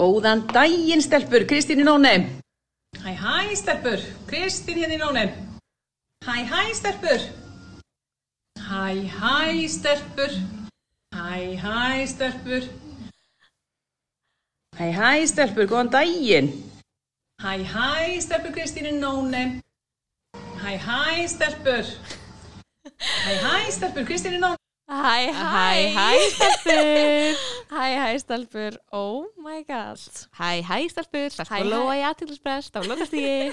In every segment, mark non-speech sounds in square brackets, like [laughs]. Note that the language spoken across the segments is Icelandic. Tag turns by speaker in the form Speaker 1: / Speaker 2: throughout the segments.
Speaker 1: Góðan daginn, stelpur, Kristín í nóni.
Speaker 2: Hæ hæ stelpur, Kristín hérna í nónum. Hæ hæ stelpur. Hæ hæ stelpur. Hæ hæ stelpur.
Speaker 1: Hæ, hæ, stelpur, góðan daginn.
Speaker 2: Hæ hæ stelpur Kristín í nónum. Hæ hæ stelpur. Hæ hæ stelpur Kristín í nónum.
Speaker 3: Hæ, hæ,
Speaker 4: Hæ, hæ, stelpur. [laughs] hæ, hæ, stelpur. Oh my god.
Speaker 3: Hæ, hæ, stelpur, stelpur
Speaker 4: Hæ, hæ.
Speaker 3: Lóa í aðtilsprest á
Speaker 4: [laughs]
Speaker 3: lokastígi.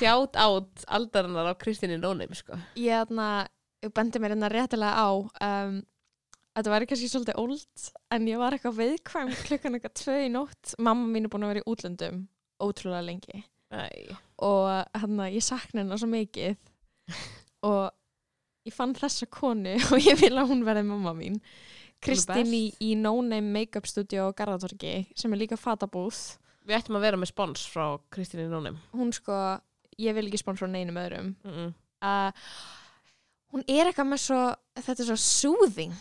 Speaker 3: Shout out aldarinnar á Kristínu Nónum, sko.
Speaker 4: Ég þarna, ég bendi mér hérna réttilega á, um, að þetta væri kannski svolítið old, en ég var eitthvað viðkvæm klukkan eitthvað tvö í nótt. Mamma mín er búin að vera í útlöndum ótrúlega lengi
Speaker 3: Æ.
Speaker 4: og hérna, ég sakna hennar svo mikið og ég fann þessa konu [laughs] og ég vil að hún verði mamma mín. Kristín í,
Speaker 3: best.
Speaker 4: í No Name Makeup Studio á Garðatorgi sem er líka fatabúð.
Speaker 3: Við ættum að vera með spons frá Kristínu Nónum.
Speaker 4: Hún sko, ég vil ekki sponsora neinum öðrum.
Speaker 3: Mm -mm.
Speaker 4: að hún er eitthvað með svo þetta er svo soothing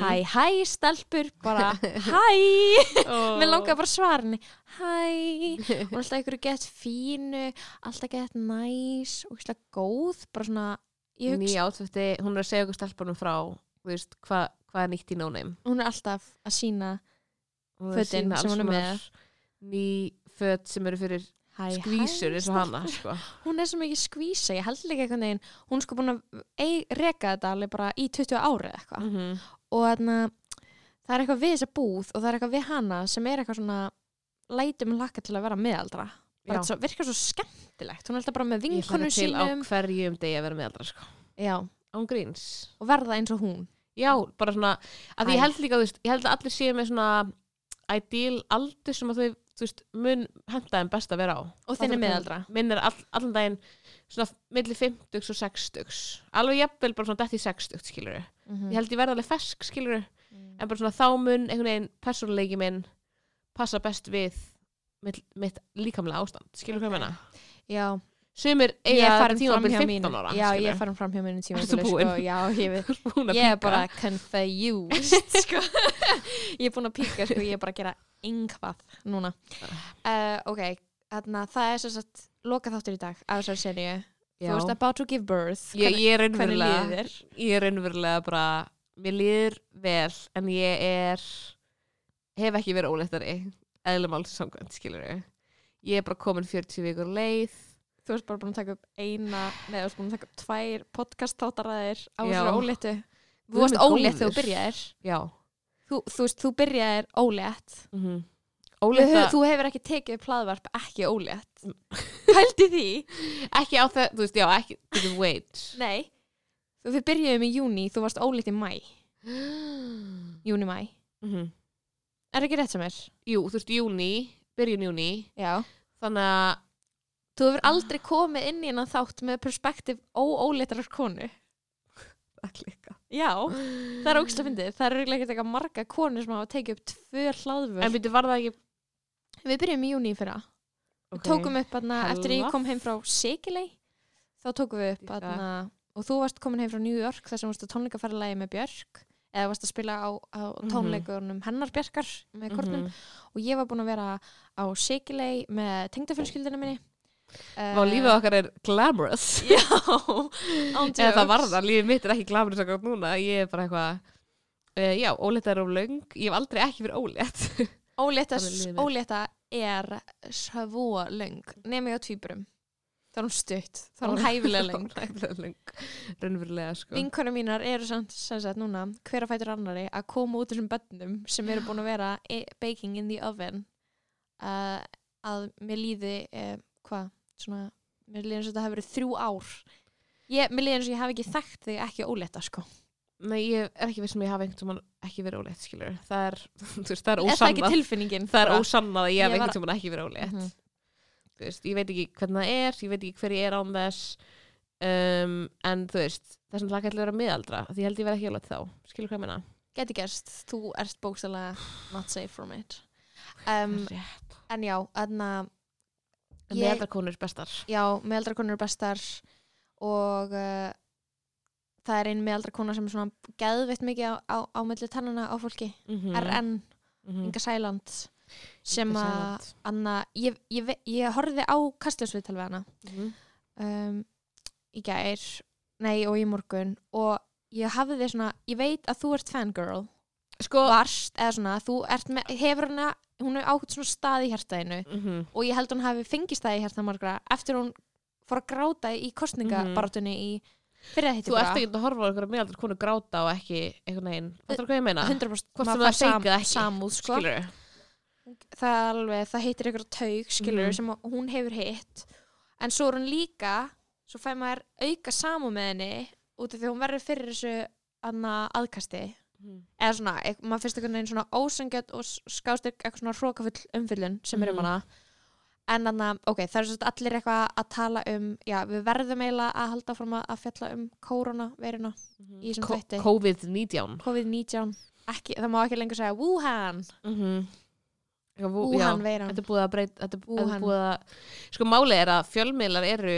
Speaker 4: hæ hæ stelpur bara hæ
Speaker 3: Oh.
Speaker 4: mér langar bara svarni [laughs] hæ hún er alltaf einhverju gett fínu alltaf gett næs og alltaf góð bara svona ég hugsa,
Speaker 3: Nýja átfætti, hún er að segja okkur stelpunum frá, þú veist, hvað hva er nýtt í Nónum.
Speaker 4: hún er alltaf að sína
Speaker 3: Hún er að
Speaker 4: Fötin
Speaker 3: sýna
Speaker 4: sem
Speaker 3: alls
Speaker 4: hún er
Speaker 3: konar
Speaker 4: með.
Speaker 3: Ný föt sem eru fyrir
Speaker 4: hæ
Speaker 3: skvísur
Speaker 4: hæ
Speaker 3: eins og hana, sko.
Speaker 4: hún er svo mikið skvísa ég held líka einhvern veginn hún er sko búin að ei- reka þetta alveg bara í 20 ári eða eitthvað
Speaker 3: Mm
Speaker 4: og þarna, það er eitthvað við þessa búð og það er eitthvað við hana sem er eitthvað svona lætum hlakka til að vera meðaldra
Speaker 3: Já.
Speaker 4: bara svo, virkar svo skemmtilegt hún er alltaf bara með
Speaker 3: Ég hlakka
Speaker 4: vinkonu
Speaker 3: til á
Speaker 4: sínum
Speaker 3: hverjum degi að vera með aldra, sko.
Speaker 4: já,
Speaker 3: Án gríns.
Speaker 4: og verða eins og hún
Speaker 3: Já, bara svona, að
Speaker 4: Æ.
Speaker 3: ég held líka, þú veist, ég held að allir séu með svona ideal aldur sem að þau, þú veist, mun henda þeim best að vera á.
Speaker 4: og þinn er meðaldra
Speaker 3: Minn er all, allan daginn svona milli 50 og 60. Alveg jafnvel bara svona dætt í 60, skilur
Speaker 4: Mm.
Speaker 3: Ég held ég verða alveg fersk, skilur
Speaker 4: Mhm.
Speaker 3: En bara svona þá mun, einhvern veginn, persónuleiki minn passa best við mitt, mitt líkamlega ástand, skilur hvað ég menna?
Speaker 4: já,
Speaker 3: Sumir
Speaker 4: ég er
Speaker 3: eiga þetta
Speaker 4: farin fram
Speaker 3: tímabil
Speaker 4: hjá mínu
Speaker 3: 15 ára,
Speaker 4: já,
Speaker 3: skilurðu.
Speaker 4: ég er farin fram hjá mínu tíma
Speaker 3: Ertu búin?
Speaker 4: sko. já,
Speaker 3: [laughs]
Speaker 4: ég veit
Speaker 3: Þú ert [laughs] búin að
Speaker 4: ég er
Speaker 3: píka.
Speaker 4: bara confused [laughs] sko. ég er búin að píka sko. ég er bara að gera yngvað núna
Speaker 3: Ah.
Speaker 4: uh, ok, þarna, það er svo að loka þáttur í dag af þessari serju
Speaker 3: Já.
Speaker 4: þú veist about to give birth
Speaker 3: ég, ég er
Speaker 4: hvernig líður
Speaker 3: raunverulega
Speaker 4: þér?
Speaker 3: ég er raunverulega bara mér líður vel en ég er hef ekki verið óléttari eðlumáls samkvæmt skilur ég er bara komin 40 vikur leið
Speaker 4: þú ert bara búin að taka upp eina nei, þú ert búin að taka upp tvær podcast þáttar að þér á
Speaker 3: Já.
Speaker 4: þessari óléttu
Speaker 3: Guð
Speaker 4: þú varst
Speaker 3: minn
Speaker 4: ólétt þegar
Speaker 3: góður.
Speaker 4: þú byrjaðir
Speaker 3: já
Speaker 4: þú, þú veist, þú byrjaðir ólétt
Speaker 3: mm -hmm.
Speaker 4: Við
Speaker 3: ólétta
Speaker 4: höf, þú hefur ekki tekið plaðvarp ekki ólétt pældi því
Speaker 3: ekki á það, þú veist, já, ekki to the weight
Speaker 4: [gasps] nei, Þú- við byrjuðum í júni þú varst ólétt í mæ,
Speaker 3: mm
Speaker 4: júni mæ Mhm. er ekki rétt sem er?
Speaker 3: jú, þú veist, júni byrjun júni
Speaker 4: já
Speaker 3: þannig að
Speaker 4: Þú hefur aldrei komið inn í hennan þátt með perspektiv óóléttarar konu.
Speaker 3: að klikka
Speaker 4: Já, það er ógislega fyndið. Það eru ekki eitthvað marga konur sem hafa tekið upp tvö
Speaker 3: en
Speaker 4: hlaðvörð.
Speaker 3: byrju, var það ekki
Speaker 4: Við byrjum í júni í fyrra. Við
Speaker 3: Ok.
Speaker 4: tókum upp aðna,
Speaker 3: Hella.
Speaker 4: eftir að ég kom heim frá Sikilei, þá tókum við upp
Speaker 3: Líka.
Speaker 4: aðna, og þú varst komin heim frá New York þar sem varst að tónleikaferðalagi með Björk eða varst að spila á, á tónleikunum hennar Björkar með kornum
Speaker 3: Mhm.
Speaker 4: og ég var búin að vera á Sikilei með tengdafjölskyldina minni. Eh,
Speaker 3: Vá, lífið okkar er glamorous
Speaker 4: Já, [laughs]
Speaker 3: [laughs]
Speaker 4: án
Speaker 3: eða það
Speaker 4: jokes.
Speaker 3: var það, lífið mitt er ekki glamur sakar núna, ég er bara eitthvað uh, já, ólétt er of löng, ég hef aldrei ekki verið ólétt
Speaker 4: Ólétta,
Speaker 3: Þannig líður.
Speaker 4: ólétta er svo löng nemi á tvíburum þá er hún stutt, þá
Speaker 3: [laughs]
Speaker 4: er hún hæfilega löng
Speaker 3: hæfilega löng, raunverulega sko
Speaker 4: vinkonum mínar eru samt sem sagt núna hver að fætur annari að koma út úr þessum bönnum sem eru búin að vera e baking in the oven uh, að mér líði uh, hvað, svona mér líði eins og þetta hafi verið þrjú ár ég, mér líði eins og ég hafi ekki þekkt þig ekki ólétta sko
Speaker 3: nei, ég er ekki vissum að ég hafi einhvern tímann ekki verið ólétt, skilur, það er [laughs] þú veist, það er
Speaker 4: er það ekki
Speaker 3: ósannað,
Speaker 4: tilfinningin
Speaker 3: það er
Speaker 4: bara?
Speaker 3: ósannað að ég
Speaker 4: Ég
Speaker 3: hafi
Speaker 4: var-
Speaker 3: einhvern tímann ekki verið ólétt
Speaker 4: Mhm.
Speaker 3: þú veist, ég veit ekki hvernig það er ég veit ekki hver ég er án þess um, en þú veist, þessum lag ætla að vera miðaldra, því ég held ég verið ekki ólétt þá skilur hvað ég meina
Speaker 4: geti gerst, þú ert bókstælega not safe from it um,
Speaker 3: Rétt.
Speaker 4: en já, þarna
Speaker 3: En
Speaker 4: Ég-
Speaker 3: meðalkonur bestar.
Speaker 4: já, meðaldrakonur eru bestar og uh, það er ein meðaldrakona sem er svona geðveitt mikið á, á, á milli tannana á fólki,
Speaker 3: Mhm.
Speaker 4: RN Inga Sæland sem
Speaker 3: Mm, Inga
Speaker 4: að
Speaker 3: Sæland.
Speaker 4: Anna, ég, ég, ve- ég horfði á kastljósviðtal við hana um, í gær nei og í morgun og ég hafði því svona, ég veit að þú ert fangirl
Speaker 3: Sko,
Speaker 4: varst, eða svona, þú ert með, hefur hana, hún hefur ákvæmt svona stað í hjartaðinu
Speaker 3: mm -hmm.
Speaker 4: og ég held hún hafi fengið stað í hjartað margra eftir hún fór að gráta í kostningabarátunni í fyrir að hitti
Speaker 3: þú ert ekki að horfa á einhverja meðaldur konu gráta og ekki einhvern veginn. Fattar hvað ég meina?
Speaker 4: 100%
Speaker 3: Hvort sem
Speaker 4: maður
Speaker 3: það
Speaker 4: fær
Speaker 3: er fake
Speaker 4: sam,
Speaker 3: eða ekki.
Speaker 4: samúð sko.
Speaker 3: Skilurðu?
Speaker 4: það er alveg, það heitir ykkur taug skilur
Speaker 3: Mhm.
Speaker 4: sem að hún hefur hitt en svo er hún líka svo fær maður auka samúð með henni út af því að hún verður fyrir þessu annað aðkasti
Speaker 3: Mhm.
Speaker 4: eða svona, ek, maður finnst einhvern veginn svona ósangjöld og skástyrk eitthvað svona hrókafull umfyllun sem er um
Speaker 3: Mhm.
Speaker 4: hana en annað, ok, það er svona allir eitthvað að tala um, já, við verðum eiginlega að halda fram að að fjalla um koronaveiruna
Speaker 3: Mhm.
Speaker 4: í þessum
Speaker 3: Ko-
Speaker 4: þvætti
Speaker 3: COVID-19.
Speaker 4: COVID-19 ekki, það má ekki lengur segja Wuhan
Speaker 3: Mhm. Já, vú- já.
Speaker 4: Wuhan-veiran
Speaker 3: Þetta er búið að breyta þetta er þetta
Speaker 4: Wuhan.
Speaker 3: er búið að, sko málið er að fjölmiðlar eru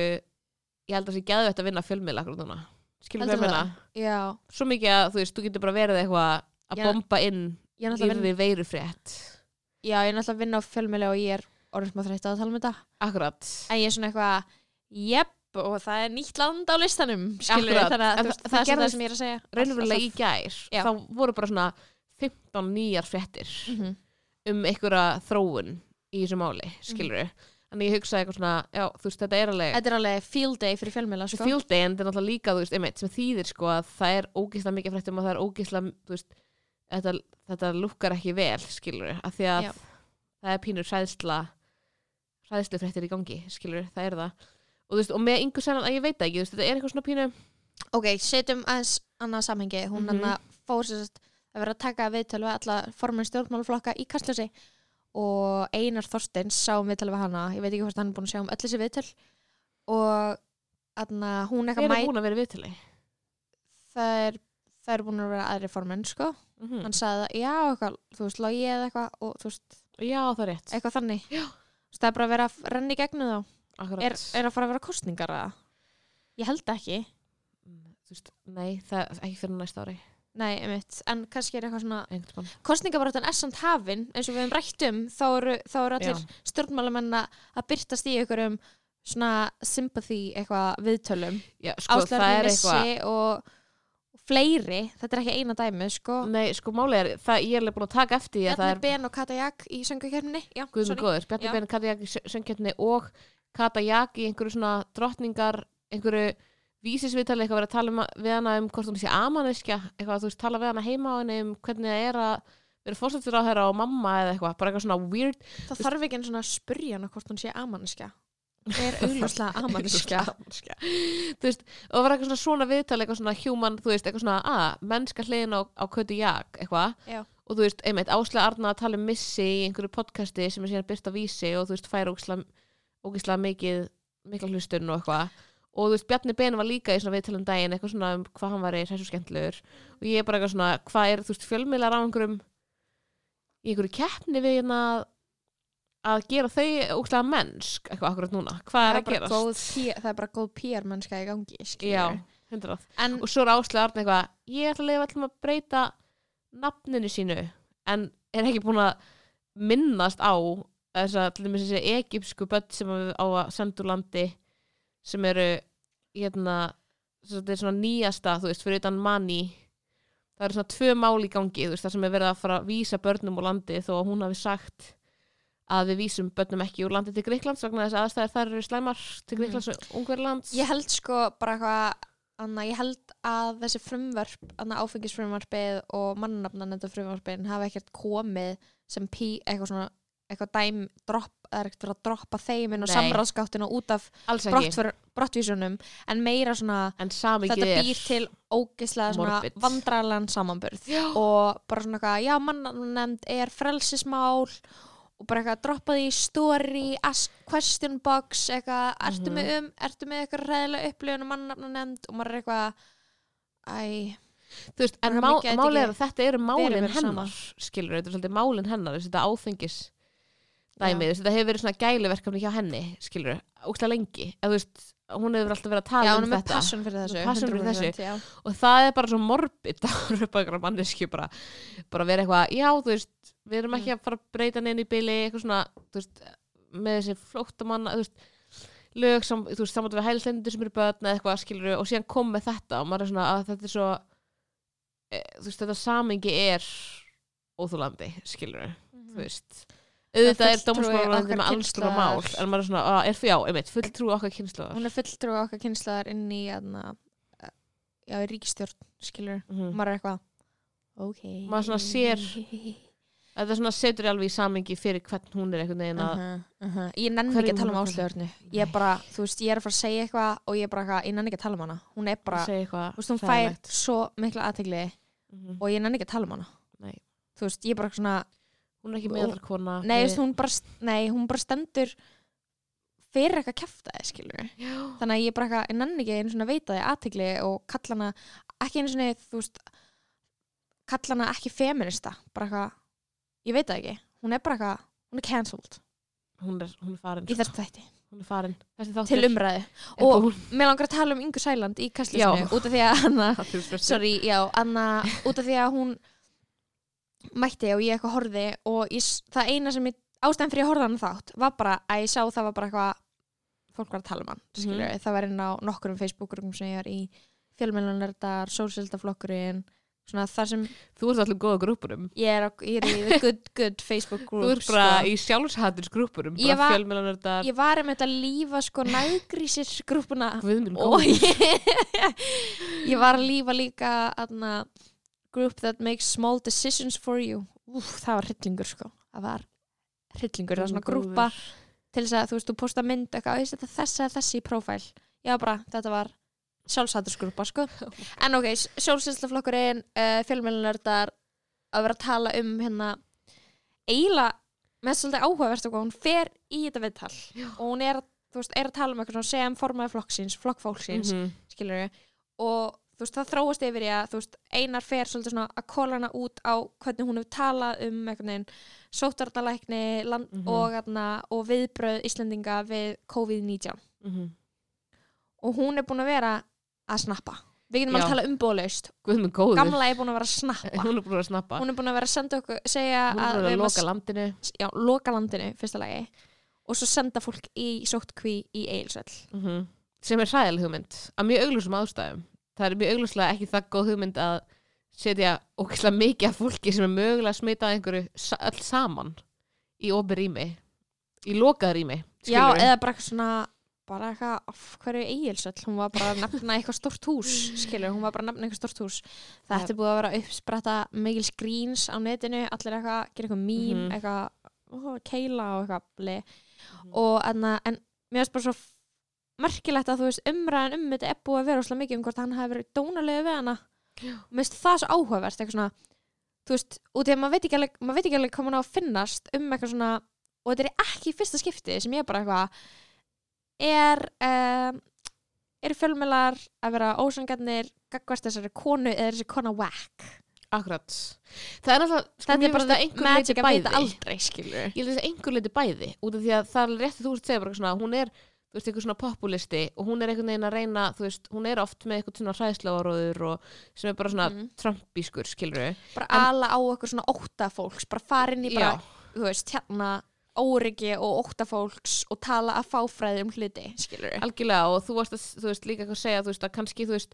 Speaker 3: ég held að það sé geðvægt að vinna fjölmiðla akkur núna, skilur
Speaker 4: Heldur
Speaker 3: við meina
Speaker 4: það? Já,
Speaker 3: svo mikið að þú veist, þú getur bara verið eitthvað að
Speaker 4: Já.
Speaker 3: bomba inn
Speaker 4: ég er náttúrulega
Speaker 3: lýrði
Speaker 4: vinn,
Speaker 3: veirufrétt
Speaker 4: já, ég er náttúrulega að vinna á fjölmiðli og ég er orðin smá þreytt á að tala um þetta
Speaker 3: akkurat,
Speaker 4: en ég er svona eitthvað, jepp og það er nýtt land á listanum skilur
Speaker 3: Akkurat.
Speaker 4: þannig að
Speaker 3: En
Speaker 4: þú veist,
Speaker 3: það-
Speaker 4: það
Speaker 3: það
Speaker 4: er svona það
Speaker 3: gerðist
Speaker 4: sem ég er að segja
Speaker 3: raunverulega í gær
Speaker 4: Já.
Speaker 3: þá voru bara svona 15 nýjar fréttir
Speaker 4: -hmm.
Speaker 3: um einhverja þróun í þessu máli, skilur við þannig ég hugsaði eitthvað svona, já, þú veist, þetta er alveg
Speaker 4: Mhm. Þetta er alveg field day fyrir fjölmiðla
Speaker 3: sko?
Speaker 4: sko.
Speaker 3: field day en þetta er náttúrulega líka þú veist, einmitt, sem þýðir sko að það er ógislega mikið fréttum og það er ógislega þú veist, þetta, þetta lukkar ekki vel skilur, af því að
Speaker 4: Já.
Speaker 3: það er pínur hræðsla hræðslu fréttir í gangi, skilur, það er það og, þú veist, og með yngur sennan að ég veit það ekki þú veist, þetta er eitthvað svona pínu
Speaker 4: Ok, setjum aðeins annað samhengi hún mm
Speaker 3: Mhm.
Speaker 4: -hmm. fór sér sagt, að vera að taka viðtölu við alla formin stjórnmálaflokka í kastljósi og Einar Þorstins sá um viðtölu við hana ég veit ekki hvort hann er búin að sjá um öll þessi viðtöl og anna, hún
Speaker 3: við
Speaker 4: eitthvað
Speaker 3: erum
Speaker 4: mæ
Speaker 3: búin að vera viðtali
Speaker 4: það er, það er búin að vera aðri formenn sko.
Speaker 3: mm -hmm.
Speaker 4: hann sagði það, já, eitthvað, þú veist, logi eða eitthvað og þú veist,
Speaker 3: já, það er rétt
Speaker 4: eitthvað þannig já. það er bara að vera að renna í gegnum þá
Speaker 3: Akkurat.
Speaker 4: er, er að fara að vera kostningar eða? ég held ekki
Speaker 3: Mm, þú veist, nei, það er ekki fyrir næsta ári
Speaker 4: Nei, einmitt, en kannski er eitthvað svona
Speaker 3: einhvern tímann.
Speaker 4: kostningabaráttan er samt hafin eins og við hefum rætt um, þá eru, þá eru allir
Speaker 3: Já.
Speaker 4: stjórnmálamenn að að byrtast í einhverjum svona sympathy eitthvað viðtölum
Speaker 3: Já, sko,
Speaker 4: Áslaug
Speaker 3: það er eitthvað
Speaker 4: Árnissi og og fleiri, þetta er ekki eina dæmi sko,
Speaker 3: Nei, sko, málið er, það, ég er alveg búin að taka eftir því að það
Speaker 4: Bjarni
Speaker 3: er
Speaker 4: Ben og Kata Jak í söngakefninni já,
Speaker 3: Guðmund
Speaker 4: sorry.
Speaker 3: góður, Bjarni
Speaker 4: Já.
Speaker 3: Ben Katjak í söngkjöndinni og Kata Jak í einhverju svona drottningar, einhverju vísisviðtali, eitthvað verið að tala um, að- við hana um hvort hún sé amaneskja, eitthvað að þú veist tala við hana heima á henni um hvernig það er að vera fórstættur á þeirra og mamma eða eitthvað, bara eitthvað svona weird
Speaker 4: Það þarf ekki einu svona að spurja hana hvort hún sé [laughs] amanniska. Hún er augljóslega amanniska.
Speaker 3: [laughs] amaneskja. Sko. þú veist, og var eitthvað svona svona viðtali eitthvað svona human, þú veist, eitthvað svona að, mennska hliðin á, á Kötu Jak, eitthvað
Speaker 4: Já.
Speaker 3: og þú veist, einmitt, Áslega Arna að tala um missi í einhverju podcasti sem er síðan byrst á vísi og þú veist, fær ógislega, ógislega mikið, mikla hlustun og eitthvað og þú veist, Bjarni Ben var líka í svona viðtalum daginn eitthvað svona um hvað hann var í hressu skemmtlegur og ég er bara eitthvað svona, hvað er, þú veist, fjölmiðlar á einhverjum í einhverju keppni við hérna að- að gera þau ógislega mennsk eitthvað akkurat núna, hvað er að
Speaker 4: bara
Speaker 3: gerast?
Speaker 4: góð PR, það er bara góð PR mennska í gangi,
Speaker 3: Já,
Speaker 4: skilur.
Speaker 3: hundrað
Speaker 4: En,
Speaker 3: og svo er Áslega Arna eitthvað ég ætla að leifa allum að breyta nafninu sínu en er ekki búin að minnast á þess að til dæmis þessi egypsku börn sem við á að senda úr landi sem eru hérna, þetta er svona nýjasta þú veist, fyrir utan manni það eru svona tvö mál í gangi þú veist, það sem er verið að fara að vísa börnum úr landi þó að hún hafi sagt að við vísum börnum ekki úr landi til Greiklands vegna þess að aðstæðir þar eru slæmar
Speaker 4: Mm.
Speaker 3: til Greiklands og Ungverlands
Speaker 4: ég held sko bara eitthvað, Anna, ég held að þessi frumvörp, Anna áfengisfrumvarpið og mannafnan þetta frumvarpin hafa ekkert komið sem pí, eitthvað svona, eitthvað dæm, dropp, það er ekkert verið að droppa þeim inn á
Speaker 3: Nei.
Speaker 4: samráðskáttina út af
Speaker 3: alls ekki
Speaker 4: brottför- brottvísunum, en meira svona
Speaker 3: en samíkið
Speaker 4: þetta
Speaker 3: er
Speaker 4: býr til ógislega svona
Speaker 3: Morbid.
Speaker 4: vandrarlegan samanburð já. og bara svona eitthvað, já mannanefnd er frelsismál og bara eitthvað droppa því í story, ask question box eitthvað,
Speaker 3: Mhm.
Speaker 4: ertu með um ertu með eitthvað ræðilega upplifun um mannanefnd og maður er eitthvað æ,
Speaker 3: þú veist, en
Speaker 4: Þannig
Speaker 3: má,
Speaker 4: að gæti
Speaker 3: málið
Speaker 4: ekki
Speaker 3: er að þetta eru
Speaker 4: verið
Speaker 3: málin
Speaker 4: meira
Speaker 3: hennar skilur þetta er svolítið málin hennar þessi þetta áfengis dæmi, þú veist, þetta hefur verið svona gæluverkefni hjá henni skilur, úkslega lengi eða þú veist, hún hefur alltaf verið að tala
Speaker 4: Já, hún
Speaker 3: um
Speaker 4: er með
Speaker 3: þetta
Speaker 4: passion fyrir þessu
Speaker 3: passion fyrir
Speaker 4: 100%, já.
Speaker 3: og það er bara svo morbid [laughs] að horfa upp á einhverja mannesku bara, bara vera eitthvað, já þú veist við erum
Speaker 4: Mm.
Speaker 3: ekki að fara að breyta neinn í byli eitthvað svona, þú veist, með þessi flóttamanna, þú veist lög sem, þú veist, saman við hælislendur sem eru börn eða eitthvað skilur og síðan kom með þetta og maður er svona að þetta er svo e, þú veist, þetta samingi er óþúlandi, skilur þú veist auðvitað er
Speaker 4: Mhm. fulltrúi
Speaker 3: dómsmálarandi
Speaker 4: okkar
Speaker 3: með alls konar mál
Speaker 4: kynslóðar.
Speaker 3: en maður er svona, að, er fyrir já, einmitt, fulltrú okkar kynsluðar
Speaker 4: Hún er fulltrúi okkar kynslaðar inn í aðna, já, í ríkistjórn skilur,
Speaker 3: mm.
Speaker 4: maður er eitthvað ok
Speaker 3: Maður svona sér- þetta svona setur ég alveg í samingi fyrir hvern hún er einhvern veginn að
Speaker 4: Aha, aha. Mhm, Ég nenni
Speaker 3: Hverju
Speaker 4: ekki að tala um
Speaker 3: hún er að tala?
Speaker 4: áslöðurnu Ég er bara, þú veist, ég er að fara að segja eitthvað og ég er bara eitthvað, ég nenni ekki að tala um hana Hún er bara,
Speaker 3: segja eitthvað
Speaker 4: þú veist, hún fær
Speaker 3: hræðilegt.
Speaker 4: svo mikla aðtegli
Speaker 3: Mhm.
Speaker 4: og ég nenni ekki að tala um hana
Speaker 3: Nei.
Speaker 4: Þú veist, ég er bara svona,
Speaker 3: hún er ekki meðal kona
Speaker 4: nei, þú veist, hún bara st- nei, hún bara stendur fyrir eitthvað kæfta þið, skilur
Speaker 3: hún
Speaker 4: Þannig að ég er bara eitthvað, ég nenni ekki einu svona veita þið aðtegli og kalla hana ekki einu svona, þú veist kalla hana ekki feminista bara eitthvað, ég veit það ekki hún er bara eitthvað, hún er cancelled
Speaker 3: er hún er farin sko.
Speaker 4: í þessu þætti,
Speaker 3: hún er farin þessi þáttur
Speaker 4: til umræðu
Speaker 3: er
Speaker 4: og
Speaker 3: búinn. [laughs]
Speaker 4: Mér langar að tala um Ingu Sæland í
Speaker 3: Já.
Speaker 4: kastlusinu út af því að
Speaker 3: [laughs]
Speaker 4: Anna,
Speaker 3: sorry
Speaker 4: sorry, já, Anna út af því að hún mætti og ég eitthvað horfði og ég, s- það eina sem ég, ástæðan fyrir að horfa hann þátt var bara að ég sá það var bara eitthvað fólk var að tala um hann, skilur það var inn á nokkurum Facebookum sem ég var í fjölmjölunardar, sósildaflokkurinn svona þar sem
Speaker 3: þú ert allir góða grúpurum
Speaker 4: ég er, á- ég er í the good, good Facebook
Speaker 3: þú
Speaker 4: group
Speaker 3: ert bara í sjálfshattins grúpurum
Speaker 4: sko. Ég
Speaker 3: bara
Speaker 4: var-
Speaker 3: fjölmjölanördar
Speaker 4: ég var um þetta lífa sko nægrísir grúpuna og
Speaker 3: viðmjöl
Speaker 4: ég, [laughs] ég var að lífa líka aðna, group that makes small decisions for you Úf, það var hryllingur sko það var hryllingur, það var svona grúpa til þess að þú veist, þú posta mynd eitthvað, veist, þetta þessi eða þessi í prófæl já bara, þetta var sjálfsættisgrúpa sko en ok, sjálfsýnslaflokkurinn uh, fjölmjölunördar að vera að tala um hérna eiginlega, með svolítið áhugavert og hún fer í þetta viðtal og hún er, að- þú veist, er að tala um eitthvað svona sem formaði flokksins, flokkfólksins
Speaker 3: Mhm.
Speaker 4: skilur við og þú veist það þróast yfir í að þú veist einar fer svolítið svona að kóla hana út á hvernig hún hefur talað um einhvern veginn sóttardalækni land
Speaker 3: Mhm.
Speaker 4: og, atna, og viðbröð Íslendinga við COVID-19
Speaker 3: mhm.
Speaker 4: og hún er búin að vera að snappa við getum
Speaker 3: Já.
Speaker 4: alveg að tala umbólaust
Speaker 3: viðmjöl góður
Speaker 4: gamla er búin að vera að snappa
Speaker 3: hún er búin að snappa
Speaker 4: hún er búin að vera að senda okkur segja
Speaker 3: hún er
Speaker 4: við
Speaker 3: búin að
Speaker 4: eigum
Speaker 3: loka landinu
Speaker 4: s- já, loka landinu fyrsta lagi og svo senda fólk í sóttkví í Egilsvell
Speaker 3: Mhm. sem er sæðal hugmynd af mjög augljósum ástæðum það er mjög augljóslega ekki það góð hugmynd að setja ókvæslega mikið af fólki sem er mögulega að smita af einhverju sa- öll saman í opið rými í lokað rými
Speaker 4: Já,
Speaker 3: skilurðu?
Speaker 4: eða bara eitthvað svona bara eitthvað, af hverju eigilsöll hún var bara að nefna eitthvað stórt hús skilur, hún var bara að nefna eitthvað stórt hús þetta er búið að vera uppspretta mikil skríns á netinu, allir eitthvað, gera eitthvað mín
Speaker 3: Mhm.
Speaker 4: eitthvað, ó, keila og eitthvað bli. og enna, en mér finnst bara svo f- merkilegt að þú veist umræðan um þetta er búið að vera óslega mikið um hvort hann hafi verið dónalega við hana og mér finnst það svo áhugavert eitthvað svona, þú veist, út í að maður veit ekki alveg, maður veit ekki alveg hvað mann á að finnast um eitthvað svona og þetta er ekki í fyrsta skipti sem ég er bara eitthvað er um, er fjölmjölar að vera ósangarnir gagvast þessari konu eða er þessi kona whack
Speaker 3: akkurat það er náttúrulega sko,
Speaker 4: þetta
Speaker 3: mér
Speaker 4: er bara
Speaker 3: finnst það
Speaker 4: the
Speaker 3: einhver leiti
Speaker 4: magic að
Speaker 3: bæði
Speaker 4: vita aldrei skilur
Speaker 3: ég held að þessi einhver leiti bæði út af því að það er alveg rétt að þú ert að segja bara eitthvað svona, hún er þú veist, eitthvað svona populisti og hún er einhvern veginn að reyna þú veist, hún er oft með eitthvað svona hræðslávaróður og sem er bara svona
Speaker 4: Mhm.
Speaker 3: trumpískur skilru
Speaker 4: bara
Speaker 3: En-
Speaker 4: ala á okkur svona óttafólks bara fara inn í bara, þú veist, hérna óryggi og óttafólks og tala að fáfræði um hluti skilur
Speaker 3: algjörlega og þú varst að þú veist, líka eitthvað að segja þú veist, að kannski þú veist,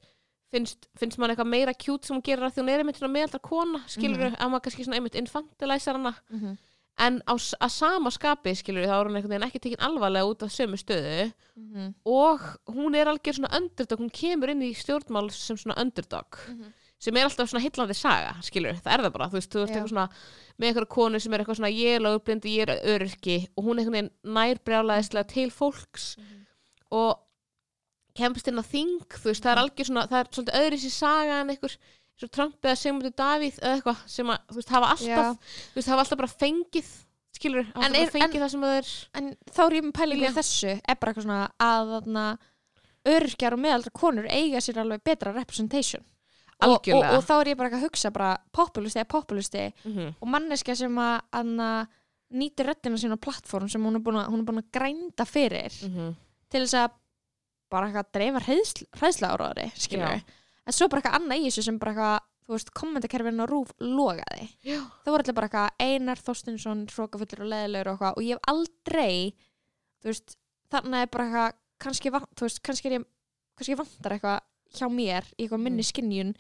Speaker 3: finnst, finnst mann eitthvað meira kjút sem hún gerir að því hún er einmitt svona meðaldra kona skilur að maður kannski svona einmitt infantilæsar hana
Speaker 4: Mhm.
Speaker 3: en á, s- að sama skapi skilur þá er hún einhvern veginn ekki tekin alvarlega út af sömu stöðu og hún er algjör svona underdog hún kemur inn í stjórnmál sem svona underdog sem er alltaf svona heillandi saga skilur, það er það bara, þú veist, þú ert
Speaker 4: Mhm. Já.
Speaker 3: eitthvað svona með einhverja konu sem er eitthvað svona ég er lögblindi, ég er öryrki og hún einhvern veginn nærbrjálaðislega til fólks
Speaker 4: Mhm.
Speaker 3: og kemst inn á þing, þú veist, það
Speaker 4: Mhm.
Speaker 3: er algjör svona það er svolítið öðri sér saga en einhver svo Trump eða Sigmundur Davíð eða eitthvað sem að, þú veist, hafa alltaf þú veist, hafa alltaf bara fengið skilur, hafa
Speaker 4: En
Speaker 3: alltaf
Speaker 4: er-
Speaker 3: bara fengið það sem það er
Speaker 4: en þá er ég með pælingu í þessu er bara eitthvað svona að þarna örgjar og meðaldra konur eiga sér alveg betra representation og, og,
Speaker 3: Algjörlega.
Speaker 4: og þá er ég bara ekki að hugsa bara populisti eða populisti
Speaker 3: Mhm.
Speaker 4: og manneskja sem að anna, nýtir röddina sína á plattform sem hún er búin að, hún er búin að grænda fyrir
Speaker 3: Mhm.
Speaker 4: til þess að bara eitthvað dreifa hræðsl, hræðsla áraðari skilur
Speaker 3: Já.
Speaker 4: en svo bara eitthvað annað í þessu sem bara eitthvað þú veist, kommentakerfinu á rúf logaði
Speaker 3: Já.
Speaker 4: það voru allir bara eitthvað Einar Þorstinsson hrókafullur og leðilegur og eitthvað og ég hef aldrei þú veist, þarna er bara eitthvað kannski, van, þú veist, kannski, er ég, kannski vantar eitthvað hjá mér í eitthvað minni
Speaker 3: Mm.
Speaker 4: skinjun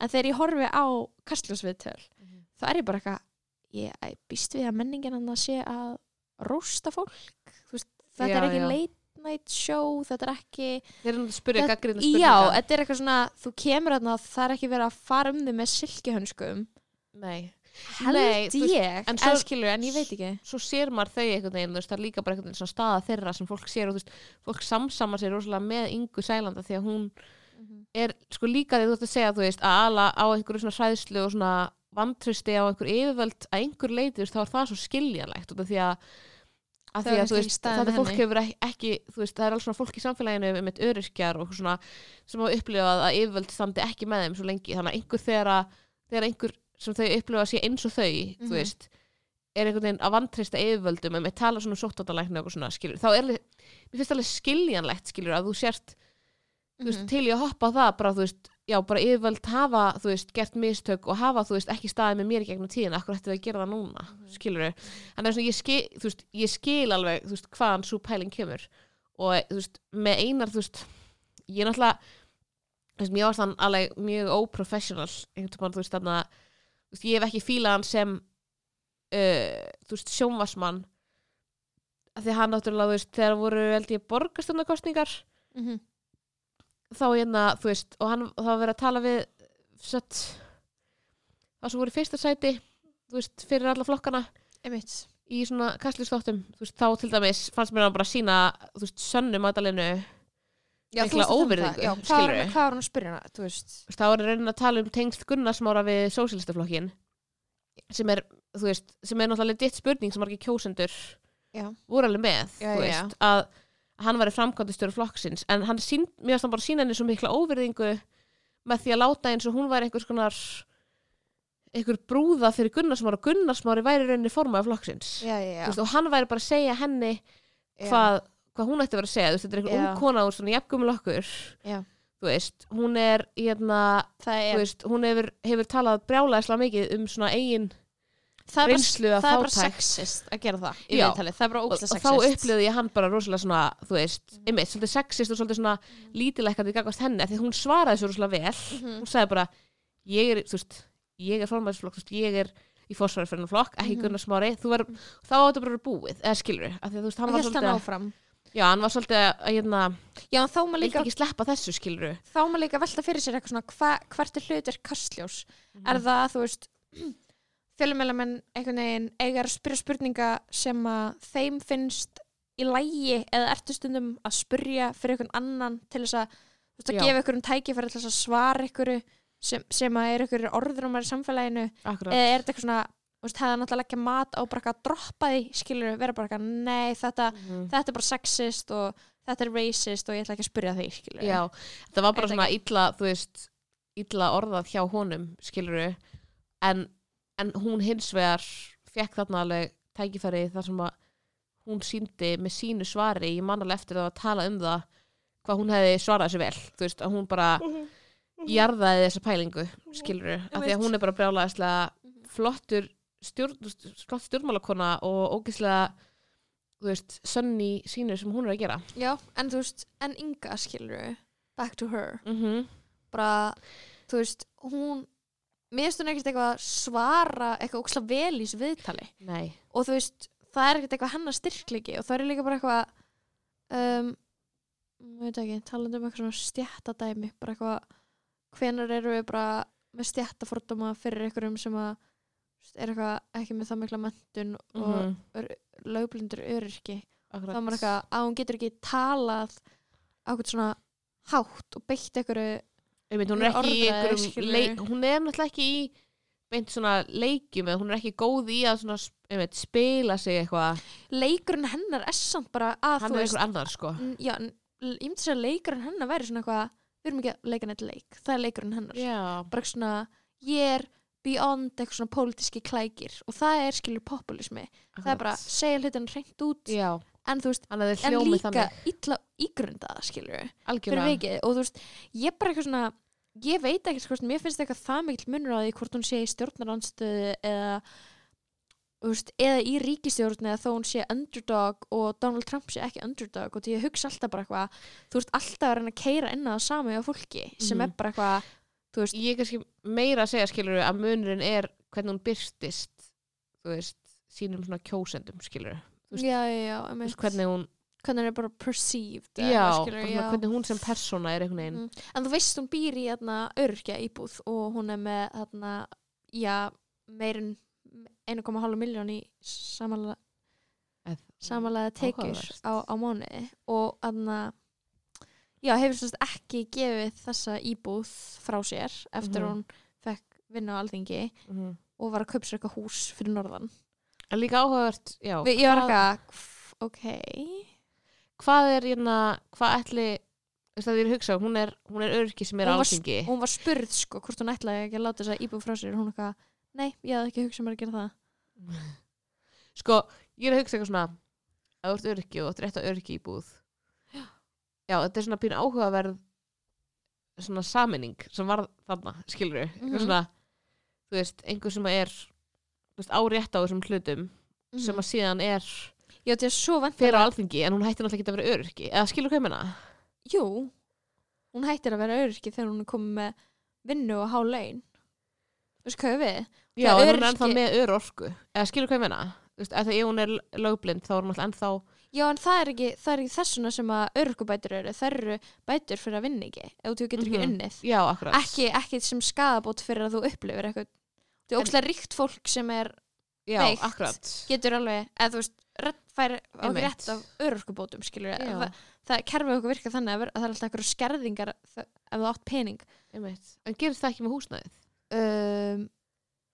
Speaker 4: en þegar ég horfi á kastljósviðtöl
Speaker 3: Mhm.
Speaker 4: þá er ég bara eitthvað ég æ, býst við að menningin hann að sé að rósta fólk þú veist, þetta
Speaker 3: Já,
Speaker 4: er ekki
Speaker 3: já.
Speaker 4: late night show þetta er ekki
Speaker 3: Þeir eru að spyrja
Speaker 4: Þetta-
Speaker 3: gaggrinda
Speaker 4: já,
Speaker 3: spurningar
Speaker 4: þetta er eitthvað svona þú kemur þarna og það er ekki verið að fara um þig með silkihönskum
Speaker 3: Nei,
Speaker 4: held
Speaker 3: Nei, þú veist,
Speaker 4: ég,
Speaker 3: en
Speaker 4: en,
Speaker 3: svo-
Speaker 4: skilur, en ég veit ekki
Speaker 3: svo sér maður þau einhvern veginn, þú veist, það er líka bara einhvern veginn svona staða þeirra sem fólk sér og þú veist, fólk samsamar sér rosalega með yngu sælanda því að hún
Speaker 4: Mhm.
Speaker 3: er sko líka því þú ert að segja, þú veist, að ala á einhverju svona hræðslu og svona vantristi á einhver yfirvöld að einhver leiti, þú veist, þá er það svo skiljanlegt út af því að
Speaker 4: Það
Speaker 3: að því
Speaker 4: var
Speaker 3: að
Speaker 4: kannski
Speaker 3: þú veist,
Speaker 4: ekki staðan
Speaker 3: þetta
Speaker 4: með
Speaker 3: fólk
Speaker 4: henni.
Speaker 3: hefur ekki, ekki þú veist, það er alls svona fólk í samfélaginu um eitt öryrkjar og svona sem hafa upplifað að yfirvöld standi ekki með þeim svo lengi þannig að einhver þegar að þegar einhver sem þau upplifa sé eins og þau þú
Speaker 4: Mhm.
Speaker 3: veist, er einhvern veginn að vantrista yfirvöldum en með tala svona sóttatalækna og eitthvað svona skilur, þá er alveg- mér finnst alveg skiljanlegt skilur að þú sért þú veist, til ég að hoppa á það bara, þú veist, já, bara yfirvöld hafa, þú veist, gert mistök og hafa, þú veist, ekki staðið með mér í gegnum tíðin akkur ætti það að gera það núna, mm -hmm. skilur en það er svona, ég skil, þú veist, ég skil alveg þú veist, hvaðan svo pæling kemur og, þú veist, með einar, þú veist ég er náttúrulega þú veist, mér varst hann alveg mjög óprofessional einhvern tímann, þú veist, þannig að þú veist, ég hef ekki fílað hann sem uh, þú veist, sjónvarsmann af því að hann náttúrulega, þú veist, þegar voru, held ég, borgarstundakostningar
Speaker 4: Mhm.
Speaker 3: þá hérna, þú veist, og hann það var verið að tala við sett, það sem voru í fyrsta sæti þú veist, fyrir alla flokkana
Speaker 4: einmitt
Speaker 3: í svona kastlistóttum, þú veist, þá til dæmis fannst mér hann bara sína, þú veist, sönnu matalinu,
Speaker 4: Já, þú
Speaker 3: Mikla
Speaker 4: veist þetta um
Speaker 3: óvirðingu,
Speaker 4: það. Já, hvað var
Speaker 3: skilurðu?
Speaker 4: hann- hvað var hann að spyrja hana, þú veist
Speaker 3: þú veist, þá er raunin að tala um tengst Gunnarsmára við sósílistaflokkin sem er, þú veist, sem er náttúrulega ditt spurning sem margir kjósendur
Speaker 4: Já.
Speaker 3: voru alveg með,
Speaker 4: Já,
Speaker 3: þú
Speaker 4: já,
Speaker 3: veist, að hann var framkvæmdistjóri flokksins, en hann sín, mér varst hann bara sína henni svo mikla óvirðingu með því að láta eins og hún væri einhvers konar einhver brúða fyrir Gunnarsmára og Gunnarsmári væri í rauninni formaði flokksins
Speaker 4: já, já, já,
Speaker 3: Þú veist, og hann væri bara að segja henni
Speaker 4: Já.
Speaker 3: hvað, hvað hún ætti að vera að segja þú veist, þetta er einhver
Speaker 4: Já.
Speaker 3: ung kona úr svona jafngumul okkur
Speaker 4: Já.
Speaker 3: þú veist, hún er hérna,
Speaker 4: það
Speaker 3: þú
Speaker 4: er,
Speaker 3: veist, hún hefur, hefur talað brjálæðislega mikið um svona eigin
Speaker 4: það er,
Speaker 3: reynslu
Speaker 4: bara,
Speaker 3: af
Speaker 4: það er bara
Speaker 3: fátækt.
Speaker 4: sexist að gera það í
Speaker 3: Já.
Speaker 4: viðtalið, það er bara
Speaker 3: og, og
Speaker 4: ógæslega
Speaker 3: þá
Speaker 4: sexist
Speaker 3: upplifði ég hann bara rosalega svona, þú veist, einmitt, svolítið sexist og svolítið svona lítilækkandi gagvast henni af því að hún svaraði svo rosalega vel
Speaker 4: Mhm.
Speaker 3: hún sagði bara, ég er, þú veist ég er formæðisflokk, þú veist, ég er í fórsværi fyrir hennar flokk, ekki mm
Speaker 4: Mhm.
Speaker 3: -hmm. Gunnar Smári þú var, þá áttu bara að vera búið, eða skilur af því að þú veist, hann
Speaker 4: og
Speaker 3: var
Speaker 4: held hann
Speaker 3: svolítið að-
Speaker 4: áfram
Speaker 3: já, hann var svolítið að, að, hérna,
Speaker 4: já, en þá er maður
Speaker 3: vildi
Speaker 4: líka
Speaker 3: ekki sleppa þessu skiluru
Speaker 4: þá er maður líka að velta fyrir sér eitthvað svona hva, hvert er hlutur kastljós
Speaker 3: Mhm.
Speaker 4: er það, þú veist [clears throat] fjölumælamenn einhvern veginn eiga að spyrja spurninga sem að þeim finnst í lægi eða ertu stundum að spyrja fyrir einhvern annan til þess að, þú veist, að
Speaker 3: Já.
Speaker 4: gefa einhverjum tækifæri til þess að svara einhverju sem, sem að er einhverju orðrumar í samfélaginu
Speaker 3: Akkurat.
Speaker 4: eða er þetta eitthvað svona, þú veist, hefði hann alltaf leggja mat á bara eitthvað að droppa því, skilur vera bara eitthvað, nei, þetta,
Speaker 3: Mhm. Mm.
Speaker 4: þetta er bara sexist og þetta er racist og ég ætla ekki að spyrja því, skilur
Speaker 3: Já, þetta var bara
Speaker 4: Ég veit
Speaker 3: svona illa þú veist, illa orðað hjá honum skiluru en, en hún hins vegar fekk þarna alveg tækifæri þar sem að hún síndi með sínu svari ég man alveg eftir það að tala um það hvað hún hefði svarað þessu vel þú veist, að hún bara jarðaði þessa pælingu skiluru, af því að hún er bara brjálaðislega flottur stjórn, flott stjórnmálakona og ógeðslega þú veist, sönni sínu sem hún er að gera
Speaker 4: Já, en þú veist, en Inga skilur back to her
Speaker 3: mm
Speaker 4: bara, þú veist, hún mér finnst hún ekkert eitthvað að svara eitthvað óksla vel í þessu viðtali
Speaker 3: Nei
Speaker 4: og þú veist, það er ekkert eitthvað hennar styrklegi og það er líka bara eitthvað um, ég veit ekki talandi um eitthvað svona stjættadæmi bara eitthvað, hvenar eru við bara með stjættafordóma fyrir einhverjum sem að þú veist, er eitthvað ekki með það mikla mentun og mm
Speaker 3: Mhm.
Speaker 4: lögblindur öryrki
Speaker 3: Akkurat.
Speaker 4: þá er maður eitthvað að hún getur ekki talað á eitthvað svona hátt og beitt einhverju
Speaker 3: Einmitt, hún er ekki í
Speaker 4: orðræðu,
Speaker 3: einhverjum
Speaker 4: skilurðu.
Speaker 3: leik, hún er náttúrulega ekki í beint svona leikjum eða hún er ekki góð í að svona, einmitt, spila sig eitthvað
Speaker 4: leikurinn hennar er samt bara að
Speaker 3: hann
Speaker 4: þú
Speaker 3: er
Speaker 4: veist
Speaker 3: einhver annar sko
Speaker 4: n- já, n- ég myndi segja að leikurinn hennar væri svona eitthvað við erum ekki að leika neitt leik það er leikurinn hennar
Speaker 3: já,
Speaker 4: bara eitthvað svona, ég er beyond eitthvað svona pólitíski klækir og það er skilur populismi það er bara að segja hlutin hreint út
Speaker 3: já,
Speaker 4: en þú veist,
Speaker 3: hann hefði
Speaker 4: en
Speaker 3: hljómið
Speaker 4: líka
Speaker 3: þannig
Speaker 4: illa ígrundaða skilur fyrir
Speaker 3: algjörlega,
Speaker 4: vikið og þú veist, ég bara eitthvað svona ég veit ekkert hvort, mér finnst eitthvað það mikill munur á því hvort hún sé í stjórnaranstöðu eða þú veist, eða í ríkistjórn eða þó hún sé underdog og Donald Trump sé ekki underdog og því ég hugsa alltaf bara eitthvað þú veist, alltaf er hann að keira inn á það sami á fólki sem
Speaker 3: Mhm.
Speaker 4: er bara eitthvað þú veist,
Speaker 3: ég er kannski meira að segja skilur að munurinn er hvernig hún byrstist þú veist, sínum svona kjósendum skilur þú veist-
Speaker 4: já, já, já einmitt.
Speaker 3: hvernig hún,
Speaker 4: hvernig hann er bara perceived eða
Speaker 3: já,
Speaker 4: eitthvað,
Speaker 3: skilur,
Speaker 4: skilurðu, já.
Speaker 3: hvernig hún sem persóna er einhvern veginn
Speaker 4: Mm. En þú veist, hún býr í hérna, örkja íbúð og hún er með hérna, já, meirinn 1,5 miljón í samanlega
Speaker 3: Eð-
Speaker 4: samanlega tekjur
Speaker 3: Mm, Áhugavert.
Speaker 4: á, á mánuði og hérna já, hefur svo sem sagt ekki gefið þessa íbúð frá sér eftir
Speaker 3: Mhm.
Speaker 4: hún fekk vinna á alþingi
Speaker 3: Mhm.
Speaker 4: og var að kaupa sér eitthvað hús fyrir norðan.
Speaker 3: en líka áhugavert, já
Speaker 4: Við, ég var
Speaker 3: hvað-
Speaker 4: eitthvað, "Hv- ok
Speaker 3: hvað er hérna, hvað ætli þú veist að því er að hugsa, hún er, hún er örki sem er
Speaker 4: Hún var
Speaker 3: áfengi
Speaker 4: og hún var spurð sko hvort hún ætlaði ekki að láta þessa íbúð frá sér og hún eitthvað, nei, ég hafði ekki hugsað mér að gera það.
Speaker 3: sko, ég er að hugsa eitthvað svona að þú ert örki og þú ert rétt að örki í búð já, þetta er svona pín áhugaverð svona saminning sem varð þarna, skilur við
Speaker 4: Mhm.
Speaker 3: svona, þú veist, einhver sem er þú veist, árétt á þessum hlutum sem að síðan er
Speaker 4: Já, þetta er Mhm. svo
Speaker 3: fyrir á
Speaker 4: vantilega
Speaker 3: alþingi en hún hætti náttúrulega ekki að vera örki eða skilur hvað ég menna?
Speaker 4: Jú, hún hættir að vera öryrki þegar hún er komið með vinnu og há laun Þú veist hvað ég við?
Speaker 3: Já, en hún er
Speaker 4: öryrki-
Speaker 3: ennþá með örorku eða skilur hvað ég menna? Þú veist, að það ef hún er lögblind þá er hún alltaf ennþá
Speaker 4: Já, en það er ekki, það er ekki þessuna sem að öryrkubætur eru Það eru bætur fyrir að vinna ekki ef þú getur ekki
Speaker 3: Mhm.
Speaker 4: unnið
Speaker 3: já, akkurat
Speaker 4: ekki, ekki sem skadabót fyrir að þú upplifir eitthvað Þú er
Speaker 3: En-
Speaker 4: ókslega ríkt fólk sem er
Speaker 3: já,
Speaker 4: veikt.
Speaker 3: akkurat
Speaker 4: getur alveg, eða þú veist rödd fær á
Speaker 3: Einmitt.
Speaker 4: rétt af öryrkubótum skilur
Speaker 3: Já.
Speaker 4: það, það kerfið okkur virka þannig að, ver- að það er alltaf eitthvað skerðingar þ- ef þú átt pening
Speaker 3: Einmitt. en gerist það ekki með húsnæðið?
Speaker 4: um,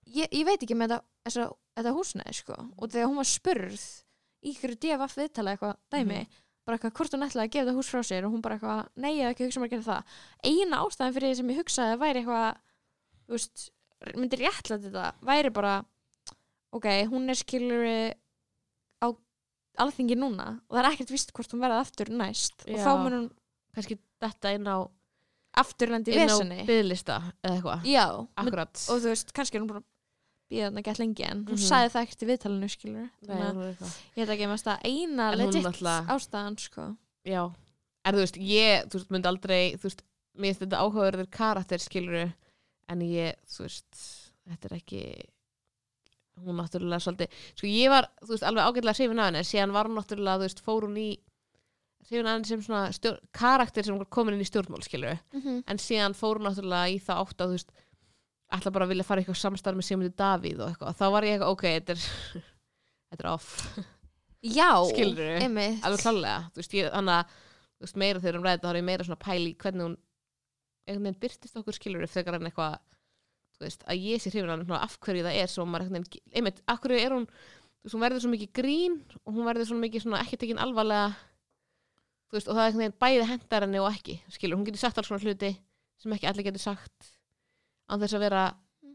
Speaker 4: ég, ég veit ekki með þetta, þessa, þetta húsnæði sko og þegar hún var spurð í hverju DFF viðtala eitthvað dæmi
Speaker 3: Mhm.
Speaker 4: bara eitthvað hvort hún ætlaði að gefa þetta hús frá sér og hún bara eitthvað, nei ég hef ekki hugsað mér að gera það eina ástæðan fyrir því sem ég hugsaði væri eitthvað þú veist, myndi réttlega þetta væri bara ok, hún er skilur á alþingi núna og það er ekkert víst hvort hún verði aftur næst og
Speaker 3: Já.
Speaker 4: þá mun hún
Speaker 3: kannski þetta inn á,
Speaker 4: afturlendi
Speaker 3: inn á
Speaker 4: vesenni
Speaker 3: byðlista eða eitthvað,
Speaker 4: já, myndi
Speaker 3: akkurat
Speaker 4: og þú veist, kannski er hún búin að býða þarna gett lengi en hún
Speaker 3: Mhm.
Speaker 4: sagði það ekkert í viðtalinu skilur
Speaker 3: Nei,
Speaker 4: þannig að
Speaker 3: hún er eitthvað.
Speaker 4: ég held ekki að mest að eina
Speaker 3: En hún
Speaker 4: legit
Speaker 3: náttúrulega-
Speaker 4: ástæðan sko
Speaker 3: já, en þú veist ég, þú veist, myndi aldrei, þú veist mér finnst þetta áhugaverður karakter skiluru en ég, þú veist þetta er ekki hún náttúrulega svolítið, sko ég var þú veist, alveg ágætlega hrifin af henni, en síðan var hún náttúrulega, þú veist, fór hún í hrifin af henni sem svona stjór, karakter sem var komin inn í stjórnmál skiluru, en síðan fór hún náttúrulega í það átt að þú veist ætla bara að vilja fara í eitthvað samstarf með Sigmundi Davíð og eitthvað, þá var ég eitthvað, ok, þetta er [laughs] þetta er off,
Speaker 4: já,
Speaker 3: Skilurðu?
Speaker 4: einmitt
Speaker 3: alveg klálega þú veist, ég, þannig að, þú veist, meira þegar um ræðið þá er ég meira svona pæli í hvernig hún einhvern veginn byrtist okkur skilur þegar hann eitthvað, þú veist, að ég sé hrifin hann svona, af hverju það er sem maður einhvern veginn einmitt, af hverju er hún, þú veist, hún verður svo mikið grín og hún verður svo mikið svona ekki tekin alvarlega þú veist, og það er einhvern veginn bæði hendar henni og ekki skilur, hún getur sagt alls svona hluti sem ekki allir getur sagt án þess að vera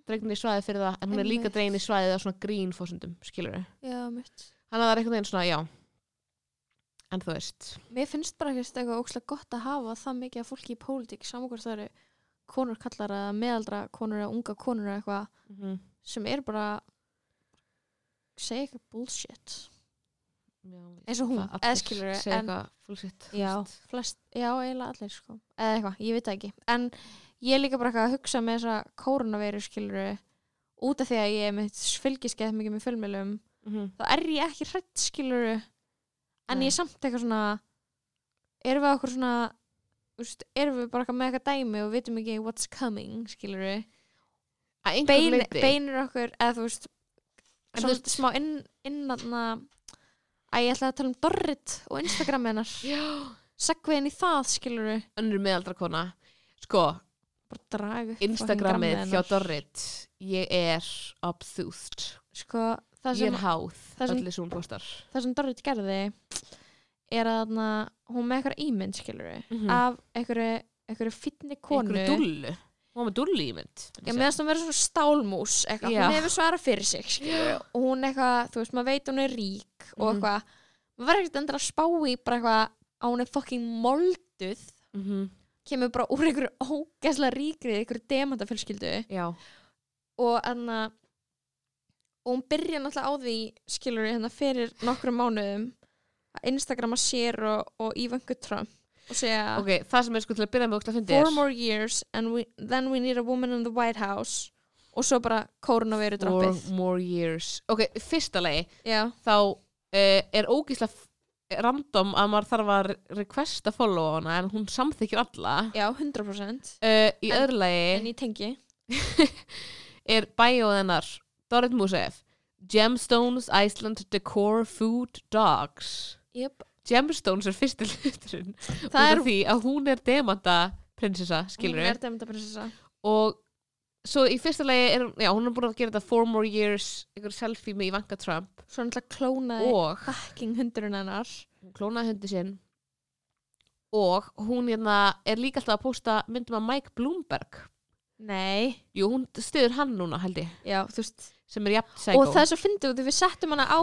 Speaker 3: dregnir í svæði fyrir það en hún er líka
Speaker 4: Einmitt.
Speaker 3: dregin í svæði á svona grín fórsendum, skilur
Speaker 4: já, mitt.
Speaker 3: þannig að það er einhvern veginn svona, já en þú veist,
Speaker 4: mér finnst bara ekkert eitthvað ókslega gott að hafa það mikið af fólki í pólitík saman hvort það eru konur kallar að meðaldra konur eða unga konur eða eitthvað sem er bara segja eitthvað bullshit
Speaker 3: já,
Speaker 4: eins og hún, eða skilur
Speaker 3: segja eitthvað fólksitt
Speaker 4: Já, flest, já, eiginlega allir sko eða eitthvað, ég veit það ekki en ég er líka bara eitthvað að hugsa með þessa koronaviru skilur út af því að ég er mitt fylgiskeið mikið með fjölmjölum þá er ég ekki hrætt skilur en
Speaker 3: Nei.
Speaker 4: ég er samt eitthvað svona erum við okkur svona úst, erum við bara eitthvað með eitthvað dæmi og vitum ekki what's coming skilur
Speaker 3: að einhver
Speaker 4: Bein,
Speaker 3: leiti
Speaker 4: beinir okkur eða þú veist,
Speaker 3: En
Speaker 4: svona
Speaker 3: þú veist-
Speaker 4: smá inn, innanna að ég ætla að tala um Dorrit og Instagram hennar
Speaker 3: já,
Speaker 4: segviðin í það skilur
Speaker 3: önnur meðaldra kona sko,
Speaker 4: bara draga upp
Speaker 3: Instagramið hjá
Speaker 4: fucking grammið hennar.
Speaker 3: Dorrit ég er obsúst
Speaker 4: sko, það,
Speaker 3: ég
Speaker 4: sem,
Speaker 3: er háð,
Speaker 4: það sem-
Speaker 3: öllu sem hún postar
Speaker 4: það sem Dorrit gerði er að na, hún með eitthvað ímynd skilur
Speaker 3: Mhm.
Speaker 4: af einhverju einhverju fínni konu
Speaker 3: einhverju dullu hún var með dullu ímynd
Speaker 4: Já, meðan það verður svona stálmús eitthvað,
Speaker 3: Já.
Speaker 4: hún hefur svarað fyrir sig skilurðu, og hún eitthvað, þú veist, maður veit hún er rík og
Speaker 3: Mhm.
Speaker 4: eitthvað, maður verður ekkert endur að spá í bara eitthvað á hún er fucking molduð,
Speaker 3: mm -hmm.
Speaker 4: kemur bara úr einhverju ógæslega ríkrið, einhverju demantafjölskyldu
Speaker 3: já,
Speaker 4: og enna og hún byrja náttúrulega á því skilur við hérna fyrir nokkrum mánuðum að Instagrama sér og, og Ivanka Trump og segja
Speaker 3: ok, það sem er sko til að byrja með okkur að fyndi
Speaker 4: four more years and we, then we need a woman in the White House og svo bara koronaviru
Speaker 3: Four
Speaker 4: droppið
Speaker 3: more years ok, fyrsta lagi
Speaker 4: já,
Speaker 3: þá uh, er ógísla random að maður þarf að requesta follow hana en hún samþykir alla
Speaker 4: já, 100%
Speaker 3: uh, í
Speaker 4: En-
Speaker 3: öðru lagi
Speaker 4: en ég tengi
Speaker 3: er bæjóð hennar Dorit Musef Gemstones, Iceland, Decor, Food, Dogs
Speaker 4: yep.
Speaker 3: Gemstones er fyrsti [laughs] hluturinn
Speaker 4: það
Speaker 3: út
Speaker 4: er
Speaker 3: af því að hún er demanta prinsessa, skilur
Speaker 4: hún
Speaker 3: við
Speaker 4: er demdaprinsessa
Speaker 3: og svo í fyrsta lagi er hún- já, hún er búin að gera þetta four more years einhver selfie með Ivanka Trump
Speaker 4: svo hann alltaf klónaði
Speaker 3: og
Speaker 4: fucking hundurinn hennar
Speaker 3: hún klónaði hundi sinn og hún hérna er líka alltaf að posta myndum af Mike Bloomberg
Speaker 4: nei,
Speaker 3: jú, hún styður hann núna held ég
Speaker 4: já, þú veist
Speaker 3: sem er jafn
Speaker 4: og
Speaker 3: sækó
Speaker 4: það er svo fyndið út af því við settum hana á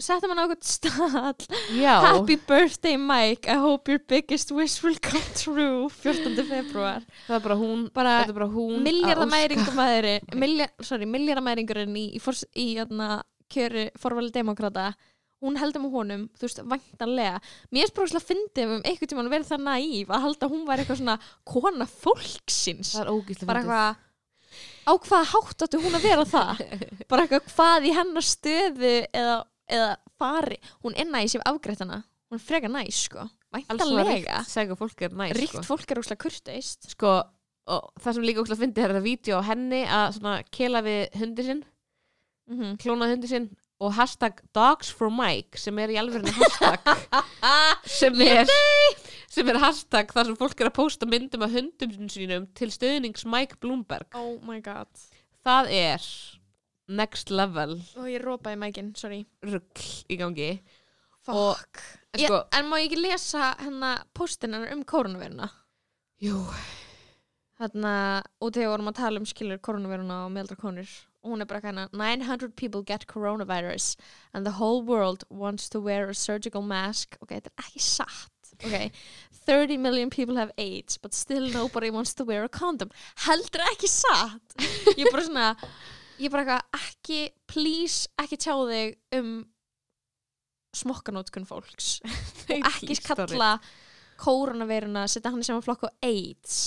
Speaker 4: settum hana á eitthvað stall
Speaker 3: [laughs] já,
Speaker 4: Happy birthday Mike, I hope your biggest wish will come true 14. februar
Speaker 3: það er bara hún
Speaker 4: Bara
Speaker 3: þetta er bara hún
Speaker 4: Miljardamæringumæðri milja, Sorry, miljardamæringurinn í, í, fors- í jörna, kjöru forvali demokrata hún heldur með honum, þú veist, væntanlega mér er sprókslega fyndið ef um einhvern tímann verið það næf að halda að hún væri eitthvað svona kona fólksins
Speaker 3: það er ógíslega
Speaker 4: bara eitthvað á hvaða hátt áttu hún að vera það [laughs] bara eitthvað hvað í hennar stöðu eða, eða fari hún er næs, ég hef afgreitt hana hún er freka næs sko, væntanlega
Speaker 3: sækó fólk er sko. næst
Speaker 4: ríkt fólk er óslega kurteist
Speaker 3: sko, og það sem líka ógst að fyndi er þetta vídeo á henni að svona kela við hundi sinn,
Speaker 4: mm -hmm.
Speaker 3: klónað hundi sinn og hashtag dogs for Mike sem er í alvegurinn [laughs] hashtag
Speaker 4: Ah!
Speaker 3: sem er sem er hashtag þar sem fólk er að posta myndum af hundum sínum til stöðnings Mike Bloomberg
Speaker 4: oh my god
Speaker 3: það er next level
Speaker 4: og ég rópaði mækin, sorry
Speaker 3: ruggl í gangi
Speaker 4: Fuck.
Speaker 3: Og,
Speaker 4: ég,
Speaker 3: sko-
Speaker 4: en má ég ekki lesa hennar postin hennar um koronaviruna
Speaker 3: Jú,
Speaker 4: þarna, og þegar vorum að tala um skilur koronaviruna og meðaldra konur og hún er bara hérna 900 people get coronavirus and the whole world wants to wear a surgical mask ok, þetta er ekki satt ok, 30 million people have AIDS but still nobody wants to wear a condom heldur ekki satt ég er bara svona ég er bara eitthvað ekki, please ekki tjá þig um smokkanótkun fólks og ekki kalla koronaviruna, setja hann í saman flokk og AIDS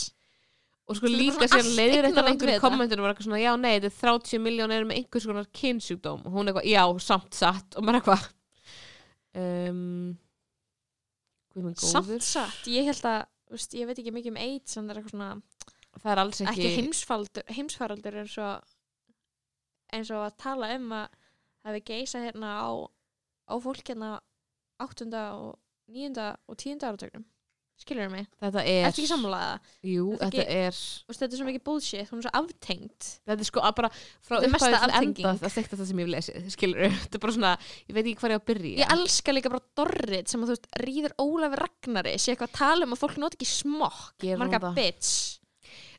Speaker 3: og sko
Speaker 4: Þetta er
Speaker 3: líka
Speaker 4: bara
Speaker 3: sér
Speaker 4: allt
Speaker 3: leiðir þetta
Speaker 4: ignorant
Speaker 3: einhverju
Speaker 4: við þetta.
Speaker 3: kommentunum var eitthvað svona já nei þetta er 30 miljón eru með einhvers konar kynsjúkdóm og hún eitthvað já samt satt og maður eitthvað um, Guð minn
Speaker 4: samt
Speaker 3: góður
Speaker 4: satt, ég held að þú veist, ég veit ekki mikið um AIDS en það er eitthvað svona,
Speaker 3: það er alls
Speaker 4: ekki
Speaker 3: ekki,
Speaker 4: heimsfaraldur, heimsfaraldur eins og eins og að tala um að það við geisa hérna á, á fólk hérna 8. og 9. og 10. áratögnum skilur mig,
Speaker 3: þetta er
Speaker 4: eftir ekki sammálaða
Speaker 3: jú
Speaker 4: Þetta
Speaker 3: þetta
Speaker 4: ekki-
Speaker 3: er
Speaker 4: þetta er svo mikið bullshit, hún er svo aftengt
Speaker 3: þetta er sko að bara frá
Speaker 4: Þetta er mesta
Speaker 3: upphafi til
Speaker 4: aftenging.
Speaker 3: enda það er þetta sem ég hef lesið skilur [laughs] þetta er bara svona ég veit ekki hvað ég á að byrja
Speaker 4: ég elska líka bara Dorrit sem að þú veist, ríður Ólafur Ragnari sé eitthvað að tala um að fólk noti ekki smokk
Speaker 3: Gerir hún
Speaker 4: marga
Speaker 3: það?
Speaker 4: bitch,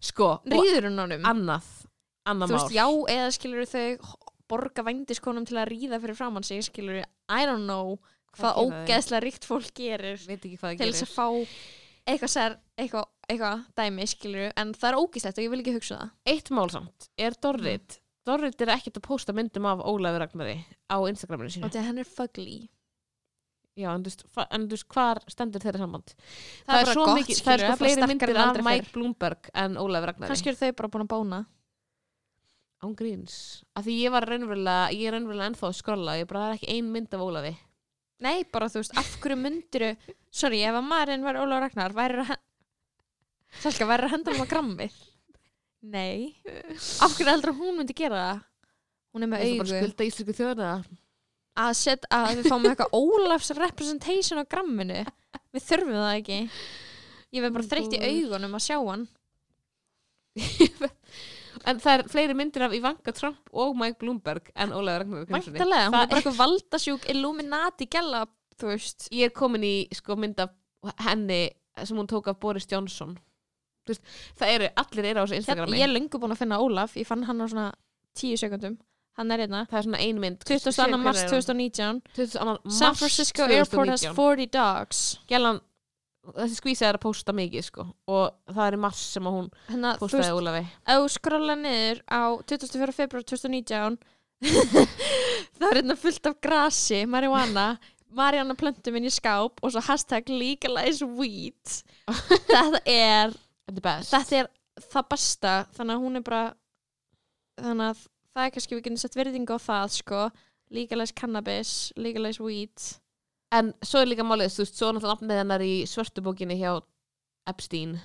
Speaker 3: sko og
Speaker 4: ríður hún honum
Speaker 3: annað annað
Speaker 4: um. þú
Speaker 3: mál
Speaker 4: veist, já, eða skilur þau borga vændiskonum til að ríða fyrir framann sig, skilur I don't know hvað
Speaker 3: gera þau?
Speaker 4: ógeðslega ríkt fólk gerir
Speaker 3: veit ekki hvað það
Speaker 4: til þess
Speaker 3: gerir
Speaker 4: að fá eitthvað sær, eitthvað, eitthvað dæmi, skilur en það er ógeðslegt og ég vil ekki hugsa það
Speaker 3: eitt mál samt er
Speaker 4: Mm.
Speaker 3: Dorrit Dorrit er ekkert að posta myndum af Ólafur Ragnari á Instagraminu sínu
Speaker 4: og því að henn er fugly
Speaker 3: Já, en þú veist, fa- en þú veist hvar stendur þeirra samband það,
Speaker 4: það,
Speaker 3: er
Speaker 4: bara
Speaker 3: svo
Speaker 4: gott,
Speaker 3: mikið, það
Speaker 4: skilurðu,
Speaker 3: er sko
Speaker 4: bara
Speaker 3: fleiri
Speaker 4: sterkara
Speaker 3: myndir
Speaker 4: en
Speaker 3: af
Speaker 4: aldrei
Speaker 3: Mike
Speaker 4: fyrr.
Speaker 3: Bloomberg en Ólafur Ragnari
Speaker 4: kannski eru þau bara búin að bóna
Speaker 3: án gríns, af því ég var raunverulega ég er raunverulega ennþá að skrolla, ég bara það er ekki ein mynd af Ólafi,
Speaker 4: nei, bara þú veist, af hverju myndiru sorry, ef að maðurinn var Ólafur Ragnar væri að Salka, væri að henda hann á grammi nei, af hverju heldur að hún myndi gera það hún er
Speaker 3: það
Speaker 4: með
Speaker 3: er bara
Speaker 4: augu
Speaker 3: skulda íslensku þjóðina
Speaker 4: að, set, að við fáum eitthvað Ólafs representation á gramminu við þurfum það ekki ég verð
Speaker 3: Oh
Speaker 4: bara þreytt í augunum að sjá hann
Speaker 3: en það er fleiri myndir af Ivanka Trump og Mike Bloomberg en Ólafur Ragnari Kristjáni.
Speaker 4: vantarlega, hún er
Speaker 3: Það-
Speaker 4: bara eitthvað valdasjúk Illuminati gæla, þú veist
Speaker 3: ég er komin í sko mynd af henni sem hún tók af Boris Johnson Þú veist, það eru, allir eru á þessu
Speaker 4: Hérna,
Speaker 3: Instagrami
Speaker 4: ég er lengur búin að finna Ólaf, ég fann hann á svona 10 sekundum, hann er hérna
Speaker 3: það er svona ein mynd
Speaker 4: 22. mars 2019
Speaker 3: 2000,
Speaker 4: San Francisco Airport has 40 dogs
Speaker 3: gælan, þessi skvísa er að posta mikið sko, og það er í mars sem að hún
Speaker 4: hérna, þú veist,
Speaker 3: postaði Ólafi
Speaker 4: ef þú skrolla niður á 24. februar 2019 [laughs] það er hérna fullt af grasi, marihuana Mariana plöntu minn í skáp og svo hashtag legalize [laughs] weed þetta er
Speaker 3: þetta er best
Speaker 4: þetta er það besta þannig að hún er bara þannig að það er kannski við getum sett verðingu á það sko, legalize cannabis legalize weed
Speaker 3: en svo er líka málið, þú veist, svo er náttúrulega nafnið hennar í svörtubókinni hjá Epstein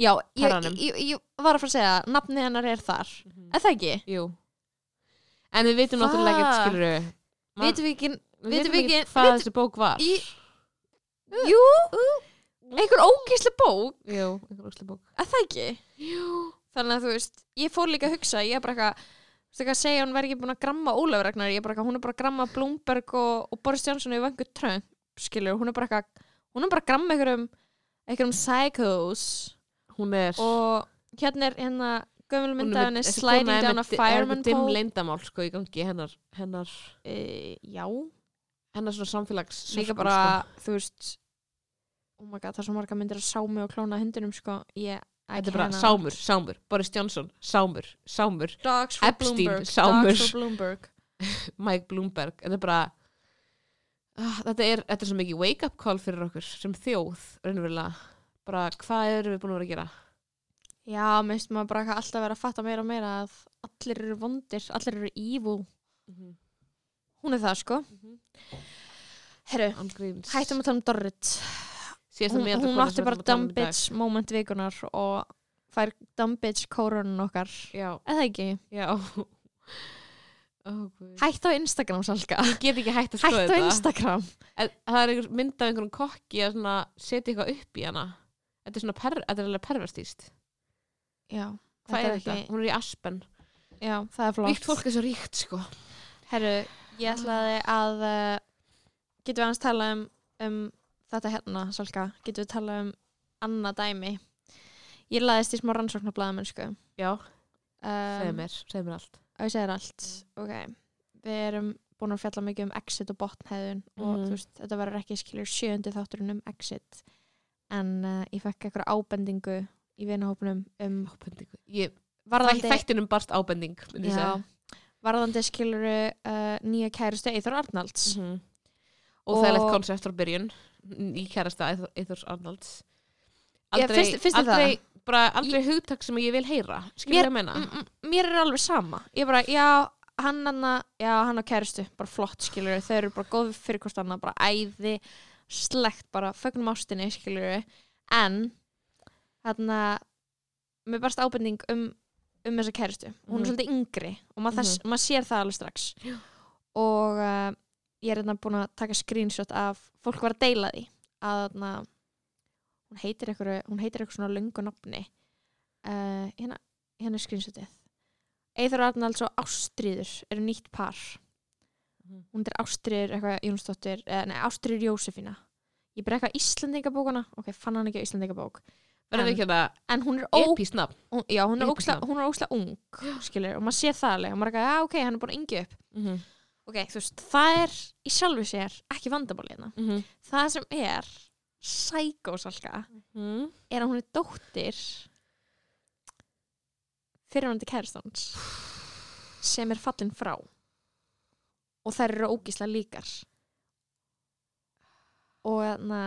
Speaker 4: já, ég,
Speaker 3: Terranum.
Speaker 4: ég, ég var að fara að segja nafni hennar er þar, er það ekki?
Speaker 3: jú en við vitum
Speaker 4: Fuck.
Speaker 3: náttúrulega ekkert skilur Man-
Speaker 4: vitum við ekki,
Speaker 3: við
Speaker 4: vitum við ekki
Speaker 3: hvað
Speaker 4: vitum-
Speaker 3: þessi bók var
Speaker 4: í, jú einhver ógeðslega bók,
Speaker 3: jú, einhver óslega bók
Speaker 4: er það ekki? jú þannig að þú veist, ég fór líka að hugsa ég er bara eitthvað, þú veist ekki að segja að hún verði ekki búin að gramma Ólafur Ragnar, ég er bara eitthvað, hún er bara að gramma Blúmberg og, og Boris Johnson í vangu Trump, skilur, hún er bara eitthvað hún er bara að gramma einhverjum einhverjum psychos
Speaker 3: hún er
Speaker 4: og hérna er hérna gömul
Speaker 3: hún er
Speaker 4: myndaðinni
Speaker 3: með- þessi
Speaker 4: sliding
Speaker 3: kona er
Speaker 4: down a
Speaker 3: með di-
Speaker 4: fireman
Speaker 3: er með dimm
Speaker 4: pole
Speaker 3: leyndamál sko í gangi hennar hennar,
Speaker 4: e, já,
Speaker 3: hennar svona samfélags sko.
Speaker 4: líka bara þú veist oh my god, það er svo marga myndir að sámi og klóna hundinum sko, ég
Speaker 3: Þetta er bara sámur, sámur, Boris Johnson, sámur, sámur,
Speaker 4: Dogs for
Speaker 3: Epstein,
Speaker 4: Bloomberg
Speaker 3: Sámur.
Speaker 4: Dogs for Bloomberg
Speaker 3: Mike Bloomberg. Þetta er bara, uh, þetta, er, þetta er svo mikið wake-up call fyrir okkur sem þjóð, raunverulega. Bara hvað erum við búin að vera að gera?
Speaker 4: Já, mér finnst maður bara eitthvað alltaf vera að fatta meira og meira að allir eru vondir, allir eru evil.
Speaker 3: Mhm.
Speaker 4: Hún er það, sko. Herru,
Speaker 3: Angríns.
Speaker 4: hættum að tala um Dorrit.
Speaker 3: Síðasta
Speaker 4: Hún,
Speaker 3: meðalkona
Speaker 4: hún
Speaker 3: sem
Speaker 4: átti
Speaker 3: við
Speaker 4: bara
Speaker 3: ætlum að tala um
Speaker 4: dumb
Speaker 3: í dag.
Speaker 4: bitch moment vikunar og fær dumb bitch kórunum okkar.
Speaker 3: Já,
Speaker 4: Eða ekki?
Speaker 3: já. [laughs] Ó, guð.
Speaker 4: Hætt á Instagram, Salka.
Speaker 3: ég get ekki hægt að skoða
Speaker 4: Hætt á
Speaker 3: þetta.
Speaker 4: Instagram.
Speaker 3: En Það er einhver mynd af einhverjum kokki að svona setja eitthvað upp í hana. Þetta er svona per, þetta er alveg perverstýst.
Speaker 4: Já,
Speaker 3: Hvað er þetta? Hún er í Aspen.
Speaker 4: Já, það er flott.
Speaker 3: Ríkt fólk er svo ríkt, sko.
Speaker 4: Herru, ég ætlaði að uh, getum við aðeins tala um, um þetta hérna, Salka getum við tala um annað dæmi ég laðist í smá rannsóknarblæðamennsku um,
Speaker 3: Já, segð
Speaker 4: og
Speaker 3: mér, segð mér allt.
Speaker 4: ég segir allt ok, við erum búin að fjalla mikið um exit og botnhæðun og
Speaker 3: Mhm.
Speaker 4: þú veist, þetta verður ekki skilur sjöundi þátturinn um exit en uh, ég fekk eitthvað ábendingu í vinahópnum um
Speaker 3: Ábendingu. Ég,
Speaker 4: varðandi
Speaker 3: Þættinum barst ábending, myndi ég segja.
Speaker 4: já, varðandi skilur uh, nýja kærustu Eithor Arnalds
Speaker 3: -hmm. og það er
Speaker 4: Og-
Speaker 3: leitt koncept frá byrjun í kærasta Eyþór- Eyþórs Arnalds
Speaker 4: Já, fyrst- fyrst er það.
Speaker 3: aldrei, bara, aldrei hugtak sem ég vil heyra
Speaker 4: Mér- mm,
Speaker 3: skilur ég að meina
Speaker 4: M- m- mér er alveg sama ég bara, já, hann anna já, hann á kæristu, bara flott, skilur þau eru bara góð fyrir hvort annað, bara æði slegt, bara fögnum ástinni skilur en þarna mér barst ábending um, um þessa kæristu hún
Speaker 3: Mhm.
Speaker 4: er svolítið yngri og maður, þess, maður sér það alveg strax og uh, ég er þarna búin að taka screenshot af fólk var að deila því að þarna hún heitir eitthvað, hún heitir eitthvað svona löngu nafni uh, hérna, hérna er screenshotið Eithar Arnalds og Ástriður eru nýtt par
Speaker 3: Mhm.
Speaker 4: hún er Ástriður eitthvað Jónsdóttir, eh, nei Ástriður Jósefína ég bara eitthvað Íslandingabókana ok, fann hann ekki á Íslandingabók
Speaker 3: verður ekki þetta
Speaker 4: en hún er, ó,
Speaker 3: epís nafn
Speaker 4: hún, já, hún er,
Speaker 3: epic
Speaker 4: óksla,
Speaker 3: nafn.
Speaker 4: hún er óksla ung skilur, og maður sé það alveg og maður er eitthvað, já ok, hann er búin að engi upp
Speaker 3: mm
Speaker 4: ok, þú veist, það er í sjálfu sér ekki vandamálið hérna
Speaker 3: -hmm.
Speaker 4: það sem er sækósalka
Speaker 3: Mhm.
Speaker 4: er að hún er dóttir fyrirvandi kæristans sem er fallin frá og þær eru ógíslega líkar og þarna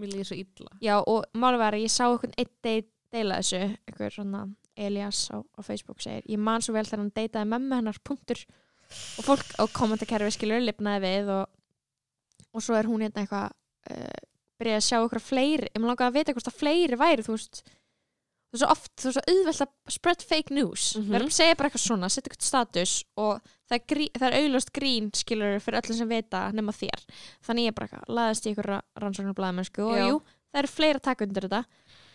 Speaker 3: mér líður svo illa
Speaker 4: já og málið var að ég sá einhvern einn de deila þessu einhver svona Elias á, á Facebook segir ég man svo vel þegar hann deitaði mömmu hennar punktur og fólk á kommentakerfi skilur lifnaði við og, og svo er hún hérna eitthvað uh, byrjaði að sjá eitthvað fleiri ég maður langaði að vita hvort að fleiri væri þú veist þú veist svo oft, þú veist svo auðvelt að spread fake news mm
Speaker 3: Mhm.
Speaker 4: -hmm. verðum segja bara eitthvað svona, setja eitthvað status og það er, grí, það er auðlust grín skilur fyrir öllum sem vita nema þér þannig ég er bara eitthvað, laðast í eitthvað rannsóknarblæðamennsku sko, og
Speaker 3: Já.
Speaker 4: jú, það eru fleiri að taka undir þetta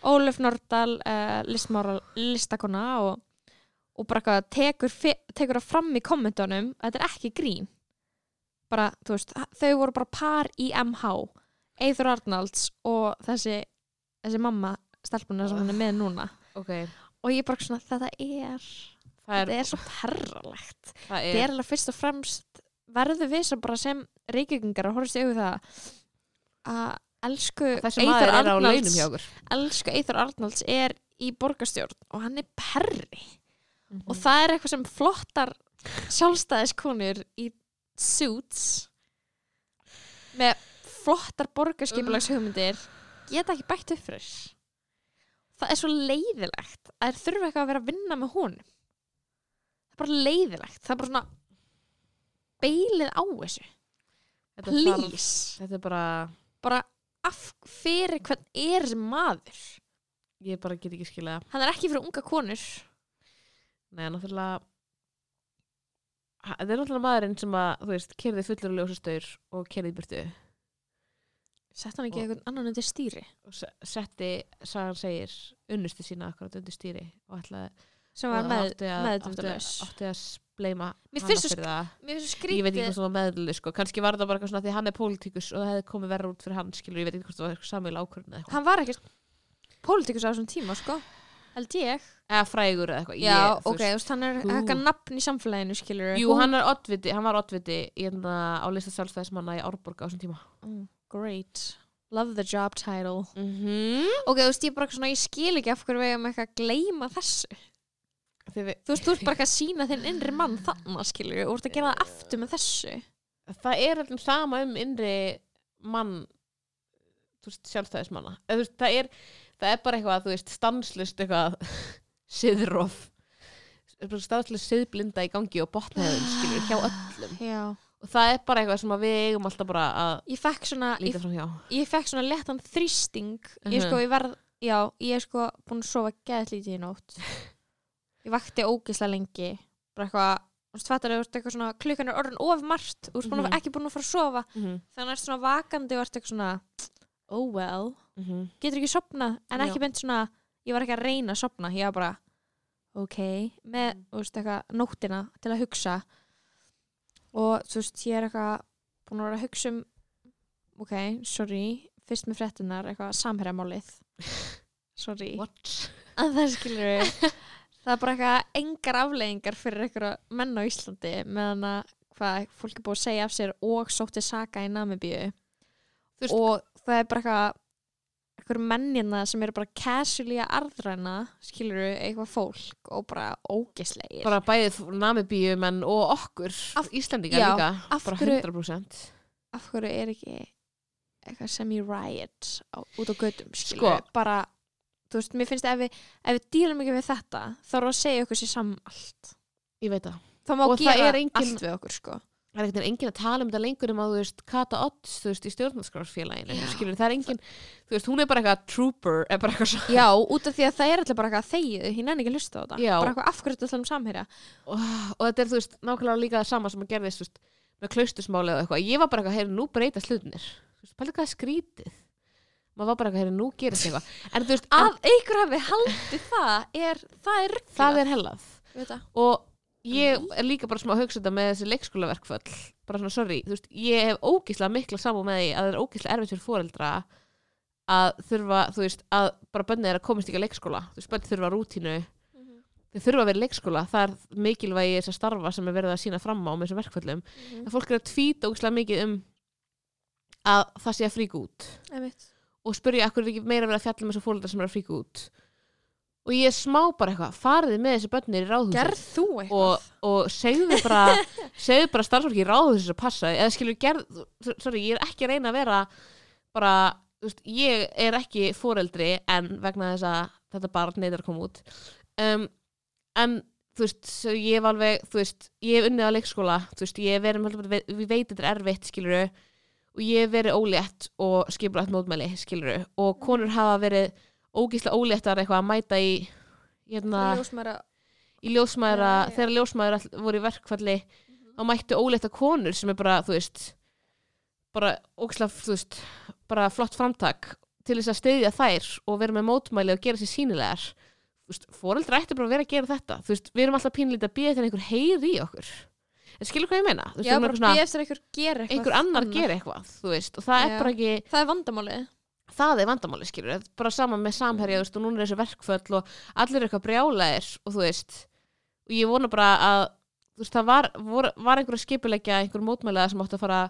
Speaker 4: Ólöf Nordal, uh, listmára, listakona og og bara eitthvað tekur, fe- tekur það fram í kommentunum að þetta er ekki grín bara, þú veist, þau voru bara par í MH Eithur Arnalds og þessi, þessi mamma stelpuna sem hann er með núna
Speaker 3: ok,
Speaker 4: og ég er bara svona þetta er
Speaker 3: það er,
Speaker 4: þetta er svo perralegt
Speaker 3: það
Speaker 4: þetta
Speaker 3: er,
Speaker 4: er alveg fyrst og fremst verður við sem bara sem reykjökingar að horfast yfir það að elsku
Speaker 3: þessi maður er á launum
Speaker 4: Arnalds
Speaker 3: hjá okkur
Speaker 4: elsku Eithar Arnalds er í borgarstjórn og hann er perri og það er eitthvað sem flottar sjálfstæðiskonur í suits með flottar borgarskipulags hugmyndir geta ekki bætt upp fyrir það er svo leiðilegt að þeir þurfa eitthvað að vera að vinna með hún það er bara leiðilegt það er bara svona beilið á þessu,
Speaker 3: Þetta er þar-
Speaker 4: please
Speaker 3: þetta er bara,
Speaker 4: bara af fyrir hvern er þessi maður
Speaker 3: ég bara get ekki skilja
Speaker 4: hann er ekki fyrir unga konur
Speaker 3: Nei, náttúrulega Ha- Þetta er náttúrulega maðurinn sem að, þú veist, kerði fullur og ljósastaur og kerði burtu
Speaker 4: Sett hann ekki
Speaker 3: Og-
Speaker 4: eitthvað annan undir stýri
Speaker 3: og se- setti, sagan segir, unnustu sína akkurat undir stýri og ætlaði
Speaker 4: sem var
Speaker 3: og
Speaker 4: með,
Speaker 3: átti að-
Speaker 4: meðutundarlaus
Speaker 3: átti, átti að spleima
Speaker 4: Mér
Speaker 3: hana
Speaker 4: finnst svo
Speaker 3: fyrir það.
Speaker 4: Mér finnst svo
Speaker 3: Ég veit
Speaker 4: skrítið
Speaker 3: ekki hvað svona meðlulus, sko. Kannski var það bara eitthvað svona því hann er pólitíkus og það hefði komið verra út fyrir hann, skilur, ég veit ekki hvort það var eitthvað samil ákvörðin eða eitthvað.
Speaker 4: Hann var ekki pólitíkus á þessum tíma sko held ég
Speaker 3: Eða frægur eða eitthvað.
Speaker 4: Já,
Speaker 3: ég, þú
Speaker 4: ok, þú veist, hann er
Speaker 3: Hú.
Speaker 4: eitthvað nafn í samfélaginu skilur
Speaker 3: Jú, hann, er oddviti, hann var oddviti í hérna á lista sjálfstæðismanna í Árborg á þessum tíma.
Speaker 4: Great, love the job title
Speaker 3: Mm -hmm.
Speaker 4: Ok, þú veist, ég bara svona, ég skil ekki af hverju við erum eitthvað að gleyma þessu
Speaker 3: Þegar við
Speaker 4: Þú veist, þú ert bara eitthvað að sína þinn innri mann þarna skilur og ert að gera það aftur með þessu
Speaker 3: það er allir sama um innri mann þú veist, sjálfstæðismanna Eða, þú veist, það, er, það er bara eitthvað, þú veist, stanslust eitthvað [laughs] siðrof stanslust siðblinda í gangi og botnaðin skilur hjá öllum
Speaker 4: Já
Speaker 3: og það er bara eitthvað sem að við eigum alltaf bara að
Speaker 4: Ég fekk svona, ég
Speaker 3: líta fram hjá
Speaker 4: ég fekk svona lettan þrýsting ég
Speaker 3: Mhm.
Speaker 4: sko, ég verð, já, ég er sko búin að sofa geðt lítið í nótt ég vakti ógislega lengi bara eitthvað, þú veist, fattar þú ert eitthvað svona klukkan er orðin of margt, þú ert búin að
Speaker 3: Mhm.
Speaker 4: ekki búin að fara að sofa
Speaker 3: mm -hmm.
Speaker 4: þannig er svona vakandi og ert eitthvað svona oh well,
Speaker 3: mhm.
Speaker 4: getur ekki sopnað en
Speaker 3: Já.
Speaker 4: ekki beint svona, ég var ekki að reyna að sopna ég var bara, ok með,
Speaker 3: Mm.
Speaker 4: þú veist, eitthvað, nóttina til að hugsa og þú veist, ég er eitthvað búin að vera að hugsa um ok, sorry, fyrst með fréttunar eitthvað samherjamálið
Speaker 3: [laughs]
Speaker 4: sorry,
Speaker 3: What?
Speaker 4: að það skilur við það er bara eitthvað engar afleðingar fyrir eitthvað menn á Íslandi meðan að hvað fólk er búið að segja af sér og sótti saka í Namibíu
Speaker 3: Þú veist-
Speaker 4: og það er bara eitthvað eitthvað mennina sem eru bara casually að arðræna skilur við eitthvað fólk og bara ógislegir
Speaker 3: bara bæðið namibíumenn og okkur
Speaker 4: Af-
Speaker 3: Íslendingar
Speaker 4: já,
Speaker 3: líka,
Speaker 4: af
Speaker 3: bara
Speaker 4: hverju-
Speaker 3: 100%
Speaker 4: af hverju er ekki eitthvað semi-riot á, út á gödum skilur
Speaker 3: Sko.
Speaker 4: við? bara, þú veist, mér finnst ef við, ef við dílum ekki við þetta þá erum við að segja okkur sér saman allt
Speaker 3: ég veit það
Speaker 4: þá má
Speaker 3: Og það
Speaker 4: gera
Speaker 3: er engin-
Speaker 4: allt við okkur sko
Speaker 3: það er eitthvað enginn að tala um þetta lengur um að þú veist Kata Odds, þú veist, í stjórnarskrársfélaginu
Speaker 4: Já.
Speaker 3: skilur, það er enginn, þú veist, hún er bara eitthvað trooper, er bara eitthvað svo [laughs]
Speaker 4: Já, út af því að það er alltaf bara eitthvað þegið, ég nenni ekki að hlusta á þetta
Speaker 3: Já.
Speaker 4: bara eitthvað af hverju þetta tala um samherja
Speaker 3: og þetta er, þú veist, nákvæmlega líka það sama sem að gerðist, þú veist, með klaustusmáli eða eitthvað, ég var bara eitthvað, heyrðu, nú breyta slutnir þú veist, pælið hvað er skrítið maður var bara eitthvað, heyrðu, nú gerist eitthvað en þú veist, að
Speaker 4: að einhver hafi haldið það er, það er
Speaker 3: það er hellað
Speaker 4: er,
Speaker 3: og ég er líka bara smá að hugsa þetta með þessi leikskólaverkföll bara svona sorry, þú veist, ég hef ógislega mikla samú með því að það er ógislega erfitt fyrir fóreldra að þurfa, þú veist, að bara bönnið er að komast ekki að leikskóla þú veist, bönnið þurfa rútínu þau þurfa að vera í leikskóla, það er mikilvægi þess að starfa sem er verið að sína fram á með þessum verkföllum, en fólk er að tvíta ógislega mikið um að það sé að fríka út
Speaker 4: Einmitt.
Speaker 3: og spurja akkur er ekki meira að vera að fjalla með þessu fóreldra sem er að fríka út og ég er smá bara eitthvað, farið með þessi bönnir í ráðhúsið
Speaker 4: gerð þú eitthvað
Speaker 3: og, og segðu bara segðu bara starfsfólki í ráðu þess að passa eða skilur gerð, sorry, ég er ekki að reyna að vera bara, þú veist, ég er ekki foreldri en vegna þess að þetta barn neyðar að koma út um, en þú veist, svo ég hef alveg þú veist, ég hef unnið á leikskóla þú veist, ég hef verið, með heldur betur- við veit þetta er erfitt skilur og ég hef verið ólétt og skipulagt mótmæli skilur og konur hafa verið ógísla óléttar eitthvað að mæta í hérna,
Speaker 4: ljósmæra
Speaker 3: í ljósmaðra,
Speaker 4: Já, Mhm. já.
Speaker 3: þegar ljósmaður all, voru í verkfalli þá mættu óleita konur sem er bara, þú veist bara óksla, þú veist bara flott framtak til þess að styðja þær og vera með mótmæli og gera sér sínilegar þú veist, foreldra ættu bara að vera að gera þetta þú veist, við erum alltaf pínlítið að býða þegar einhver heyri í okkur en skilur hvað ég meina þú veist,
Speaker 4: já,
Speaker 3: við erum
Speaker 4: bara býð
Speaker 3: eitthvað svona,
Speaker 4: eftir að einhver gera eitthvað
Speaker 3: einhver annar
Speaker 4: annað.
Speaker 3: gera eitthvað þú veist, og það
Speaker 4: Já.
Speaker 3: er bara ekki
Speaker 4: það er vandamálið
Speaker 3: það er vandamáli skilur þetta er bara sama með
Speaker 4: Mhm.
Speaker 3: samherja þú veist, og núna er þessu verkföll og allir eru eitthvað brjálæðir og þú veist og ég vona bara að þú veist, það var, vor, var einhver að skipulegja einhver mótmælega sem átti að fara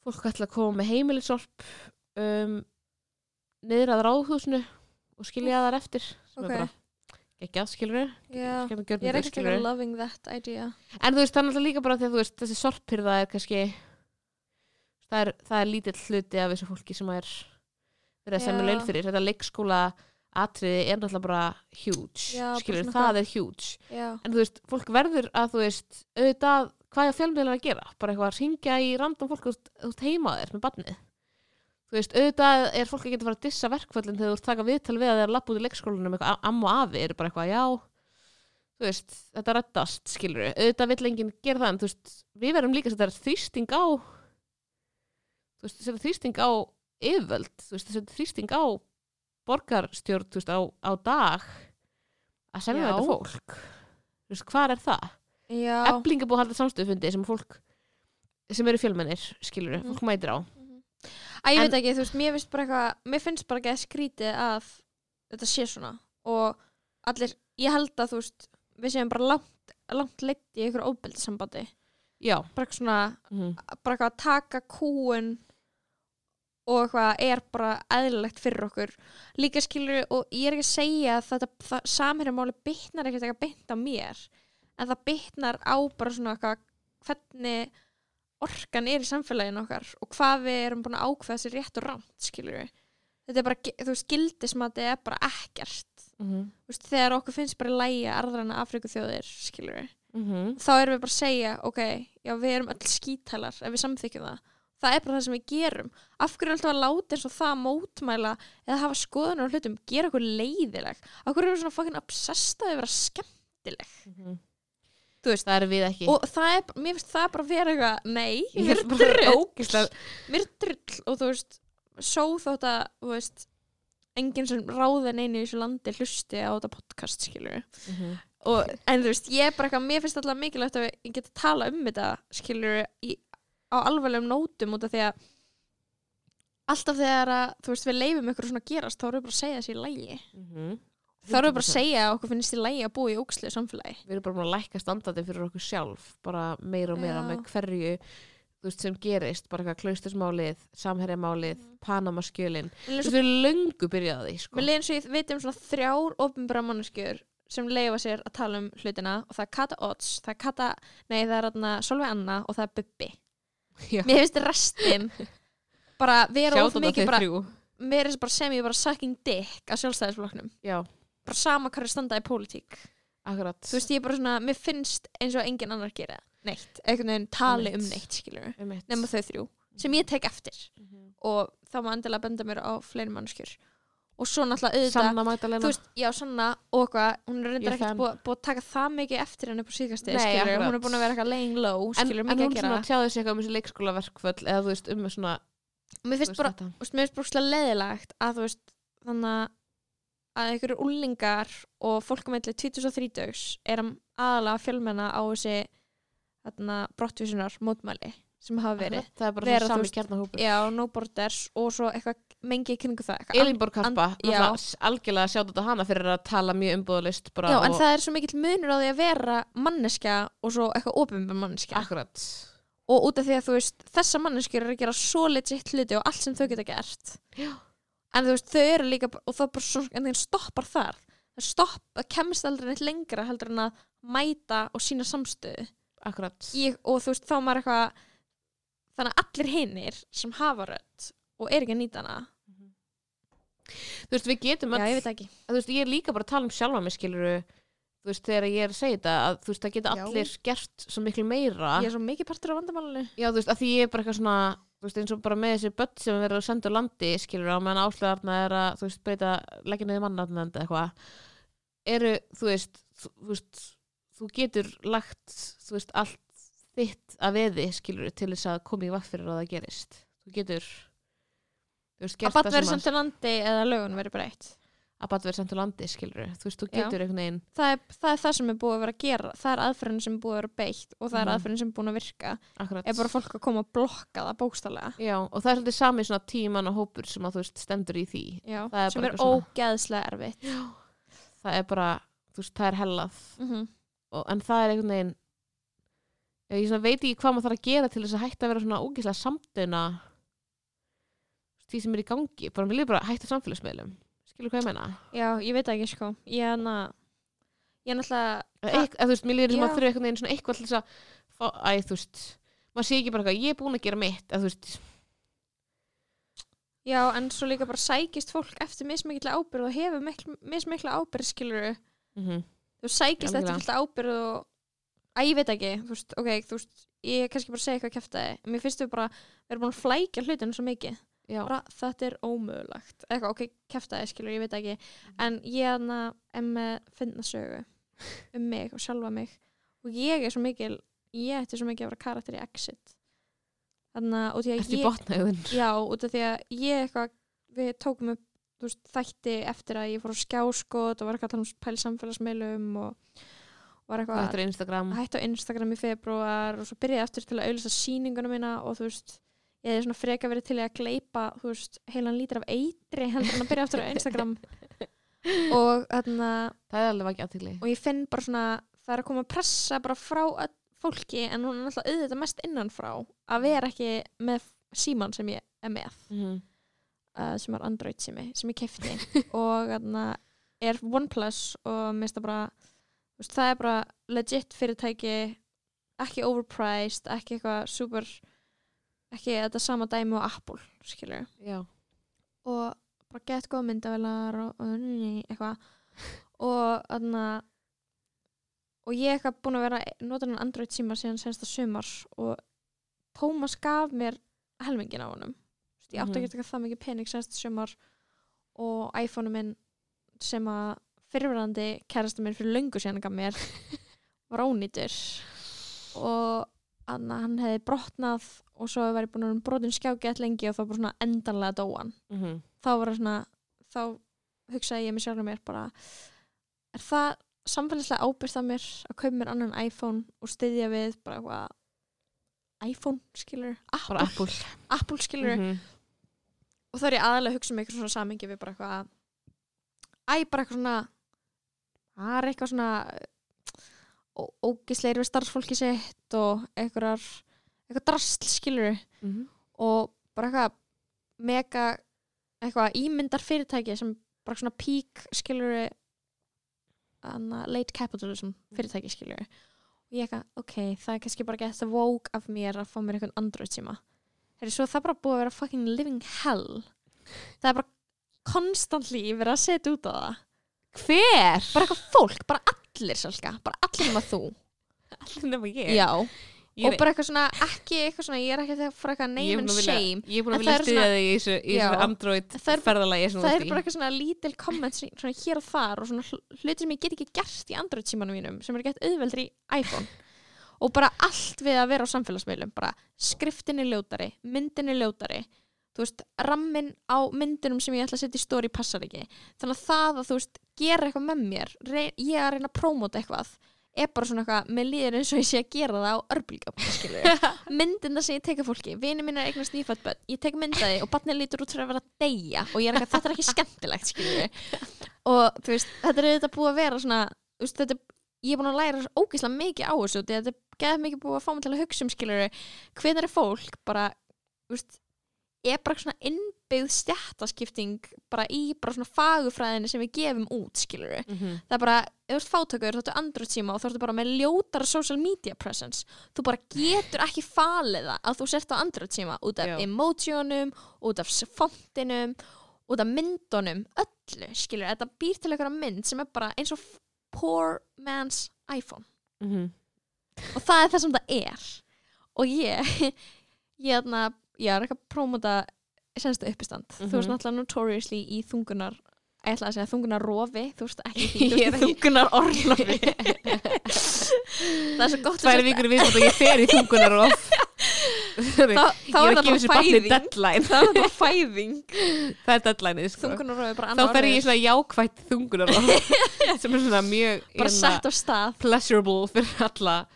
Speaker 3: fólk ætla að koma með heimilisorp um, niður að ráðhúsinu og skilja þar eftir sem
Speaker 4: Ok.
Speaker 3: er bara ekki að skilur
Speaker 4: Já, ég er ekki
Speaker 3: en
Speaker 4: ekki loving that idea
Speaker 3: þú veist þannig að líka bara þegar þú veist þessi sorphyrða er kannski það er, það er lítill hluti af þessu fólki sem er verið að semja
Speaker 4: Já.
Speaker 3: laun fyrir þetta leikskóla atriði er náttúrulega bara huge
Speaker 4: Já, bara
Speaker 3: skilur,
Speaker 4: svona
Speaker 3: það er huge
Speaker 4: Já,
Speaker 3: en þú veist, fólk verður að þú veist auðvitað, hvað er fjölmiðlar að gera bara eitthvað að ringja í random fólk þú veist, þú veist heima þér með barnið þú veist, auðvitað er fólk að geta að fara að dissa verkföllin þegar þú ert taka viðtal við að þeir lappa út í leikskólanum eitthvað a- amma og afi eru bara eitthvað, já þú veist, þetta reddast, skilur við auðvitað vill enginn gera það en þú veist við verðum líka að setja þrýsting á þú veist, setja þrýsting á yfirvöld, þú veist, setja þrýsting á borgarstjórn, þú veist, á, á dag að semja
Speaker 4: Já.
Speaker 3: þetta fólk þú veist, hvað er það?
Speaker 4: já,
Speaker 3: Efling er búið að halda samstöðufundi sem fólk sem eru fjölmennir, skilur
Speaker 4: Mhm.
Speaker 3: fólk mætir á
Speaker 4: að ég
Speaker 3: en-
Speaker 4: veit ekki, þú veist, mér finnst bara eitthvað mér finnst bara ekki að skrítið að þetta sé svona og allir, ég held að þú veist við séum bara langt, langt leitt í ykkur óbeldsambandi,
Speaker 3: já,
Speaker 4: bara eitthvað svona
Speaker 3: mhm,
Speaker 4: bara eitthvað að taka kúun og eitthvað er bara eðlilegt fyrir okkur líka skilur og ég er ekki að segja að þetta samherjamáli bytnar ekkert eitthvað bytt á mér en það bytnar á bara svona eitthvað hvernig orkan er í samfélaginu okkar og hvað við erum búin að ákveða sér rétt og rámt skilur þetta er bara, gi- þú skildis maður þetta er bara ekkert
Speaker 3: mhm,
Speaker 4: Þú veist, þegar okkur finnst bara lægja arðrana Afriku þjóðir skilur
Speaker 3: mhm,
Speaker 4: þá erum við bara að segja, ok, já við erum öll skítælar ef við samþykjum það. Það er bara það sem við gerum. Af hverju er alltaf að láta eins og það mótmæla eða hafa skoðunar á hlutum, gera okkur leiðileg. Af hverju erum við svona fucking obsessed að við vera skemmtileg.
Speaker 3: mhm.
Speaker 4: Þú veist,
Speaker 3: það eru við ekki
Speaker 4: Og það er, mér finnst það bara að vera eitthvað, nei,
Speaker 3: Ég
Speaker 4: mér
Speaker 3: er
Speaker 4: er
Speaker 3: bara
Speaker 4: drull.
Speaker 3: ógeðslega-
Speaker 4: Mér er drull og þú veist, só þótt að, þú veist, enginn sem ráðin einu í þessu landi hlusti á þetta podcast, skilur
Speaker 3: Mhm.
Speaker 4: og, en þú veist, ég er bara eitthvað mér finnst alltaf mikilvægt að ég geta tala um þetta skilur í, á alvarlegum nótum út af því að alltaf þegar að, þú veist, við leifum ykkur svona að gerast, þá erum við bara að segja þessi í lægi
Speaker 3: Mhm.
Speaker 4: þá erum við bara að segja að okkur finnst í lægi að búa í ógslið samfélagi
Speaker 3: við erum bara búin að lækka standardi fyrir okkur sjálf bara meira og meira
Speaker 4: Já.
Speaker 3: með hverju þú veist, sem gerist, bara eitthvað klaustursmálið samherjamálið, mm. Panamaskjölin
Speaker 4: Mér líður
Speaker 3: við
Speaker 4: svo-
Speaker 3: erum löngu byrjaði sko.
Speaker 4: mér leiðum svo ég veit um svona þrjár ofnbæra manneskjur sem leifa sér að tala um hlutina og það er Kata Odds, það er Kata nei það er atna, Solveig Anna og það er Bubbi
Speaker 3: Já.
Speaker 4: mér finnst restin
Speaker 3: [laughs]
Speaker 4: bara vera of
Speaker 3: Shout out að
Speaker 4: mikið
Speaker 3: þið
Speaker 4: bara
Speaker 3: þrjú.
Speaker 4: mér er bara sem ég bara sucking dick að sjálfstæðisflokknum
Speaker 3: já,
Speaker 4: bara sama hvað er standað í pólitík
Speaker 3: akkurat
Speaker 4: þú veist ég er bara svona, mér finnst eins og engin annar gera neitt, einhvern veginn tali um
Speaker 3: Einmitt. Mhm.
Speaker 4: neitt skilur,
Speaker 3: Einmitt.
Speaker 4: nema þau þrjú sem ég tek eftir
Speaker 3: Mhm.
Speaker 4: og þá má endilega benda mér á fleiri mannskjur og svo náttúrulega auðvitað
Speaker 3: Sanna Magdalena
Speaker 4: þú veist, já Sanna og hvað hún er
Speaker 3: Ég
Speaker 4: reyndar
Speaker 3: er
Speaker 4: ekkert
Speaker 3: fan.
Speaker 4: búið búið að taka það mikið eftir henni på síðkastið
Speaker 3: Nei,
Speaker 4: skilur,
Speaker 3: akkurat.
Speaker 4: hún er búin að vera eitthvað laying low skilur,
Speaker 3: en, en
Speaker 4: mikið
Speaker 3: hún
Speaker 4: að gera
Speaker 3: svona tjáði sér eitthvað um þessi leikskólaverkföll eða þú veist um svona
Speaker 4: og mér
Speaker 3: þú
Speaker 4: finnst
Speaker 3: veist,
Speaker 4: bara,
Speaker 3: þetta.
Speaker 4: þú veist, mér finnst brúkslega leðilegt að þú veist, þannig að- að einhverju úlingar og fólk með 2030 er að aðalega fjölmenna á þessi þarna, brottvísunar mótmæli sem hafa verið.
Speaker 3: það er bara
Speaker 4: vera, þú
Speaker 3: svona sami
Speaker 4: veist,
Speaker 3: kjarnahópur
Speaker 4: Já, no borders og svo eitthvað mengi í kringu það. eitthvað annað.
Speaker 3: Elinborg Harpa,
Speaker 4: And- já.
Speaker 3: náttúrulega s- algjörlega sjátt þetta hana fyrir að tala mjög umbúðalist bara
Speaker 4: Já,
Speaker 3: og
Speaker 4: en það er svo mikill munur á því að vera manneskja og svo eitthvað ofinbjörn manneskja.
Speaker 3: akkurat
Speaker 4: og út af því að þú veist þessa manneskjur eru að gera svo legit hluti og allt sem þau geta gert
Speaker 3: Já.
Speaker 4: en þú veist þau eru líka bara- og það bara svo, en þeim stoppar þar það stopp, það kemst aldrei neitt lengra heldur en að mæta og sína samstöðu
Speaker 3: akkurat
Speaker 4: Ég, og þú veist þá er maður eitthvað þannig að allir hinir sem hafa rödd og er ekki að nýta hana
Speaker 3: þú veist við getum
Speaker 4: já
Speaker 3: öll
Speaker 4: ég veit ekki
Speaker 3: þú veist ég er líka bara að tala um sjálfa mig skiluru þú veist þegar ég er að segja þetta að þú veist það geta
Speaker 4: Já.
Speaker 3: allir gert svo miklu meira
Speaker 4: ég er svo mikið partur af vandamálinu
Speaker 3: já þú veist að því ég er bara eitthvað svona þú veist eins og bara með þessi börn sem er verið að senda úr landi skilur á meðan áslöðarna er að þú veist breyta leggja niður mannarnend eða eitthvað eru þú veist þú, þú veist þú getur lagt þú veist allt þitt að veði skilur til þess að koma í vaff fyrir að það gerist þú getur þú veist
Speaker 4: að
Speaker 3: gert
Speaker 4: barn
Speaker 3: það
Speaker 4: verið
Speaker 3: sem
Speaker 4: samt til landi eða lögun verið breytt
Speaker 3: að bara verið sendt úr landi, skilur þú veist, þú
Speaker 4: Já.
Speaker 3: getur einhvern veginn
Speaker 4: það er, það er það sem er búið að vera að gera það er aðferðin sem er búið að vera beitt og það er
Speaker 3: Mhm.
Speaker 4: aðferðin sem er búin að virka
Speaker 3: akkurat
Speaker 4: er bara fólk að koma að blokka það bókstallega
Speaker 3: Já, og það er svolítið sami svona tíman og hópur sem að þú veist stendur í því
Speaker 4: Já,
Speaker 3: Það er
Speaker 4: sem
Speaker 3: bara
Speaker 4: er
Speaker 3: eitthvað svona-
Speaker 4: ógeðslega erfitt
Speaker 3: það er bara, þú veist, það er hellað
Speaker 4: mm -hmm.
Speaker 3: og, en það er einhvern veginn Já, ég svona veit ekki hvað maður þarf að gera til þess að hætta að vera svona ógeðslega samtuna því sem er í gangi bara mér líður bara að hætta samfélagsmiðlum skilur hvað ég meina?
Speaker 4: Já, ég veit það ekki sko ég er hana ég er náttúrulega
Speaker 3: Eða eitth- eða þú veist, mér líður sem
Speaker 4: Já.
Speaker 3: að þurfa einhvern veginn svona eitthvað til þess að fá, æ, þú veist, maður sé ekki bara eitthvað ég er búin að gera mitt, að þú veist
Speaker 4: já, en svo líka bara sækist fólk eftir mismikla ábyrð og hefur mikl, mismikla ábyrð skilur
Speaker 3: mm -hmm.
Speaker 4: þú sækist eftir
Speaker 3: Algjörlega.
Speaker 4: fullt af ábyrð og að ég veit ekki, þú veist, ok þú veist, ég er kannski bara að segja eitthvað kæftæði en mér finnst við bara, við erum búin að flækja hlutin svo mikið
Speaker 3: Já,
Speaker 4: bara þetta er ómögulegt eitthvað, ok, kæftæði skilur, ég veit ekki
Speaker 3: Mm.
Speaker 4: en ég hana, em, finna
Speaker 3: [laughs]
Speaker 4: sögu um mig og sjálfa mig og ég er svo mikil ég ætti svo mikið að vera karakter í exit þannig að, og því að
Speaker 3: ertu í
Speaker 4: ég
Speaker 3: botnaðun
Speaker 4: já, út af því að ég eitthvað við tókum upp þú veist, þætti eftir að ég fór á skjáskot og var eitthvað að tala um pæli samfélagsmeilum og var eitthvað
Speaker 3: Þetta er Instagram
Speaker 4: hætt á Instagram í februar og svo byrjaði ég aftur til að auðvitað sýninguna mína og þú veist, ég hefði svona freka verið til í að gleipa, þú veist, heilan lítur af eitri heldur en að byrja aftur á
Speaker 3: [laughs]
Speaker 4: Instagram og þarna
Speaker 3: Það er alveg ekki aðtili
Speaker 4: og ég finn bara svona, það er að koma að pressa bara frá öll- fólki en hún er alltaf auðvitað mest innanfrá að vera ekki með síman sem ég er með
Speaker 3: Mhm.
Speaker 4: uh, sem var Android sími sem ég kefti og þarna er OnePlus og mér finnst það bara þú veist, það er bara legit fyrirtæki ekki overpriced ekki eitthvað super ekki þetta sama dæmi og Apple skilur
Speaker 3: Já,
Speaker 4: og bara gett góða myndavelar og, og ný, eitthvað og þarna og ég eitthvað búin að vera notan en Android síma síðan sensta sumars og Tómas gaf mér helmingin á honum Þú veist, ég átti
Speaker 3: Mhm.
Speaker 4: ekki að taka það mikið pening sensta sumar og iPhone-um minn sem að fyrirverandi kærasta minn fyrir löngu síðan gaf mér var ónýtur og þarna, hann hefði brotnað og svo var ég búin að vera brotin skjágett lengi og þá bara svona endanlega dóan
Speaker 3: mm -hmm.
Speaker 4: þá var það svona þá hugsaði ég mig sjálfur mér bara er það samfélagslega ábyrst af mér að kaupa mér annan iPhone og styðja við bara eitthvað iPhone skilur Apple,
Speaker 3: bara Apple
Speaker 4: Apple skilur
Speaker 3: Mhm.
Speaker 4: og þá er ég aðalega að hugsa um eitthvað svona samengi við bara eitthvað æ, bara eitthvað svona það er eitthvað svona ó- ógisleir við starfsfólki sitt og eitthvað eitthvað drasl skilur
Speaker 3: Mhm.
Speaker 4: og bara eitthvað mega eitthvað ímyndar fyrirtæki sem bara svona peak skilur late capitalism fyrirtæki skilur og ég eitthvað, ok, það er kannski bara gett að woke af mér að fá mér einhvern andröð síma Heri, svo það er bara búið að vera fucking living hell það er bara konstantly verið að setja út á það
Speaker 3: Hver?
Speaker 4: bara eitthvað fólk, bara allir salka bara allir nema þú
Speaker 3: Allir nema ég
Speaker 4: Já,
Speaker 3: Ég er-
Speaker 4: og bara eitthvað svona, ekki eitthvað svona ég er ekki að fara eitthvað
Speaker 3: ég er
Speaker 4: name
Speaker 3: búin
Speaker 4: and
Speaker 3: að vilja-
Speaker 4: shame
Speaker 3: Ég er
Speaker 4: En
Speaker 3: búin að vilja
Speaker 4: það eru
Speaker 3: styðja
Speaker 4: svona-
Speaker 3: þig í þessu, í þessu
Speaker 4: Já.
Speaker 3: Android
Speaker 4: Það er-
Speaker 3: ferðalagi sem þú
Speaker 4: það
Speaker 3: ert
Speaker 4: er
Speaker 3: í
Speaker 4: bara eitthvað svona lítil comment sem- svona hér og þar og svona hl- hlutir sem ég get ekki gert í Android símanum mínum sem er gett auðveldri í iPhone og bara allt við að vera á samfélagsmiðlum bara skriftinni ljótari, myndinni ljótari þú veist, rammin á myndunum sem ég ætla að setja í stóri passar ekki þannig að það að þú veist, gera eitthvað með mér rey, ég að reyna að prómóta eitthvað er bara svona eitthvað, með líður eins og ég sé að gera það á örbílgjöf myndina sem ég teka fólki, vini mín er eignast nýfætt bönn, ég tek myndaði og barnið lítur út fyrir að vera að deyja og ég er eitthvað, þetta er ekki skemmtilegt skilur. og þú veist, þetta er auðvitað búið að vera svona, þú veist, þetta er ég er búin að læra svo ógeðslega mikið á þessu því að þetta er geðið mikið búið að fá mig til að hugsa um skilur hvernig er fólk bara þú veist, er bara svona innbyggð stjættaskipting bara í bara svona fagufræðinni sem við gefum út skilur
Speaker 3: Mhm.
Speaker 4: það er bara, ef þú ert fátökur þá ertu andrútt síma og þá ertu bara með ljótara social media presence, þú bara getur ekki falið það að þú sért á andrútt síma út af
Speaker 3: Já.
Speaker 4: emotionum, út af s- fontinum, út af myndunum öllu, skilur, þetta býr til einhverja mynd sem er bara eins og f- poor man's iPhone
Speaker 3: Mhm.
Speaker 4: og það er það sem það er og ég [laughs] ég, þarna, ég er eitthvað að prófumóta senstu uppistand,
Speaker 3: Mhm.
Speaker 4: þú veist náttúrulega notoriously í þungunar ég ætla að segja þungunar rofi, þú veist
Speaker 3: [laughs]
Speaker 4: ekki í því, [laughs] þú
Speaker 3: [laughs] Ég er
Speaker 4: veist í
Speaker 3: ekki-
Speaker 4: þungunar orlofi [laughs] það er svo gott að
Speaker 3: Tvær
Speaker 4: setja-
Speaker 3: vikur við og ég fer í þungunarof
Speaker 4: [laughs] Þá, þá er það
Speaker 3: ég er að gefa
Speaker 4: bara
Speaker 3: þessu barni
Speaker 4: fæðing
Speaker 3: deadline
Speaker 4: þá er það bara
Speaker 3: [laughs]
Speaker 4: fæðing
Speaker 3: það er deadline sko.
Speaker 4: Þungunarof er bara
Speaker 3: þá
Speaker 4: annar
Speaker 3: fer ég í svona jákvætt þungunar
Speaker 4: [laughs]
Speaker 3: sem er svona mjög
Speaker 4: bara
Speaker 3: hérna,
Speaker 4: sett á stað
Speaker 3: pleasurable fyrir alla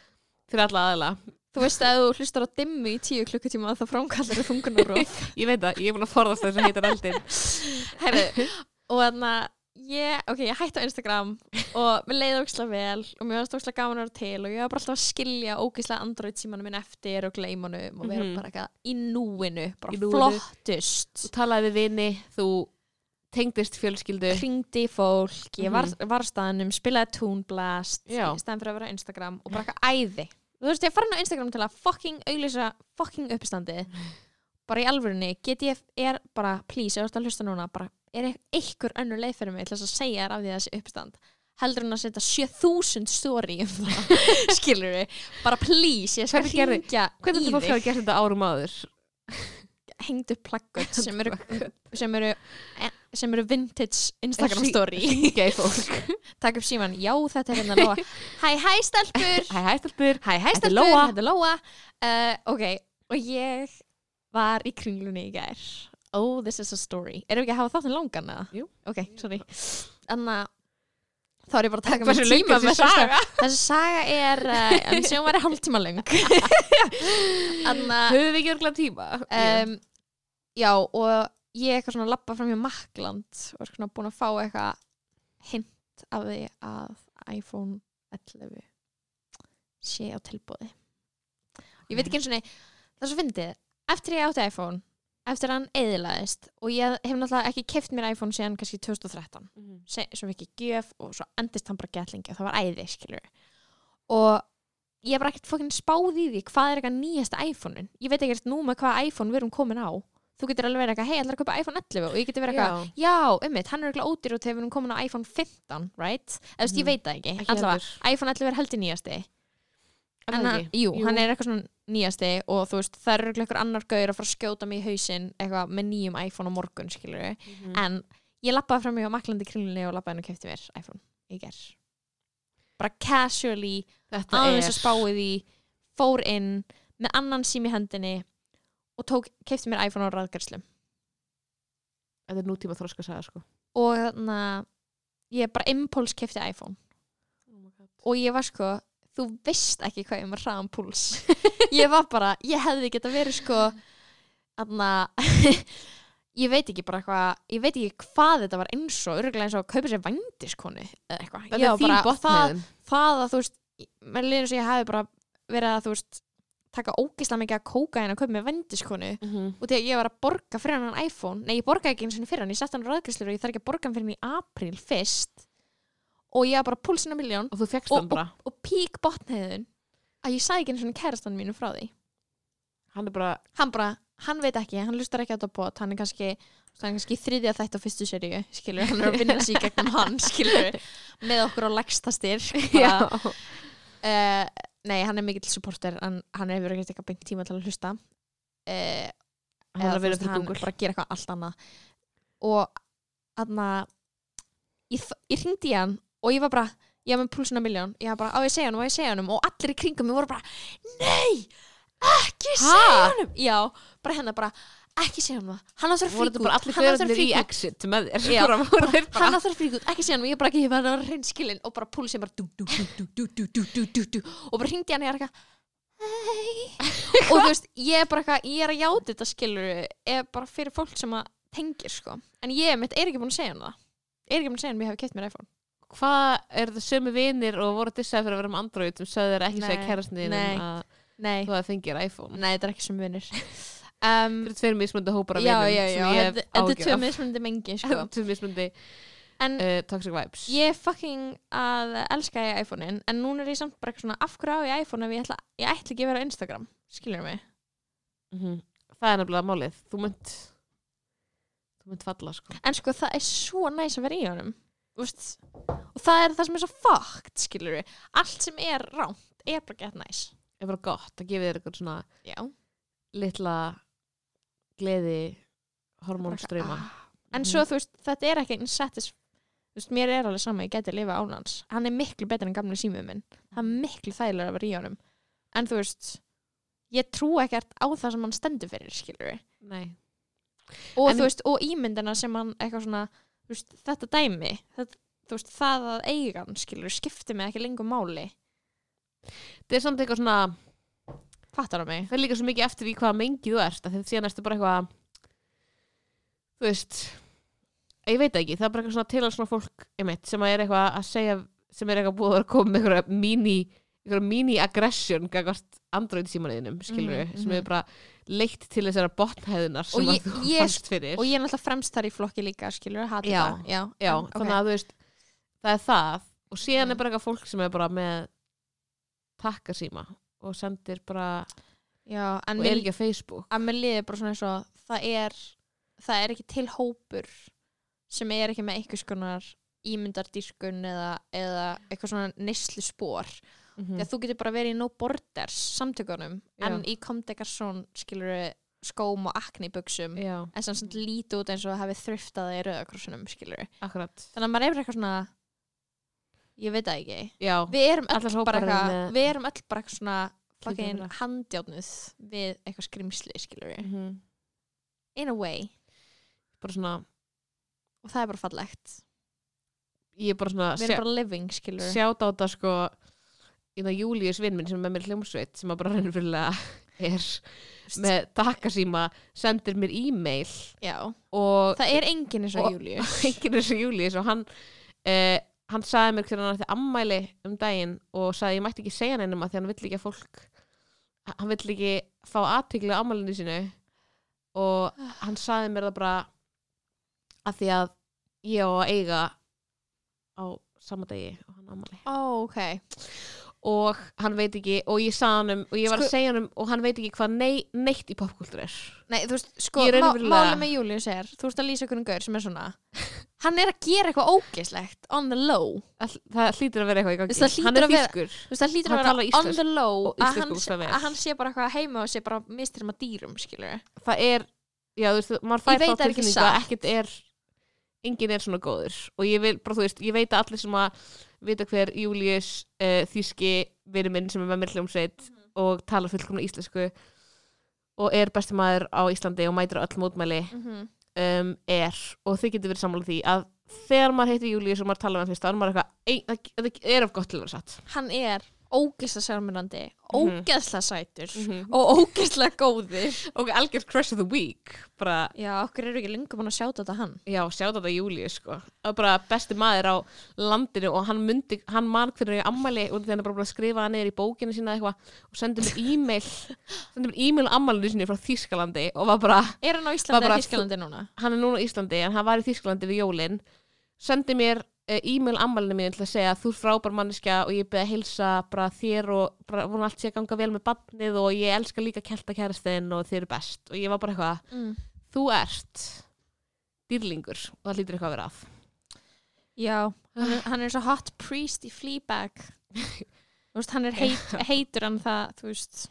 Speaker 3: fyrir alla aðila
Speaker 4: Þú veist að ef þú hlustar á dimmu í tíu klukkutíma þá framkallar þú
Speaker 3: [laughs]
Speaker 4: þungunarof
Speaker 3: ég veit það, ég er búin að forðast þess að heita eldin
Speaker 4: [laughs] Herri, og þannig að ég, ok, ég hætti á Instagram og mér leiði ógislega vel og mér varst ógislega gaman að vera til og ég var bara alltaf að skilja ógislega Android símanum minn eftir og gleimanum og vera
Speaker 3: Mhm.
Speaker 4: bara eitthvað í núinu, bara
Speaker 3: Í núinu.
Speaker 4: flottust
Speaker 3: þú talaði við vini, þú tengdist fjölskyldu
Speaker 4: kringdi fólk, ég var, var á staðanum spilaði túnblast í
Speaker 3: Mhm. Já.
Speaker 4: staðan fyrir að vera á Instagram og bara eitthvað æði þú veist, ég er farin á Instagram til að fucking auglýsa fucking uppistandið bara í alvörunni, get ég er bara, please, ég vart að hlusta núna bara, er eit- einhver önnur leið fyrir mig til þess að segja þér af því þessi uppistand heldur en að setja 7000 story um
Speaker 3: [laughs]
Speaker 4: það, skilur við bara please, ég skal
Speaker 3: Hvernig gerði-
Speaker 4: hringja
Speaker 3: hvernig
Speaker 4: í
Speaker 3: þetta fólk
Speaker 4: þig
Speaker 3: hafa gert þetta árum áður
Speaker 4: hengd upp plakkut sem eru sem eru, sem eru vintage Instagram
Speaker 3: Sí-
Speaker 4: story
Speaker 3: hringja í fólk
Speaker 4: takk upp síman, já þetta er hérna [laughs] Lóa hæ hæ stelpur
Speaker 3: hæ hæ stelpur,
Speaker 4: hæ hæ
Speaker 3: Þetta er
Speaker 4: stelpur,
Speaker 3: Lóa.
Speaker 4: þetta er Lóa uh, ok, og ég var í kringlunni í gær oh this is a story, erum við ekki að hafa þáttin langan eða?
Speaker 3: Jú.
Speaker 4: ok, sorry Anna, þá er ég bara að taka
Speaker 3: Hversu
Speaker 4: mér
Speaker 3: löng
Speaker 4: tíma
Speaker 3: er þessi
Speaker 4: með þessa
Speaker 3: saga?
Speaker 4: þessi saga er, uh, en sem var í hálftíma löng [laughs] Anna
Speaker 3: höfum við ekki örgulega tíma Ég-
Speaker 4: um, já og ég eitthvað svona labba fram hjá Makkland og er svona búin að fá eitthvað hint af því að iPhone 11 sé á tilbúði ég veit ekki eins og nei það er svo fyndið, eftir ég átti iPhone eftir að hann eðilaðist og ég hef náttúrulega ekki keft mér iPhone síðan kannski 2013
Speaker 3: Mhm.
Speaker 4: se- svo mikið gjöf og svo endist hann bara gætlingi og það var æði skilur og ég hef bara ekkert fokkin spáð í því hvað er eitthvað nýjasta iPhone-un ég veit ekkert nú með hvað iPhone við erum komin á þú getur alveg verið eitthvað, hei, allar að kaupa iPhone 11 og ég getur verið eitthvað, já, ummitt, hann er eitthvað ódýr og þegar við erum komin á iPhone 15, right? eða þú veist, ég
Speaker 3: Mhm.
Speaker 4: veit það ekki,
Speaker 3: Ekki
Speaker 4: allavega
Speaker 3: heldur.
Speaker 4: iPhone 11 er heldur nýjasti
Speaker 3: Er það
Speaker 4: Anna,
Speaker 3: ekki?
Speaker 4: jú,
Speaker 3: Jú.
Speaker 4: hann er eitthvað svona nýjasti og þú veist, það eru eitthvað annar gauður að fara að skjóta mig í hausinn eitthvað með nýjum iPhone á morgun, skilur
Speaker 3: Mhm.
Speaker 4: en ég lappaði fram í á maklandi kringlunni og lappaði hann og kefti mér iPhone í ger bara casually
Speaker 3: þetta
Speaker 4: aðeins að
Speaker 3: er
Speaker 4: spáið í fór inn með annan sím í hendinni og tók, kefti mér iPhone á ræðgerslum
Speaker 3: þetta er nútíma þroska saga sko
Speaker 4: og þannig að ég bara impuls kefti iPhone
Speaker 3: Oh
Speaker 4: og ég var sko, þú veist ekki hvað ég var hraðan púls
Speaker 3: [laughs]
Speaker 4: ég var bara, ég hefði geta verið sko þannig [laughs] ég veit ekki bara eitthvað, ég veit ekki hvað þetta var eins og, örgulega eins og að kaupa sér vandiskonu eða eitthvað,
Speaker 3: þetta
Speaker 4: Ég
Speaker 3: er
Speaker 4: var
Speaker 3: þín
Speaker 4: bara, það,
Speaker 3: botniðin
Speaker 4: það að þú veist mér liður sem ég hafi bara verið að þú veist taka ógislega mikið að kóka hérna að kaupa með vendiskonu
Speaker 3: Mhm.
Speaker 4: og því að ég var að borga fyrir hann iPhone nei ég borgaði ekki eins og fyrir hann, ég sett hann á ráðgæslu og ég þarf ekki að borga hann fyrir hann í apríl fyrst og ég var bara púlsinn á miljón
Speaker 3: og þú fegst
Speaker 4: Og-
Speaker 3: hann bara
Speaker 4: og pík botnheiðun að ég sagði ekki eins og kærastan mínu frá því
Speaker 3: hann er [laughs] bara
Speaker 4: hann bara, hann veit ekki, hann lustar ekki á þetta bót hann er kannski, hann er kannski í þriðja þætt á fyrstu seríu, skilur, hann er að vinna sig í gegnum hann, skilur, með okkur á lægsta styrk bara, uh, nei, hann er mikill supporter en hann hefur ekkert eitthvað beint tíma til að hlusta uh, hann
Speaker 3: hann er að vera fyrir
Speaker 4: hann
Speaker 3: Google
Speaker 4: bara að gera eitthvað allt annað og þarna ég, þ- ég hringdi í hann og ég var bara ég var með púlsuna miljón, ég var bara á ég að segja hann og ég að segja hann og allir í kringum mig voru bara nei, ekki
Speaker 3: Ha?
Speaker 4: segja hann já, bara hennar bara ekki segja hann það, hann á þessar
Speaker 3: voru
Speaker 4: fríkút
Speaker 3: þetta bara allir
Speaker 4: hann á þessar
Speaker 3: fyrir í
Speaker 4: fríkút
Speaker 3: exit með þér
Speaker 4: Já,
Speaker 3: bara [laughs] voru þeir bara
Speaker 4: hann á þar fríkut, ekki síðan og ég bara ekki, ég var að reynd skilin og bara púlsinn bara dú, dú, dú, dú, dú, dú, dú, dú, dú, dú, og bara hringdi hann og ég er eitthvað hei og þú veist, ég er bara eitthvað, ég er að játa þetta skilur er bara fyrir fólk sem að tengir sko, en ég mitt er ekki búin að segja hann það er ekki búin að segja hann að ég hef kett mér iPhone
Speaker 3: hvað er það sömu vinir og voru dissaði fyrir að vera með Android sem sögðu þér ekki segja
Speaker 4: Nei,
Speaker 3: kærastinu
Speaker 4: nei.
Speaker 3: að
Speaker 4: nei,
Speaker 3: þú hafði fengið iPhone
Speaker 4: nei, þetta er ekki sem vinir [laughs] um,
Speaker 3: fyrir tveir mismundi hópar af
Speaker 4: já,
Speaker 3: vinum
Speaker 4: já, já,
Speaker 3: sem ég hef
Speaker 4: þetta þetta er
Speaker 3: áhyggjur
Speaker 4: tvö
Speaker 3: af.
Speaker 4: mismunandi [laughs] mengi
Speaker 3: [laughs]
Speaker 4: sko.
Speaker 3: tveir mismundi
Speaker 4: en
Speaker 3: uh, toxic vibes
Speaker 4: ég er fucking að elska ég iPhone-in en núna er ég samt bara eitthvað svona af hverju á ég iPhone ef ég ætla, ég ætla ekki að vera á Instagram skilur mig
Speaker 3: Mhm. það er nefnilega málið þú munt þú munt falla sko
Speaker 4: en sko það er svo næs að vera í honum Úst, og það er það sem er svo fucked skilur við, allt sem er rámt er bara gett næs
Speaker 3: er bara gott að gefa þér eitthvað svona
Speaker 4: Já,
Speaker 3: litla gleði
Speaker 4: bara
Speaker 3: hormónströyma
Speaker 4: eitthvað, ah. en svo þú veist, þetta er ekki einn satis þú veist, mér er alveg sama, ég geti að lifa án hans hann er miklu betur en gamli símið minn það er miklu þægilega að vera í honum en þú veist, ég trú ekkert á það sem hann stendur fyrir skilur við
Speaker 3: Nei.
Speaker 4: og
Speaker 3: En-
Speaker 4: þú veist, og ímyndina sem hann eitthvað svona, þú veist, þetta dæmi þetta, þú veist, það að eigan skilur skipti mig ekki lengur máli
Speaker 3: Það er samt eitthvað svona,
Speaker 4: fattar á mig
Speaker 3: það er líka svo mikið eftir í hvaða mengi þú ert, að þetta síðan ertu bara eitthvað, þú veist, ég veit það ekki, það er bara eitthvað svona til að svona fólk, einmitt, sem að er eitthvað að segja, sem er eitthvað búið að vera að koma með eitthvað mini, eitthvað mini aggression gagvart Android símaninum, skilur
Speaker 4: Mhm,
Speaker 3: sem
Speaker 4: mhm.
Speaker 3: er bara leitt til þessara botnhæðunar sem
Speaker 4: Og ég-
Speaker 3: að þú
Speaker 4: ég-
Speaker 3: fannst fyrir.
Speaker 4: og ég er náttúrulega fremst þar í flokki líka skilur, hata
Speaker 3: Já,
Speaker 4: það já,
Speaker 3: Já,
Speaker 4: en, ok.
Speaker 3: þannig að þú veist það er það og síðan
Speaker 4: Mm.
Speaker 3: er bara eitthvað fólk sem er bara með takkasíma og sendir bara
Speaker 4: já, en
Speaker 3: og er
Speaker 4: mér,
Speaker 3: ekki á Facebook
Speaker 4: að mér liði bara svona eins og það er það er ekki til hópur sem er ekki með einhvers konar ímyndardýrkun eða, eða eitthvað svona neyslu spór mm. þegar þú getur bara verið í no borders samtökunum en í komdekarsson skilur skóm og akni buksum
Speaker 3: Já,
Speaker 4: en sem samt líti út eins og hafi þriftað í rauðakrossunum skilur
Speaker 3: akkurat
Speaker 4: þannig að maður er bara eitthvað svona ég veit það ekki
Speaker 3: Já,
Speaker 4: við erum öll
Speaker 3: Allar hópar
Speaker 4: bara
Speaker 3: eru
Speaker 4: eitthvað
Speaker 3: með-
Speaker 4: við erum öll bara eitthvað svona fucking
Speaker 3: Kýrfótafélag.
Speaker 4: handjárnuð við eitthvað skrimsli skilur
Speaker 3: Mhm.
Speaker 4: in a way
Speaker 3: bara svona
Speaker 4: og það er bara fallegt
Speaker 3: ég er bara svona
Speaker 4: við erum bara living skilur
Speaker 3: sjátt á þetta sko í það Július vinn minn sem er með mér í hljómsveit sem að bara raunverulega [laughs] er með takkasíma sendir mér e-mail
Speaker 4: já,
Speaker 3: og
Speaker 4: það er enginn eins og
Speaker 3: og-
Speaker 4: Július
Speaker 3: [laughs] enginn þessu Július og hann uh, hann sagði mér hvernig hann ætti ammæli um daginn og sagði ég mætti ekki segja hann einum að því hann vill ekki að fólk hann vill ekki fá aðtíkli á ammælinu sínu og hann sagði mér það bara að því að ég á að eiga á sama degi og hann á ammæli
Speaker 4: ó, ok,
Speaker 3: og hann veit ekki og ég sagði hann um og ég var
Speaker 4: Sko-
Speaker 3: að segja hann um og hann veit ekki hvað nei, neitt í popkultur er
Speaker 4: nei, þú veist sko,
Speaker 3: Ég er
Speaker 4: má,
Speaker 3: raunverulega-
Speaker 4: málið með Július er þú veist að lýsa einhvern gaur sem er svona hann er að gera eitthvað ógeslegt on the low,
Speaker 3: það, það hlýtur að vera eitthvað
Speaker 4: Það
Speaker 3: í gangi
Speaker 4: hlýtur
Speaker 3: hann er
Speaker 4: að vera-
Speaker 3: fískur
Speaker 4: þú veist það hlýtur
Speaker 3: Hann
Speaker 4: að
Speaker 3: talar
Speaker 4: vera on
Speaker 3: íslensku
Speaker 4: the low
Speaker 3: og
Speaker 4: að
Speaker 3: íslensku
Speaker 4: hann,
Speaker 3: ógeðslega vel.
Speaker 4: að hann sé bara eitthvað heima og sé bara mistur um að dýrum skilur
Speaker 3: það er já, þú veist, maður fær
Speaker 4: Ég veit það
Speaker 3: þá
Speaker 4: er ekki
Speaker 3: tilfinningu að
Speaker 4: satt.
Speaker 3: ekkert er enginn er svona góður og ég vil, bara þú veist, ég veit að allir sem að vita hver Július uh, Þíski vinur minn sem er með mér í hljómsveit og talar fullkomna íslensku og er besti maður á Íslandi og mætir á öll mótmæli um, er og þið getur verið sammála því að þegar maður heitir Július og maður talar með hann fyrst þá er maður eitthvað, ein, það, það er of gott til að vera satt
Speaker 4: hann er ógesla sérmyndandi ógesla sætur
Speaker 3: Mhm.
Speaker 4: og ógesla góður
Speaker 3: og algjörð crush of the week bara
Speaker 4: já, okkur eru ekki lengur búin að sjáta þetta hann
Speaker 3: Já, sjáðu þetta Júlíu sko Það var bara besti maður á landinu og hann, myndi, hann man hvernig ég ammæli og þannig bara búin að skrifa hann niður í bókinu sína eða eitthvað og sendi mér e-mail sendi mér e-mail á ammælinu sinni frá Þýskalandi og var bara,
Speaker 4: er hann á Íslandi
Speaker 3: bara
Speaker 4: eða Þískalandi núna?
Speaker 3: hann er núna á Íslandi en hann var í Þýskalandi við jólin sendi mér eh, e-mail ammælinu mín til að segja þú er frábær manneskja og ég beði að heilsa bara þér og bara vona allt sé að ganga vel með barnið og ég elska líka kelta kæristin og þið eru best og ég var bara eitthvað
Speaker 4: Mm.
Speaker 3: þú ert dýrlingur og það lítur eitthvað að vera að
Speaker 4: Já, hann er, hann er svo hot priest í [laughs] Fleabag Þú veist, hann er heit, heitur en það, þú veist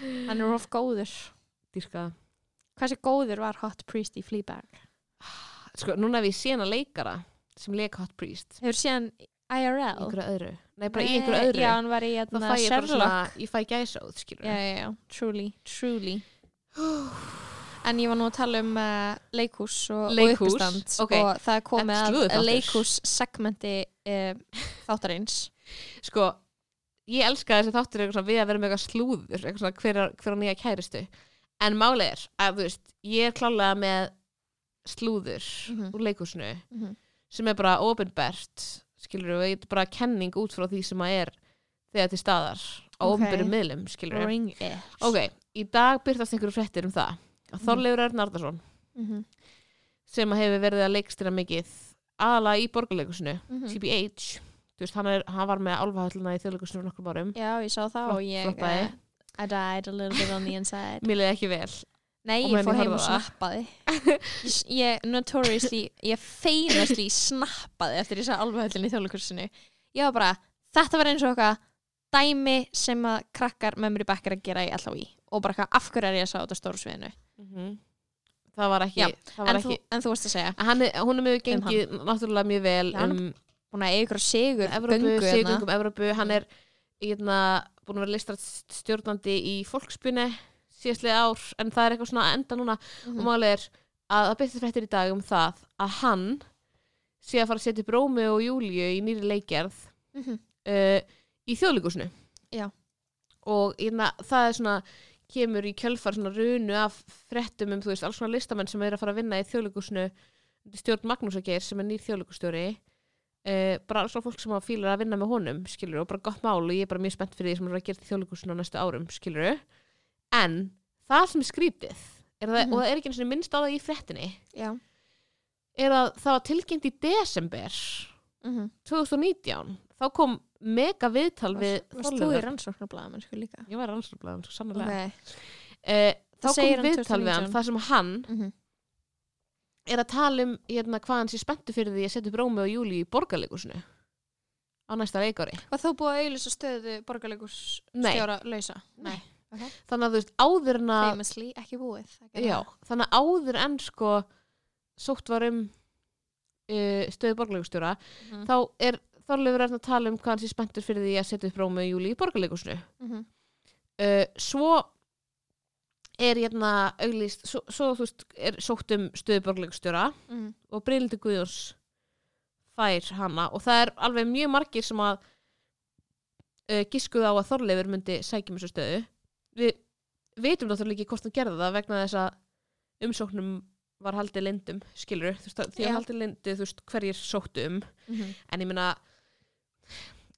Speaker 4: hann er of góður
Speaker 3: dýrka það.
Speaker 4: Hversu góður var hot priest í Fleabag?
Speaker 3: sko, núna hef ég séna leikara sem leik Hot Priest
Speaker 4: Hefur séðan
Speaker 3: í
Speaker 4: IRL?
Speaker 3: einhverju öðru, nei bara í einhverju
Speaker 4: Eh,
Speaker 3: öðru
Speaker 4: Já, hann var í
Speaker 3: þá
Speaker 4: hérna,
Speaker 3: fæ ég bara svona,
Speaker 4: Sherlock
Speaker 3: ég fæ gæsóð skilur
Speaker 4: já, já, já, truly, truly [sighs] En ég var nú að tala um uh, leikhús og, og
Speaker 3: Leikhús,
Speaker 4: uppistand
Speaker 3: ok.
Speaker 4: og það er komið
Speaker 3: Þetta
Speaker 4: að
Speaker 3: er slúðurþáttur.
Speaker 4: leikhús segmenti uh, þáttarins
Speaker 3: sko, ég elska þessi þáttur eitthvað svona við að vera með eitthvað slúður eitthvað svona hver, á- hver á nýja kæristu en málið er að þú veist, ég er klálega með slúður
Speaker 4: Mhm.
Speaker 3: úr leikusinu
Speaker 4: Mhm.
Speaker 3: sem er bara ofinbært skilur við, þetta er bara kenning út frá því sem að er þegar til staðar á
Speaker 4: Ok.
Speaker 3: okay. ofinbærum miðlum skilur við
Speaker 4: Ring it
Speaker 3: ok, í dag byrtast einhverju fréttir um það að Þorleifur Örn Arnarsson
Speaker 4: Mhm,
Speaker 3: sem að hefur verið að leikstýra mikið aðalega í borgarleikusinu
Speaker 4: mhm.
Speaker 3: TBH, þú veist, hann, er, hann var með álfahöllina í þjóðleikusinu fyrir nokkrum árum
Speaker 4: Já, ég sá það
Speaker 3: Flop-
Speaker 4: og ég
Speaker 3: floppaði.
Speaker 4: eh, I died a little bit on the inside
Speaker 3: mér leði ekki vel
Speaker 4: Nei,
Speaker 3: Og
Speaker 4: ég
Speaker 3: meðan
Speaker 4: fór
Speaker 3: ég
Speaker 4: heim og
Speaker 3: horfði á það.
Speaker 4: snappaði [laughs] Ég s- Ég notoriously ég famously snappaði eftir þess að alvöðhöllin í þjóðlikursinu Ég var bara, þetta var eins og eitthvað dæmi sem að krakkar með mér í bekkar að gera í allá í og bara eitthvað, af hverju er ég að sá þetta á stóru sviðinu
Speaker 3: það var ekki,
Speaker 4: Mhm. Já,
Speaker 3: það var
Speaker 4: en, þú,
Speaker 3: ekki
Speaker 4: en þú varst að segja,
Speaker 3: hann er, hún er mjög gengið náttúrulega mjög vel
Speaker 4: Já, hann
Speaker 3: um
Speaker 4: búin að eiga ykkur sigur
Speaker 3: Evrópu,
Speaker 4: göngu hérna.
Speaker 3: sigungum Evrópu hann er ég er búin að vera listrætt stjórnandi í fólkspunni síðastlið ár en það er eitthvað svona að enda núna
Speaker 4: Mhm.
Speaker 3: og málið er að það byrtist fréttir í dag um það að hann sé að fara að setja brómi og júlíu í nýri leikjarð
Speaker 4: Mhm.
Speaker 3: uh, í þjóðleikusinu
Speaker 4: Já.
Speaker 3: og hérna, það er svona kemur í kjölfar svona runu af fréttum um, þú veist, alls svona listamenn sem er að fara að vinna í þjóðleikusinu stjórn Magnús og Geir sem er nýr þjóðleikustjóri uh, bara alls svona fólk sem að fílar að vinna með honum skilur og bara gott mál og ég er bara mjög spennt fyrir því sem er að gera í þjóðleikusinu á næstu árum skilur en það sem er skrítið er það,
Speaker 4: Mhm.
Speaker 3: og það er ekki einu sinni minnst á það í fréttinni
Speaker 4: Já.
Speaker 3: er að það var tilkynnt í desember
Speaker 4: Mhm.
Speaker 3: 2019 þá kom mega viðtal við
Speaker 4: Varst þú í
Speaker 3: Þorleifar-
Speaker 4: rannsóknarblæðamenn sko líka?
Speaker 3: ég var rannsóknarblæðan svo sannlega
Speaker 4: Nei.
Speaker 3: okay. Eh, þá
Speaker 4: Það segir
Speaker 3: kom
Speaker 4: hann
Speaker 3: viðtal við hann
Speaker 4: 2019.
Speaker 3: þar sem hann
Speaker 4: Mhm.
Speaker 3: er að tala um hérna, hvað hann sé spenntu fyrir því að setja upp Rómi og Júli í borgarleikusinu á næsta leikari
Speaker 4: Var þá búið að auðlýsa stöðu borgarleikus
Speaker 3: Nei.
Speaker 4: stjóra lausa?
Speaker 3: Nei.
Speaker 4: Ok.
Speaker 3: þannig að þú veist áður en að
Speaker 4: Famously, ekki búið. að gera
Speaker 3: já,
Speaker 4: það.
Speaker 3: þannig að áður en sko sótt var um uh, stöðu borgarleikustjóra
Speaker 4: Mhm.
Speaker 3: þá er Þorleifur Erna að tala um hvað hann sé spenntur fyrir því að setja upp Rómi og Júli í borgarleikusinu
Speaker 4: Mhm.
Speaker 3: uh, svo er hérna auglýst, svo, svo þú veist er sótt um stöðuborgleikstjóra
Speaker 4: Mhm.
Speaker 3: og Brynildi Guðjóns fær hana og það er alveg mjög margir sem að uh, gískuð á að Þorleifur myndi sækjum þessu stöðu við vitum náttúrulega ekki hvort hann gerði það vegna þess að umsóknum var haldið lindum, skilur þú veist, að- því að
Speaker 4: Já.
Speaker 3: haldið lindi, þú veist, hverjir sóttu um
Speaker 4: Mhm.
Speaker 3: en ég meina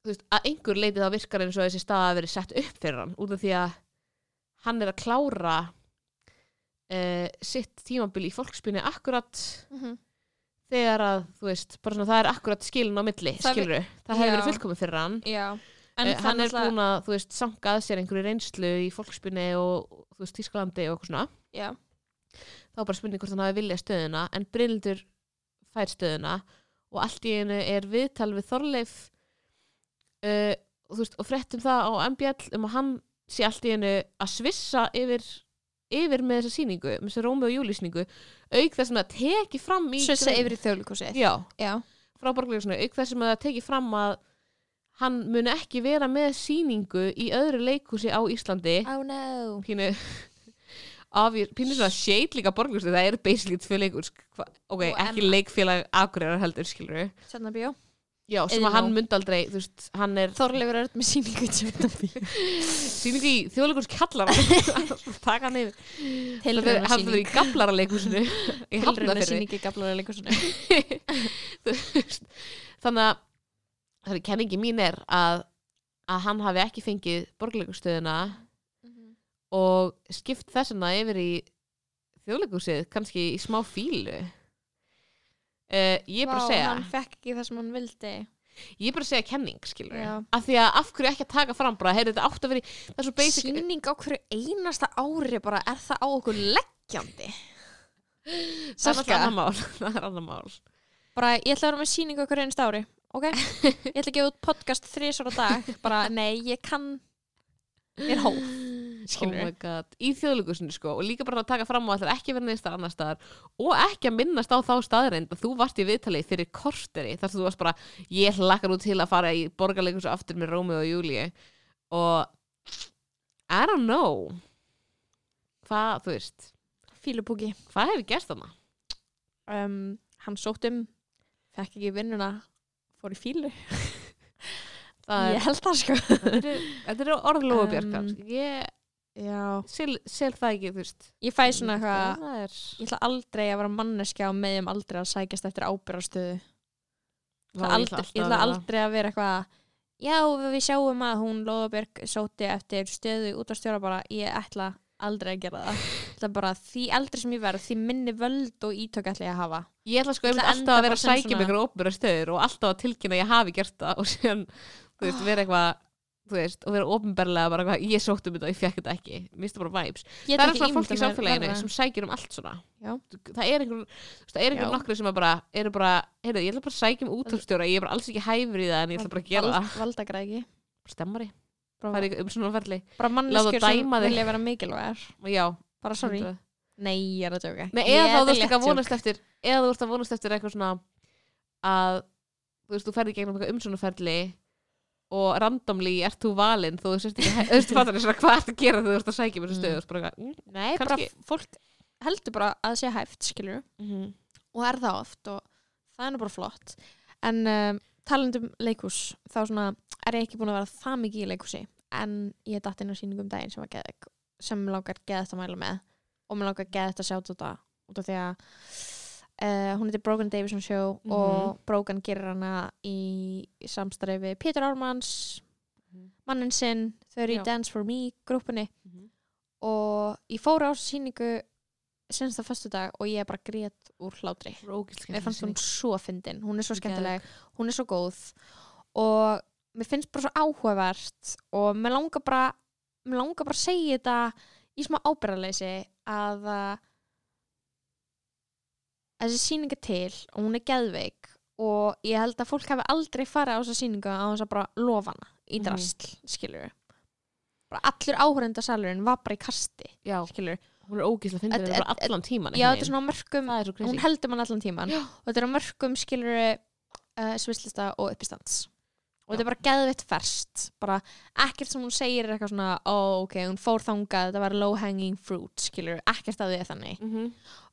Speaker 3: þú veist, að einhver leiti þá virkar eins og þessi staða að verið sett upp fyrir hann út af því að hann er að klára uh, sitt tímabili í fólkspinni akkurat
Speaker 4: Mhm.
Speaker 3: þegar að, þú veist, bara svona það er akkurat skilin á milli,
Speaker 4: Það vi-
Speaker 3: skiluru það hefur verið
Speaker 4: Já.
Speaker 3: fullkomið fyrir hann
Speaker 4: Já.
Speaker 3: en
Speaker 4: það
Speaker 3: Eh, hann er
Speaker 4: náttúrulega-
Speaker 3: búin að, þú veist, sangað sér einhverju reynslu í fólkspinni og, þú veist, Tískalandi og eitthvað svona
Speaker 4: Já.
Speaker 3: þá er bara spurning hvort hann hafi viljað stöðuna en Brynildur fær stöðuna og allt í einu er viðtal við Þorleif uh, og, þú veist, og frettum það á MBL um að hann sé allt í einu að svissa yfir, yfir með þessa sýningu með þessa Rómi og Júli sýningu auk þess sem það teki fram í
Speaker 4: Svissa
Speaker 3: grein-
Speaker 4: yfir í þjóðleikusið.
Speaker 3: um- já,
Speaker 4: Já.
Speaker 3: frá borgarleikusinu auk þess sem það teki fram að hann muni ekki vera með sýningu í öðru leikhúsi á Íslandi
Speaker 4: Oh no.
Speaker 3: pínu afjör, pínu svona shade líka borgarstu það er basically tvö leikur ok,
Speaker 4: Og
Speaker 3: ekki
Speaker 4: Emma.
Speaker 3: leikfélag akurirar heldur skilur við
Speaker 4: Sérna bjó.
Speaker 3: já, sem
Speaker 4: Iðnó.
Speaker 3: að hann myndi aldrei, þú veist, hann er
Speaker 4: Þorleifur er með síningu í
Speaker 3: [laughs]
Speaker 4: sérna bjó.
Speaker 3: síningu í þjóðleikurs kallar [laughs] taka hann yfir hann
Speaker 4: Tilruna
Speaker 3: verður í
Speaker 4: síning.
Speaker 3: gablara leikusinu í
Speaker 4: Tilruna
Speaker 3: hafnafyrri
Speaker 4: síning í gablara leikusinu.
Speaker 3: [laughs] þannig að það er kenningi mín er að, að hann hafi ekki fengið borgarleikurstöðuna
Speaker 4: Mhm.
Speaker 3: og skipt þessuna yfir í þjóðleikúsið, kannski í smá fílu Uh, ég er bara að segja
Speaker 4: Hann fekk ekki það sem hann vildi.
Speaker 3: ég er bara að segja kenning skilur
Speaker 4: Já.
Speaker 3: af því að af hverju ekki að taka fram bara heyrðu þetta átt að vera í- það er svo basic
Speaker 4: Sýning á hverju einasta ári bara er það á okkur
Speaker 3: [gasps]
Speaker 4: leggjandi.
Speaker 3: það er
Speaker 4: Salka.
Speaker 3: alltaf annar mál [laughs] það er annar mál
Speaker 4: bara ég ætla að vera með síningu okkur einst ári
Speaker 3: [laughs]
Speaker 4: ok, ég ætla að gefa út podcast þrísar á dag, bara nei, ég kann ég er hóf
Speaker 3: oh
Speaker 4: skilur
Speaker 3: my god, í þjóðleikusinu sko og líka bara að taka fram og ætlar ekki að vera neist annar staðar og ekki að minnast á þá staðarind að þú varst í viðtalið fyrir korteri þar sem þú varst bara, ég hlakkar út til að fara í borgarleikus aftur með Rómi og Júli og I don't know hvað, þú veist
Speaker 4: fílupúki
Speaker 3: hvað hefur gerst þarna?
Speaker 4: um, hann sótt um, fekk ekki vinnuna fór í fílu
Speaker 3: Það
Speaker 4: [laughs] ég held það sko
Speaker 3: er, þetta er orðlóa björkar
Speaker 4: Um,
Speaker 3: ég
Speaker 4: já.
Speaker 3: sel, sel það ekki, þú veist
Speaker 4: ég fæ svona eitthvað
Speaker 3: það er,
Speaker 4: ég ætla aldrei að vera manneskja á meðjum aldrei að sækjast eftir ábyrðarstöðu
Speaker 3: Vá,
Speaker 4: ég, ætla aldrei- ég ætla
Speaker 3: að vera
Speaker 4: aldrei að vera eitthvað já, við sjáum að hún Lóðabjörg sóti eftir stöðu út að stjóra bara ég ætla aldrei að gera það Ég ætla bara því eldri sem ég verð, því minni völd og ítök ætla ég að hafa
Speaker 3: Ég ætla sko
Speaker 4: Ég ætla
Speaker 3: einmitt
Speaker 4: að enda
Speaker 3: alltaf að vera
Speaker 4: bara
Speaker 3: að
Speaker 4: sem
Speaker 3: sækja
Speaker 4: svona-
Speaker 3: með ykkur óbyrra stöður og alltaf að tilkynna að ég hafi gert það og síðan, þú veist, vera eitthvað þú veist, og vera ópenbarlega bara eitthvað ég sótt um þetta og ég fekk þetta ekki, minnst bara vibes
Speaker 4: Ég
Speaker 3: það
Speaker 4: get
Speaker 3: er
Speaker 4: ekki
Speaker 3: alltaf fólk í
Speaker 4: ímyndað mér
Speaker 3: samfélaginu
Speaker 4: verra.
Speaker 3: sem sækir um allt svona
Speaker 4: Já.
Speaker 3: það er einhver, þú veist, það er einhver
Speaker 4: Já.
Speaker 3: nokkru sem að bara, eru bara, heyrðu, ég ætla bara að sækja um útvarpsstjóra, ég er bara alls ekki hæfur í það en ég ætla bara að gera það,
Speaker 4: Vald- valdagræki
Speaker 3: stemmari það er
Speaker 4: bara,
Speaker 3: eitthvað um svona verli,
Speaker 4: bara manneskjur
Speaker 3: láta
Speaker 4: sem
Speaker 3: dæma þig.
Speaker 4: vilja vera mikilvægar
Speaker 3: já,
Speaker 4: bara sorry,
Speaker 3: 100.
Speaker 4: nei, ég er að tjóka
Speaker 3: Nei, eða þá þú ert ekki að vonast eftir eða þú ert að vonast eftir eitthvað svona að þú veist, þú ferði gegnum eitthvað umsónaferli og randomly ert þú valinn þó þú sérst ekki, [laughs] þú veist fattar þess að hvað ert að gera þegar þú ert að sækja mér þessu stöðu og svo bara eitthvað, mm.
Speaker 4: Nei,
Speaker 3: Kannski-
Speaker 4: bara fólk heldur bara að það sé hæft, skilur
Speaker 3: Mhm.
Speaker 4: og er það oft og það er nú bara flott en um, talandi um leikhús þá svona er ég ekki búin að vera það mikið í leikhúsi en ég datt inn á sýningu um daginn sem, var geðveik, sem mig langar geðast að mæla með og mér langar geðast að sjá þetta út af því að uh, hún heitir Brogan Davison Show og Brogan gerir hana í samstarfi við Pétur Ármanns
Speaker 3: Mhm.
Speaker 4: manninn sinn, þau eru
Speaker 3: Já.
Speaker 4: í Dance for Me grúpunni
Speaker 3: Mhm.
Speaker 4: og ég fór á þessa sýningu senst á föstudag og ég bara grét úr hlátri
Speaker 3: Rókislega
Speaker 4: mér fannst hún svo fyndin, hún er svo skemmtileg hún er svo góð og mér finnst bara svo áhugavert og mér langar bara mér langar bara að segja þetta í smá ábyrðarleysi að uh, þessi sýning er til og hún er geðveik og ég held að fólk hafi aldrei farið á þessa sýningu á þess að bara lofa hana í
Speaker 3: Mhm.
Speaker 4: drasl, mm. skilur bara allur áhverjandasalurinn var bara í kasti
Speaker 3: Já,
Speaker 4: skilur,
Speaker 3: sko. hún er ógislega fyndin
Speaker 4: Þetta-
Speaker 3: þetta bara allan tíman
Speaker 4: já þetta er svona á mörgum
Speaker 3: það er svo
Speaker 4: hún
Speaker 3: crazy
Speaker 4: heldur mann allan tíman
Speaker 3: Já.
Speaker 4: og þetta er á mörgum skilur uh, svislista og uppistands og
Speaker 3: Já.
Speaker 4: þetta er bara geðvitt ferskt bara ekkert sem hún segir er eitthvað svona ó ok, hún fór þangað, þetta var low hanging fruit skilur, ekkert að því er þannig
Speaker 3: Mhm.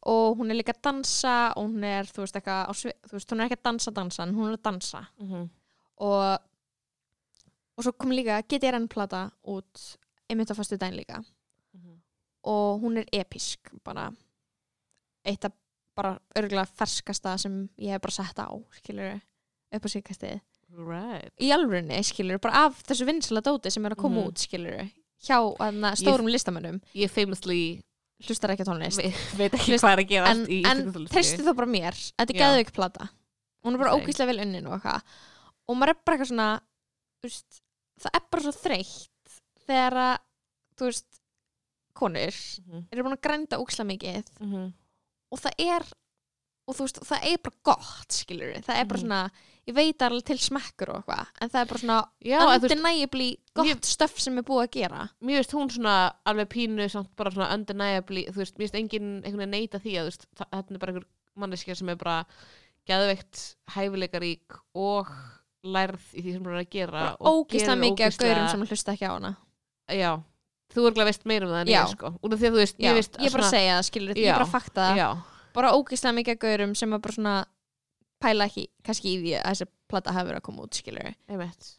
Speaker 4: og hún er líka að dansa og hún er, þú veist, eitthvað á svi- þú veist, hún er ekki að dansa dansa, en hún er að dansa
Speaker 3: Mhm.
Speaker 4: og og svo kom líka GTRN plata út einmitt á fastu daginn líka
Speaker 3: Mhm.
Speaker 4: og hún er episk bara eitt af bara örgulega ferskasta sem ég hef bara sett á skilur upp á síðkastið
Speaker 3: Right
Speaker 4: í alvörinni skilur bara af þessu vinsala dóti sem er að koma
Speaker 3: Mhm.
Speaker 4: út skilur hjá hana, stórum listamönnum
Speaker 3: Ég famously
Speaker 4: hlustar ekki á tónlist
Speaker 3: ve [laughs] veit ekki
Speaker 4: Hlust-
Speaker 3: hvað er að gera
Speaker 4: en, en treystu þá bara mér þetta er
Speaker 3: Já.
Speaker 4: geðveik plata hún er bara
Speaker 3: Thanks.
Speaker 4: ógíslega vel unnin og eitthvað og maður er bara eitthvað svona þú veist, það er bara svo þreytt þegar að þú veist, konur
Speaker 3: Mhm.
Speaker 4: eru búin að grænda ógíslega mikið
Speaker 3: Mhm.
Speaker 4: og það er og þú veist, það er bara gott skilur það er bara
Speaker 3: Mhm.
Speaker 4: svona, ég veit það er alveg til smekkur og eitthvað, en það er bara svona
Speaker 3: Já, að þú veist,
Speaker 4: undeniably gott
Speaker 3: Ég-
Speaker 4: stöff sem er búið að gera
Speaker 3: mér veist hún svona alveg pínu samt bara svona undeniably, þú veist, mér veist engin einhvern veginn neita því að þú veist, þa- þetta er bara einhver manneskja sem er bara geðveikt hæfileikarík og lærð í því sem hún er að gera og
Speaker 4: ógíslega
Speaker 3: gerir
Speaker 4: mikið af
Speaker 3: ógeðslega-
Speaker 4: gaurum sem hlusta ekki á hana
Speaker 3: Já, þú er glæð veist meira um það en
Speaker 4: Já.
Speaker 3: ég sko, út af því að þú veist,
Speaker 4: Já,
Speaker 3: ég
Speaker 4: ég,
Speaker 3: veist að
Speaker 4: bara
Speaker 3: svona-
Speaker 4: segja það skilur, ég
Speaker 3: Já,
Speaker 4: bara fakta það
Speaker 3: Já,
Speaker 4: bara ógislega mikið af gaurum sem að bara svona pæla ekki kannski í því að þessi plata hafi verið að koma út skilur
Speaker 3: einmitt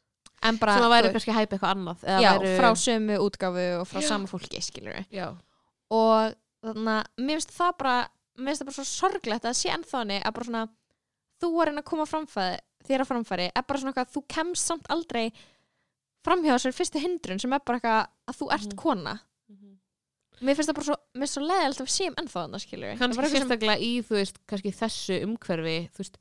Speaker 4: en bara
Speaker 3: sem að væri
Speaker 4: þú-
Speaker 3: kannski að hæpa eitthvað annað eða
Speaker 4: já,
Speaker 3: væru-
Speaker 4: frá sömu útgáfu og frá sama fólki skilur
Speaker 3: Já,
Speaker 4: og þannig að mér finnst það bara mér finnst það bara svo sorglegt að það sé ennþáni að bara svona þú er að koma framfæði þér að framfæri er bara svona eitthvað að þú kemst samt aldrei framhjá þessari fyrstu hindrun sem er bara eitthvað að þú ert
Speaker 3: Mhm.
Speaker 4: kona mér finnst það bara svo, mér finnst svo leðilegt að við séum ennþáðan skilur
Speaker 3: kannski sérstaklega í þú veist, kannski þessu umhverfi þú veist,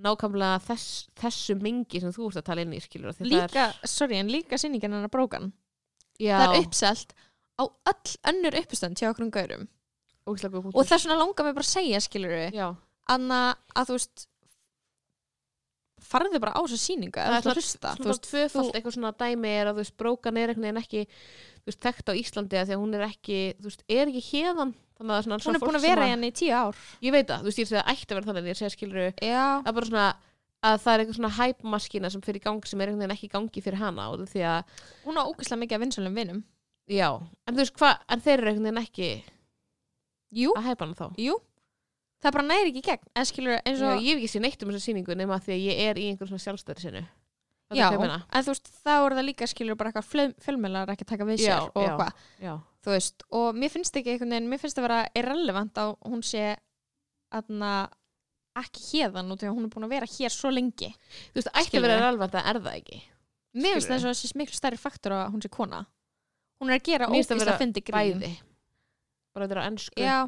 Speaker 3: nákvæmlega þess, þessu mingi sem þú ert að tala inn í skilur
Speaker 4: líka, sorry, en líka sýningin hennar brókan
Speaker 3: já,
Speaker 4: það er uppselt á öll önnur uppstönd hjá okkur um gaurum
Speaker 3: ógeðslega
Speaker 4: og
Speaker 3: góð punktur.
Speaker 4: það er svona langar mig bara að segja skilur við
Speaker 3: já,
Speaker 4: Anna, að þú veist farðu bara á þessu sýningu
Speaker 3: Það
Speaker 4: eða
Speaker 3: er
Speaker 4: þú ert að hlusta
Speaker 3: þú veist, tvöfalt eitthvað svona dæmi er að þú veist, brókan er einhvern veginn ekki þú veist, þekkt á Íslandi að því að hún er ekki þú veist, er ekki hérðan þannig að svona,
Speaker 4: hún
Speaker 3: svona
Speaker 4: er búin
Speaker 3: fólk
Speaker 4: að vera
Speaker 3: sem
Speaker 4: hérna í tíu ár
Speaker 3: ég veit það, þú veist, ég segi að ætti að vera þannig en ég segi skilur
Speaker 4: já,
Speaker 3: að bara svona að það er eitthvað svona hæpmaskina sem fyrir gang sem er einhvern veginn ekki í gangi fyrir hana og því að,
Speaker 4: hún á ógæslega mikið af vinsölum vinum
Speaker 3: já, en þú veist hvað en þeir eru einhvern veginn ekki
Speaker 4: jú,
Speaker 3: að hæpa hana þá
Speaker 4: jú, það bara næri ekki í gegn eða skilur við eins
Speaker 3: Já,
Speaker 4: og
Speaker 3: ég hef ekki séð neitt um þessa sýningu nema því að ég er í einhver svona sjálfstæri sinu
Speaker 4: já, en þú veist, þá er það líka skilur bara eitthvað fjölmjölar ekki að taka við sér
Speaker 3: Já,
Speaker 4: og
Speaker 3: já.
Speaker 4: hvað
Speaker 3: já.
Speaker 4: þú veist, og mér finnst ekki einhvern veginn, mér finnst það vera irrelevant að hún sé aðna, ekki hérðan út því að hún er búin að vera hér svo lengi
Speaker 3: Þú veist, ætti að
Speaker 4: Skilurðu?
Speaker 3: vera relevant að er það ekki
Speaker 4: mér finnst
Speaker 3: Skilurðu?
Speaker 4: þess að þessi miklu stærri faktur að hún sé kona hún er að gera
Speaker 3: Mér finnst
Speaker 4: ógist
Speaker 3: það
Speaker 4: að
Speaker 3: vera
Speaker 4: fyndi grín
Speaker 3: Bæði Bara þetta er á ennsku
Speaker 4: já,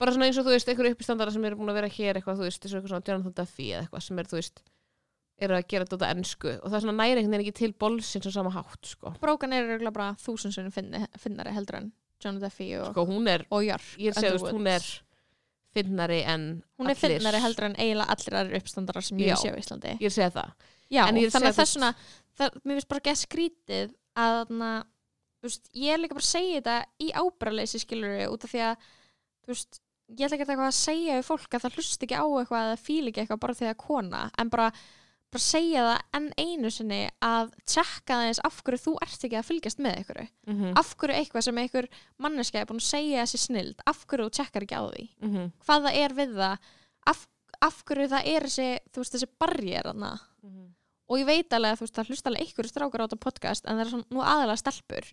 Speaker 3: Bara svona eins og þú veist, einhverju uppistandara sem eru búin að vera hér eitthvað, þú veist, eins og eitthvað svona Jonathan Duffy eða eitthvað sem er, þú veist, eru að gera þetta á ennsku og það er svona næri einhvern veginn ekki til bolsins á sama hátt, sko
Speaker 4: brókan er örugglega bara þúsundsunum finnari heldur en John Duffy og,
Speaker 3: Sko, hún er,
Speaker 4: og Jörg
Speaker 3: ég sé, þú veist, hún er finnari en
Speaker 4: hún er
Speaker 3: allir.
Speaker 4: finnari heldur en eiginlega allir aðrir uppstandarar sem ég
Speaker 3: Já.
Speaker 4: hef séu í Íslandi
Speaker 3: Ég sé það
Speaker 4: Já,
Speaker 3: En ég
Speaker 4: þannig að það
Speaker 3: segi þú
Speaker 4: er
Speaker 3: veist-
Speaker 4: svona það, mér finnst bara að geða skrítið að na, veist, ég er líka bara að segja þetta í ábyrðarleysi skilur út af því að þú veist, ég ætla ekki eitthvað að segja við fólk að það hlust ekki á eitthvað að það fíl ekki eitthvað bara því að það er kona en bara bara segja það enn einu sinni að tjekka það eins af hverju þú ert ekki að fylgjast með ykkur
Speaker 3: Mhm.
Speaker 4: af hverju eitthvað sem einhver manneskja er búin að segja þessi snild af hverju þú tjekkar ekki á því
Speaker 3: Mhm.
Speaker 4: hvað það er við það af, af hverju það er þessi, þú veist, þessi barjér hana
Speaker 3: Mhm.
Speaker 4: og ég veit alveg að þú veist, það hlusta alveg einhverju strákar á þetta podcast en það er svona nú aðalega stelpur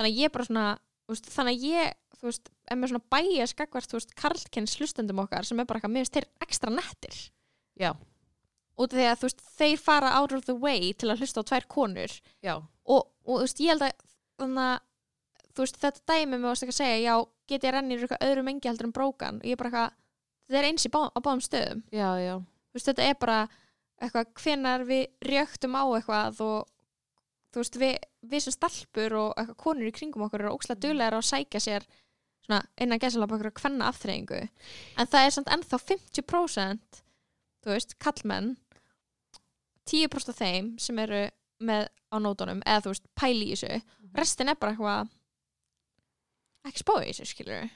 Speaker 4: þannig að ég bara svona, þú veist, þannig að ég þú veist, er með svona bæja skakvart þú veist, karlkynns hlustendum okkar sem er bara eitthvað miðast þeir ekstra nettir
Speaker 3: Já.
Speaker 4: út af því að þú veist, þeir fara out of the way til að hlusta á tvær konur
Speaker 3: Já.
Speaker 4: og, og þú veist, ég held að þannig að þú veist, þetta dæmi með varst ekki að segja, já, get ég rennir eitthvað öðru mengi heldur en brókan og ég er bara eitthvað, þetta er eins í bá, á báðum stöðum
Speaker 3: Já, já.
Speaker 4: þú veist, þetta er bara eitthvað hvenar við rjöktum á eitthvað og þú veist, við, við sem stalpur og eitthvað konur í kringum okkur eru ókslega duglegar á að sækja sér svona innan gæsalapa okkur að hvenna aftreyingu en það er samt ennþá 50% þú veist, kallmenn 10% af þeim sem eru með á nótunum eða þú veist, pæli í þessu restin er bara eitthvað ekki spáði í þessu, skilur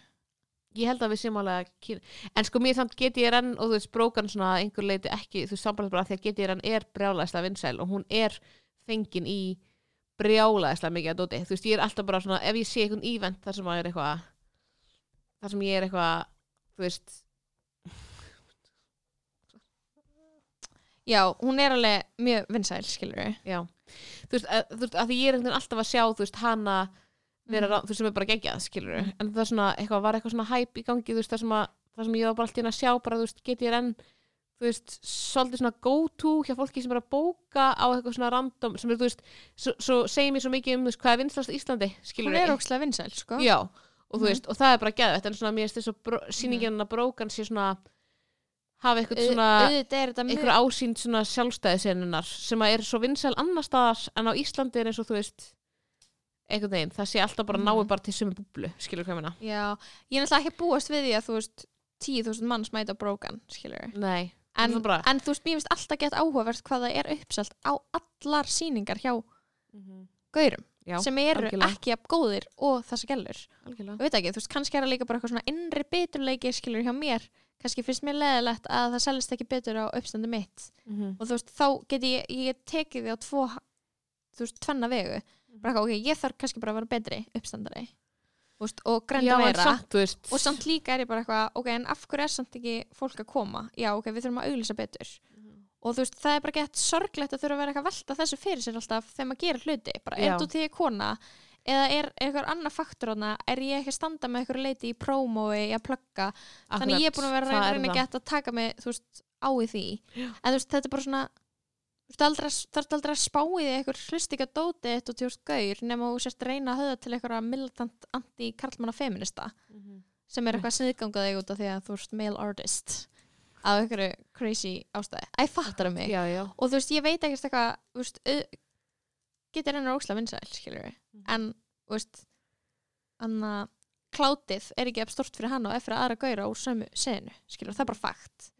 Speaker 3: Ég held að við séum alveg að kynna. En sko mér samt GTRN og þú veist brókan svona að einhver leiti ekki, þú veist sambarlega bara af því að GTRN er brjálæðislega vinsæl og hún er fengin í brjálæðislega mikið að dóti. Þú veist, ég er alltaf bara svona, ef ég sé einhvern ívent þar sem maður er eitthvað, þar sem ég er eitthvað, þú veist,
Speaker 4: já, hún er alveg mjög vinsæl, skilur
Speaker 3: já. Þú veist, að, þú veist, að því ég er einhvern veginn alltaf að sjá, þú veist, hana, vera, mm. þú veist, sem er bara geggjað, skilur en það er svona, eitthvað, var eitthvað svona hæp í gangi þú veist, það sem, að, það sem ég var bara alltaf inn að sjá bara, þú veist, get ég enn þú veist, svolítið svona go-to hjá fólki sem er að bóka á eitthvað svona random sem er, þú veist, svo, svo segir mér svo mikið um þú veist, hvað er vinslast í Íslandi, skilur
Speaker 4: hún er ókslega vinsæl, sko
Speaker 3: já, og þú
Speaker 4: Mhm.
Speaker 3: veist, og það er bara geðvægt en svona, mér finnst þess að sýningin að brókan sé svona hafa eitthvað
Speaker 4: Au-
Speaker 3: svona
Speaker 4: auðvitað er þetta mjög
Speaker 3: einhver ásýnd svona sjálfstæðisennunar sem að er svo vinsæl annar staðar en á Íslandi er eins og þú veist einhvern veginn, það sé alltaf bara
Speaker 4: Mhm.
Speaker 3: náu bara til sömu búblu, skilur hvað ég meina
Speaker 4: Já, ég er náttúrulega ekki að búast við því að þú veist 10.000 manns mæta á brókan, skilur
Speaker 3: Nei,
Speaker 4: en,
Speaker 3: Það er bara-
Speaker 4: en þú veist, mér finnst alltaf gett áhugavert hvað það er uppselt á allar sýningar hjá Mhm. gaurum
Speaker 3: já,
Speaker 4: sem eru
Speaker 3: algjörlega.
Speaker 4: ekki að góðir og þessa gælur
Speaker 3: algjörlega
Speaker 4: Ég veit ekki, þú veist, kannski er það líka bara eitthvað svona innri beturleiki skilur hjá mér kannski finnst mér leðilegt að það selist ekki betur á uppstandi mitt og þú veist, þá get ég, ég get tekið því á tvo þú veist, tvenna vegu
Speaker 3: Mhm.
Speaker 4: bara eitthvað, ok, ég þarf kannski bara að vera betri uppstandari Þú veist, og grænda
Speaker 3: Já, en
Speaker 4: meira
Speaker 3: samt, þú veist
Speaker 4: og samt líka er ég bara eitthvað ok, en af hverju er samt ekki fólk að koma já, ok, við þurfum að auglýsa betur
Speaker 3: Mhm.
Speaker 4: og þú veist, það er bara gett sorglegt að þurfa að vera eitthvað að velta þessu fyrir sér alltaf þegar maður gerir hluti bara,
Speaker 3: Já.
Speaker 4: er þú til kona eða er, er eitthvað annar faktur hana er ég ekki að standa með eitthvað leiti í prómói í að plugga, þannig ég er búin að vera að reyna, reyna gett að taka mig, þú veist, á í því en þú veist, þetta er bara svona þú veist, aldrei, að- þarf aldrei að spá í því eitthvað hlustika dóti eitt og tjóst gaur nema þú sérst að reyna að höða til eitthvað militant anti-karlmanna-feminista sem er eitthvað sniðgangað þig út af því að þú ert male artist af einhverju crazy ástæði Æ, fattar það mig
Speaker 3: já, já,
Speaker 4: og þú veist, ég veit ekkert eitthvað þú veist, au- getur hennar ósla vinsæl skilur við, en þú veist, anna klátið er ekki eða stort fyrir hann og eftir aðra gauðra úr sömu senu, skilur, það er bara fakt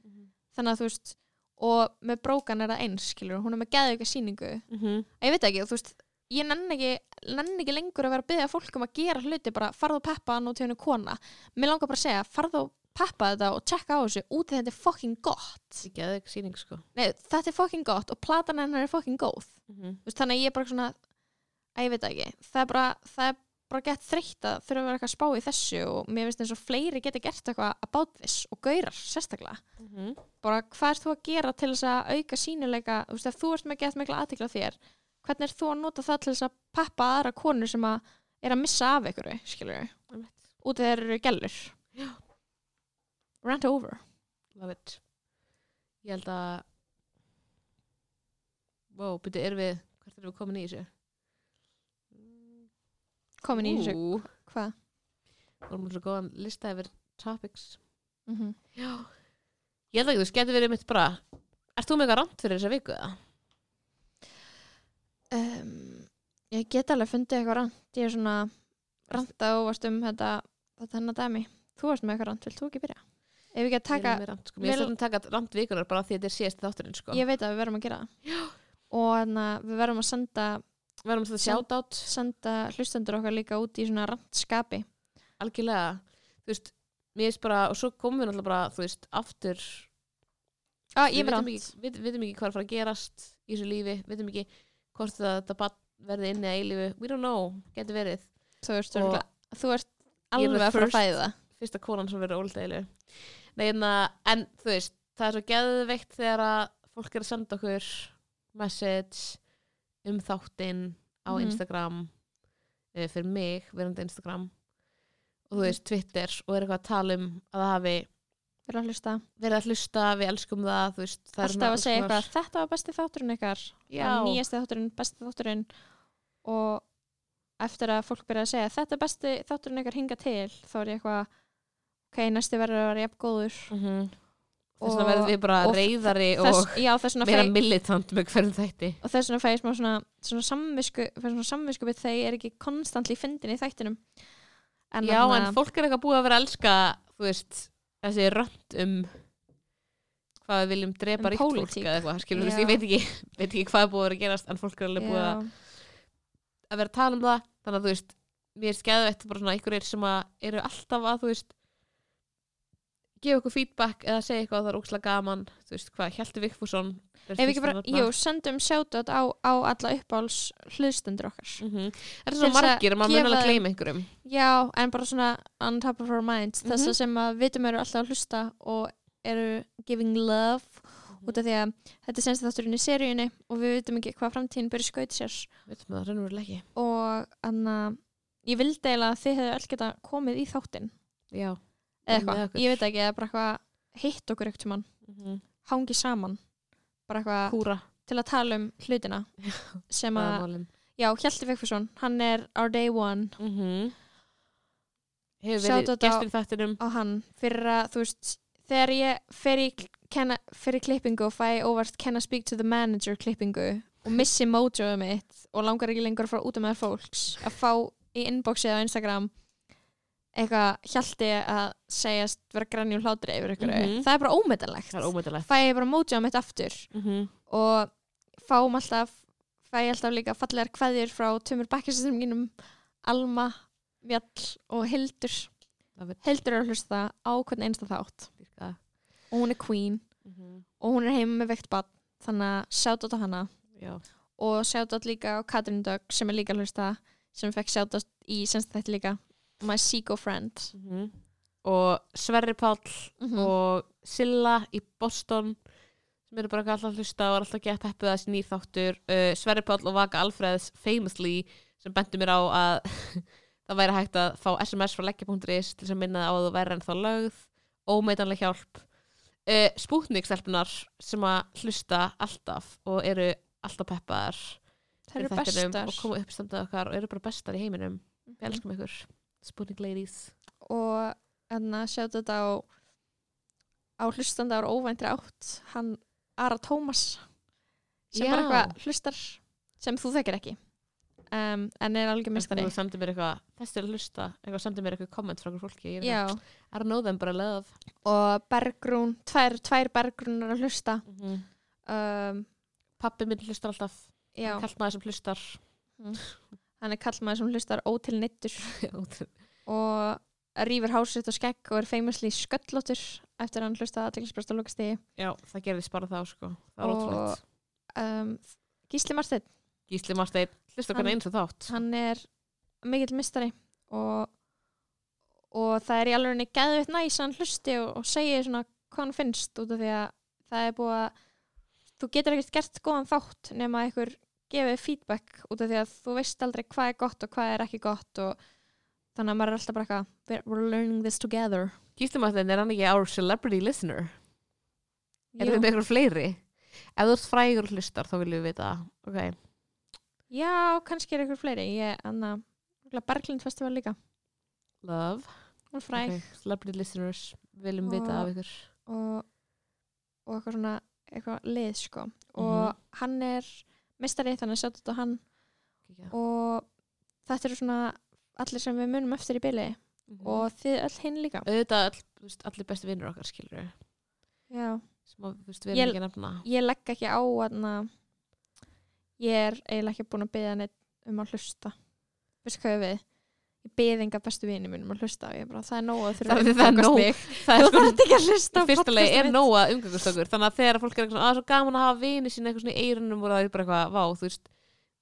Speaker 4: þannig að þú veist og með brókan er það eins, skilur, hún er með geðu eitthvað sýningu, ég veit ekki, þú veist ég nenni ekki, nenni ekki lengur að vera að byggja fólk um að gera hluti, bara farðu og peppa hann og tjónu kona, mér langar bara að segja farðu og peppa þetta og tjekka á þessu út af því þetta er fucking gott
Speaker 3: ekki að ekki sýning sko
Speaker 4: Nei, þetta er fucking gott og platan hennar er fucking góð Þú veist, þannig að ég er bara svona að ég veit það ekki, það er bara það er bara gett þreytt að þurfa að vera eitthvað að spá í þessu og mér finnst eins og fleiri geta gert eitthvað about this og gaurar sérstaklega bara hvað ert þú að gera til þess að auka sínileika, þú veist, ef þú ert með gett mikla aðtikla þér, hvernig ert þú að nota það til þess að pappa aðra konur sem að er að missa af ykkur, skilur við
Speaker 3: Einmitt.
Speaker 4: út af þeir eru gælur rant over
Speaker 3: love it ég held að wow, byrju, erum við hvert erum við komin í þessu?
Speaker 4: komin í þessu,
Speaker 3: Ú,
Speaker 4: hvað?
Speaker 3: vorum við svo góðan lista yfir topics
Speaker 4: Mm
Speaker 3: Ég held ekki, þú getur verið mitt bara Ert þú með eitthvað rámt fyrir þessa viku? eða?
Speaker 4: um, ég get alveg fundið eitthvað rant ég er svona rantað og varst um þetta, þetta hennar dæmi þú varst með eitthvað rant, vilt þú ekki byrja? ef við ekki að
Speaker 3: Ég
Speaker 4: taka,
Speaker 3: er með rant, sko. Mér
Speaker 4: vel-
Speaker 3: finnst þetta að taka rámt vikunar bara af því að þetta er síðast þátturinn sko.
Speaker 4: ég veit að við verðum að gera það og þannig að við verðum að senda
Speaker 3: Verðum þetta sjátt átt
Speaker 4: senda hlustendur okkar líka út í svona rantskapi
Speaker 3: algjörlega Þú veist, mér finnst bara og svo komum við náttúrulega bara, þú veist, aftur
Speaker 4: ah,
Speaker 3: við
Speaker 4: ég veit
Speaker 3: vitum
Speaker 4: um
Speaker 3: ekki, við, vitum ekki hvað er að fara að gerast í þessu lífi, vitum ekki hvort það, það bat, verði inni að eilífu we don't know, getur verið
Speaker 4: þú ert,
Speaker 3: Og-
Speaker 4: örugglega- þú ert
Speaker 3: Ég er
Speaker 4: alveg
Speaker 3: the
Speaker 4: að fara að
Speaker 3: first-
Speaker 4: fæða
Speaker 3: fyrsta konan sem verður ólega eilu Nei, en, en þú veist það er svo geðveikt þegar að fólk er að senda okkur message um þáttinn á
Speaker 4: Mhm.
Speaker 3: Instagram eh, fyrir mig, verandi Instagram og þú veist Twitter og er eitthvað að tala um að það hafi
Speaker 4: við erum að hlusta
Speaker 3: verið að hlusta, við elskum það þú veist, það er svona
Speaker 4: alltaf að
Speaker 3: alls
Speaker 4: segja
Speaker 3: konar-
Speaker 4: eitthvað þetta var besti þátturinn ykkar
Speaker 3: Já.
Speaker 4: nýjasti þátturinn, besti þátturinn og eftir að fólk byrja að segja þetta er besti þátturinn ykkar hinga til þá er ég eitthvað ok, næsti verður að vera jafn góður
Speaker 3: Mhm. Þess vegna
Speaker 4: Og-
Speaker 3: verðum við bara
Speaker 4: og
Speaker 3: reyðari og
Speaker 4: þess, já, þess vegna
Speaker 3: meira
Speaker 4: fæ-
Speaker 3: militant með hverjum þætti
Speaker 4: og þess vegna fæ ég smá svona, svona samvisku fæ svona samvisku við þegar ég er ekki konstantli fyndin í þættinum en,
Speaker 3: Já,
Speaker 4: þarna-
Speaker 3: en fólk er eitthvað búið að vera að elska þú veist, þessi rönt um hvað við viljum drepa
Speaker 4: Um
Speaker 3: ríkt fólk
Speaker 4: pólitík.
Speaker 3: eða eitthvað, skilur þú veist,
Speaker 4: Já.
Speaker 3: ég veit ekki [laughs] veit ekki hvað er búið að vera að gerast, en fólk er alveg búið að,
Speaker 4: Já.
Speaker 3: að vera að tala um það þannig að þú veist, mér er skeðvett bara svona einhverjir sem að eru alltaf að þú veist gefa okkur feedback eða segja eitthvað að það er ókslega gaman þú veist hvað, Hjalti Vikfússon er
Speaker 4: Ef við ekki
Speaker 3: fyrst að
Speaker 4: bara,
Speaker 3: nefna.
Speaker 4: jú, sendum sjátat á, á alla uppáls hlustendur okkar
Speaker 3: Mhm. Það er
Speaker 4: Til
Speaker 3: svona
Speaker 4: þess að
Speaker 3: margir að maður mun
Speaker 4: gefa
Speaker 3: alveg að
Speaker 4: þeim-
Speaker 3: gleyma einhverjum
Speaker 4: Já, en bara svona on top of our minds þess
Speaker 3: Mhm.
Speaker 4: að sem að vitum eru alltaf að hlusta og eru giving love
Speaker 3: Mhm.
Speaker 4: út af því að þetta er senst þátturinn í seríunni og við vitum ekki hvað framtíðin byrja skaut sér
Speaker 3: veitum það raunverulega ekki
Speaker 4: og anna, ég vildi eiginlega að þið hefðu öll geta komið í þáttinn
Speaker 3: Já.
Speaker 4: eða
Speaker 3: Með
Speaker 4: eitthvað,
Speaker 3: okkur.
Speaker 4: ég veit ekki, eða bara eitthvað hitt okkur ekkert mann,
Speaker 3: Mm
Speaker 4: hangi saman bara eitthvað
Speaker 3: kúra
Speaker 4: til að tala um
Speaker 3: [laughs]
Speaker 4: hlutina sem
Speaker 3: það er
Speaker 4: að,
Speaker 3: málin.
Speaker 4: já, Hjalti Vekfursson hann er our day one
Speaker 3: mm hefur
Speaker 4: Mm-hmm. Shout
Speaker 3: verið
Speaker 4: out
Speaker 3: gestur í þættinum
Speaker 4: á hann fyrir að, þú veist, þegar ég fer í, kenna, fer í klippingu og fæ óvart can I speak to the manager klippingu og missi mojoðu mitt og langar ekki lengur að fara út um með fólks að fá í inboxið á Instagram eitthvað hjalti að segjast vera grænjum hlátri yfir ykkur
Speaker 3: Mhm.
Speaker 4: það er bara ómetanlegt
Speaker 3: það er ómætilegt
Speaker 4: fæ ég bara mojoðu mitt aftur og fáum alltaf fæ ég alltaf líka fallegar kveðjur frá tömur bakkjæsistum mínum Alma, Mjall og Hildur
Speaker 3: Love it.
Speaker 4: Hildur er að hlusta á hvern einsta þátt
Speaker 3: Dýrka.
Speaker 4: og hún er queen og hún er heima með veikt bann þannig að sjátt á hana
Speaker 3: Já.
Speaker 4: og sjátt líka á Katrin Dögg sem er líka að hlusta sem fekk sjátt í senst þetta líka My Seco Friend
Speaker 3: og Sverri Páll
Speaker 4: Mhm.
Speaker 3: og Silla í Boston sem eru bara alltaf að hlusta og er alltaf að geta peppuð að þessi nýr þáttur uh, Sverri Páll og Vaka Alfreðs famously sem bentu mér á að [laughs] það væri hægt að fá sms frá leggja.is til þess að minna það á að þú væri ennþá lögð ómeitanleg hjálp uh, spútningselpunar sem að hlusta alltaf og eru alltaf peppaðar
Speaker 4: það eru
Speaker 3: í þættinum
Speaker 4: bestar Mhm.
Speaker 3: og koma uppstandað okkar og eru bara bestar í heiminum við elskum ykkur, Spooning Ladies
Speaker 4: og hérna sjátt á á hlustanda ára óvæntri átt hann Ara Tómas sem bara
Speaker 3: Já.
Speaker 4: eitthvað hlustar sem þú þekkir ekki um, en er algjör mistari
Speaker 3: þú sendir mér eitthvað, þessi er að hlusta eitthvað sendir mér eitthvað komment frá okkur fólki ég er
Speaker 4: Já,
Speaker 3: eitthvað, I know them bara love
Speaker 4: og bergrún, tvær, tvær bergrún er að hlusta
Speaker 3: mm -hmm.
Speaker 4: um,
Speaker 3: pappi minn hlustar alltaf,
Speaker 4: já,
Speaker 3: kallt maður sem
Speaker 4: [laughs]
Speaker 3: hlustar
Speaker 4: hann er kallmaður sem hlustar ótilneittur
Speaker 3: ótrúlega
Speaker 4: og rýfur hásið og skegg og er famously sköllóttur eftir að hann hlusta aðteglisbröst og lukastegi
Speaker 3: já, það gerðist bara þá sko, það var
Speaker 4: Og-
Speaker 3: ótrúlegt
Speaker 4: um, Gísli Marsteinn,
Speaker 3: Gísli Marstein, hlusta okkar
Speaker 4: Hann-
Speaker 3: eins og þátt
Speaker 4: hann er mikill mistari og, og það er í alveg geðvitt næs að hann hlusti og, og segi svona hvað hann finnst út af því að það er búið að þú getur ekkert gert góðan þátt nema að ykkur gefið feedback út af því að þú veist aldrei hvað er gott og hvað er ekki gott og þannig að maður er alltaf bara eitthvað "We're- we're learning this together
Speaker 3: Gísli Marstein, er hann ekki our celebrity listener er
Speaker 4: Jú.
Speaker 3: þetta eitthvað fleiri ef þú ert frægur og hlustar þá viljum við vita það. ok,
Speaker 4: Já, kannski er ykkur fleiri. Ég, Anna, Berglind Festival líka.
Speaker 3: love
Speaker 4: Hún er fræg
Speaker 3: Ok, celebrity listeners, viljum
Speaker 4: Og-
Speaker 3: vita af ykkur
Speaker 4: og, og eitthvað svona, eitthvað lið, sko. Og
Speaker 3: Mhm.
Speaker 4: hann er mistari þannig að sjá þetta á hann
Speaker 3: Kíkja.
Speaker 4: og þetta eru svona allir sem við munum eftir í byli
Speaker 3: Mhm.
Speaker 4: og þið öll hinn líka.
Speaker 3: auðvitað all, þú veist, allir bestu vinnur okkar skilur
Speaker 4: Já.
Speaker 3: sem að, þú veist, við erum
Speaker 4: Ég-
Speaker 3: ekki að nefna
Speaker 4: Ég legg ekki á að ég er eiginlega ekki búin að byggja neitt um að hlusta. Veistu hvað ég við? ég beði enga bestu vini mínum að hlusta og ég bara, það er nóg að þurfa
Speaker 3: Það-
Speaker 4: að
Speaker 3: það er
Speaker 4: umgangast
Speaker 3: nóg. [laughs]
Speaker 4: mig.
Speaker 3: það
Speaker 4: þú
Speaker 3: er sko
Speaker 4: þarf ekki að hlusta
Speaker 3: í
Speaker 4: á
Speaker 3: fyrsta lagi
Speaker 4: podcastið
Speaker 3: er
Speaker 4: mitt.
Speaker 3: nóg að umgangast okkur þannig að þegar fólk er eitthvað svona, að svo gaman að hafa vini sín eitthvað svona í eirunum og það er bara eitthvað vá, þú veist,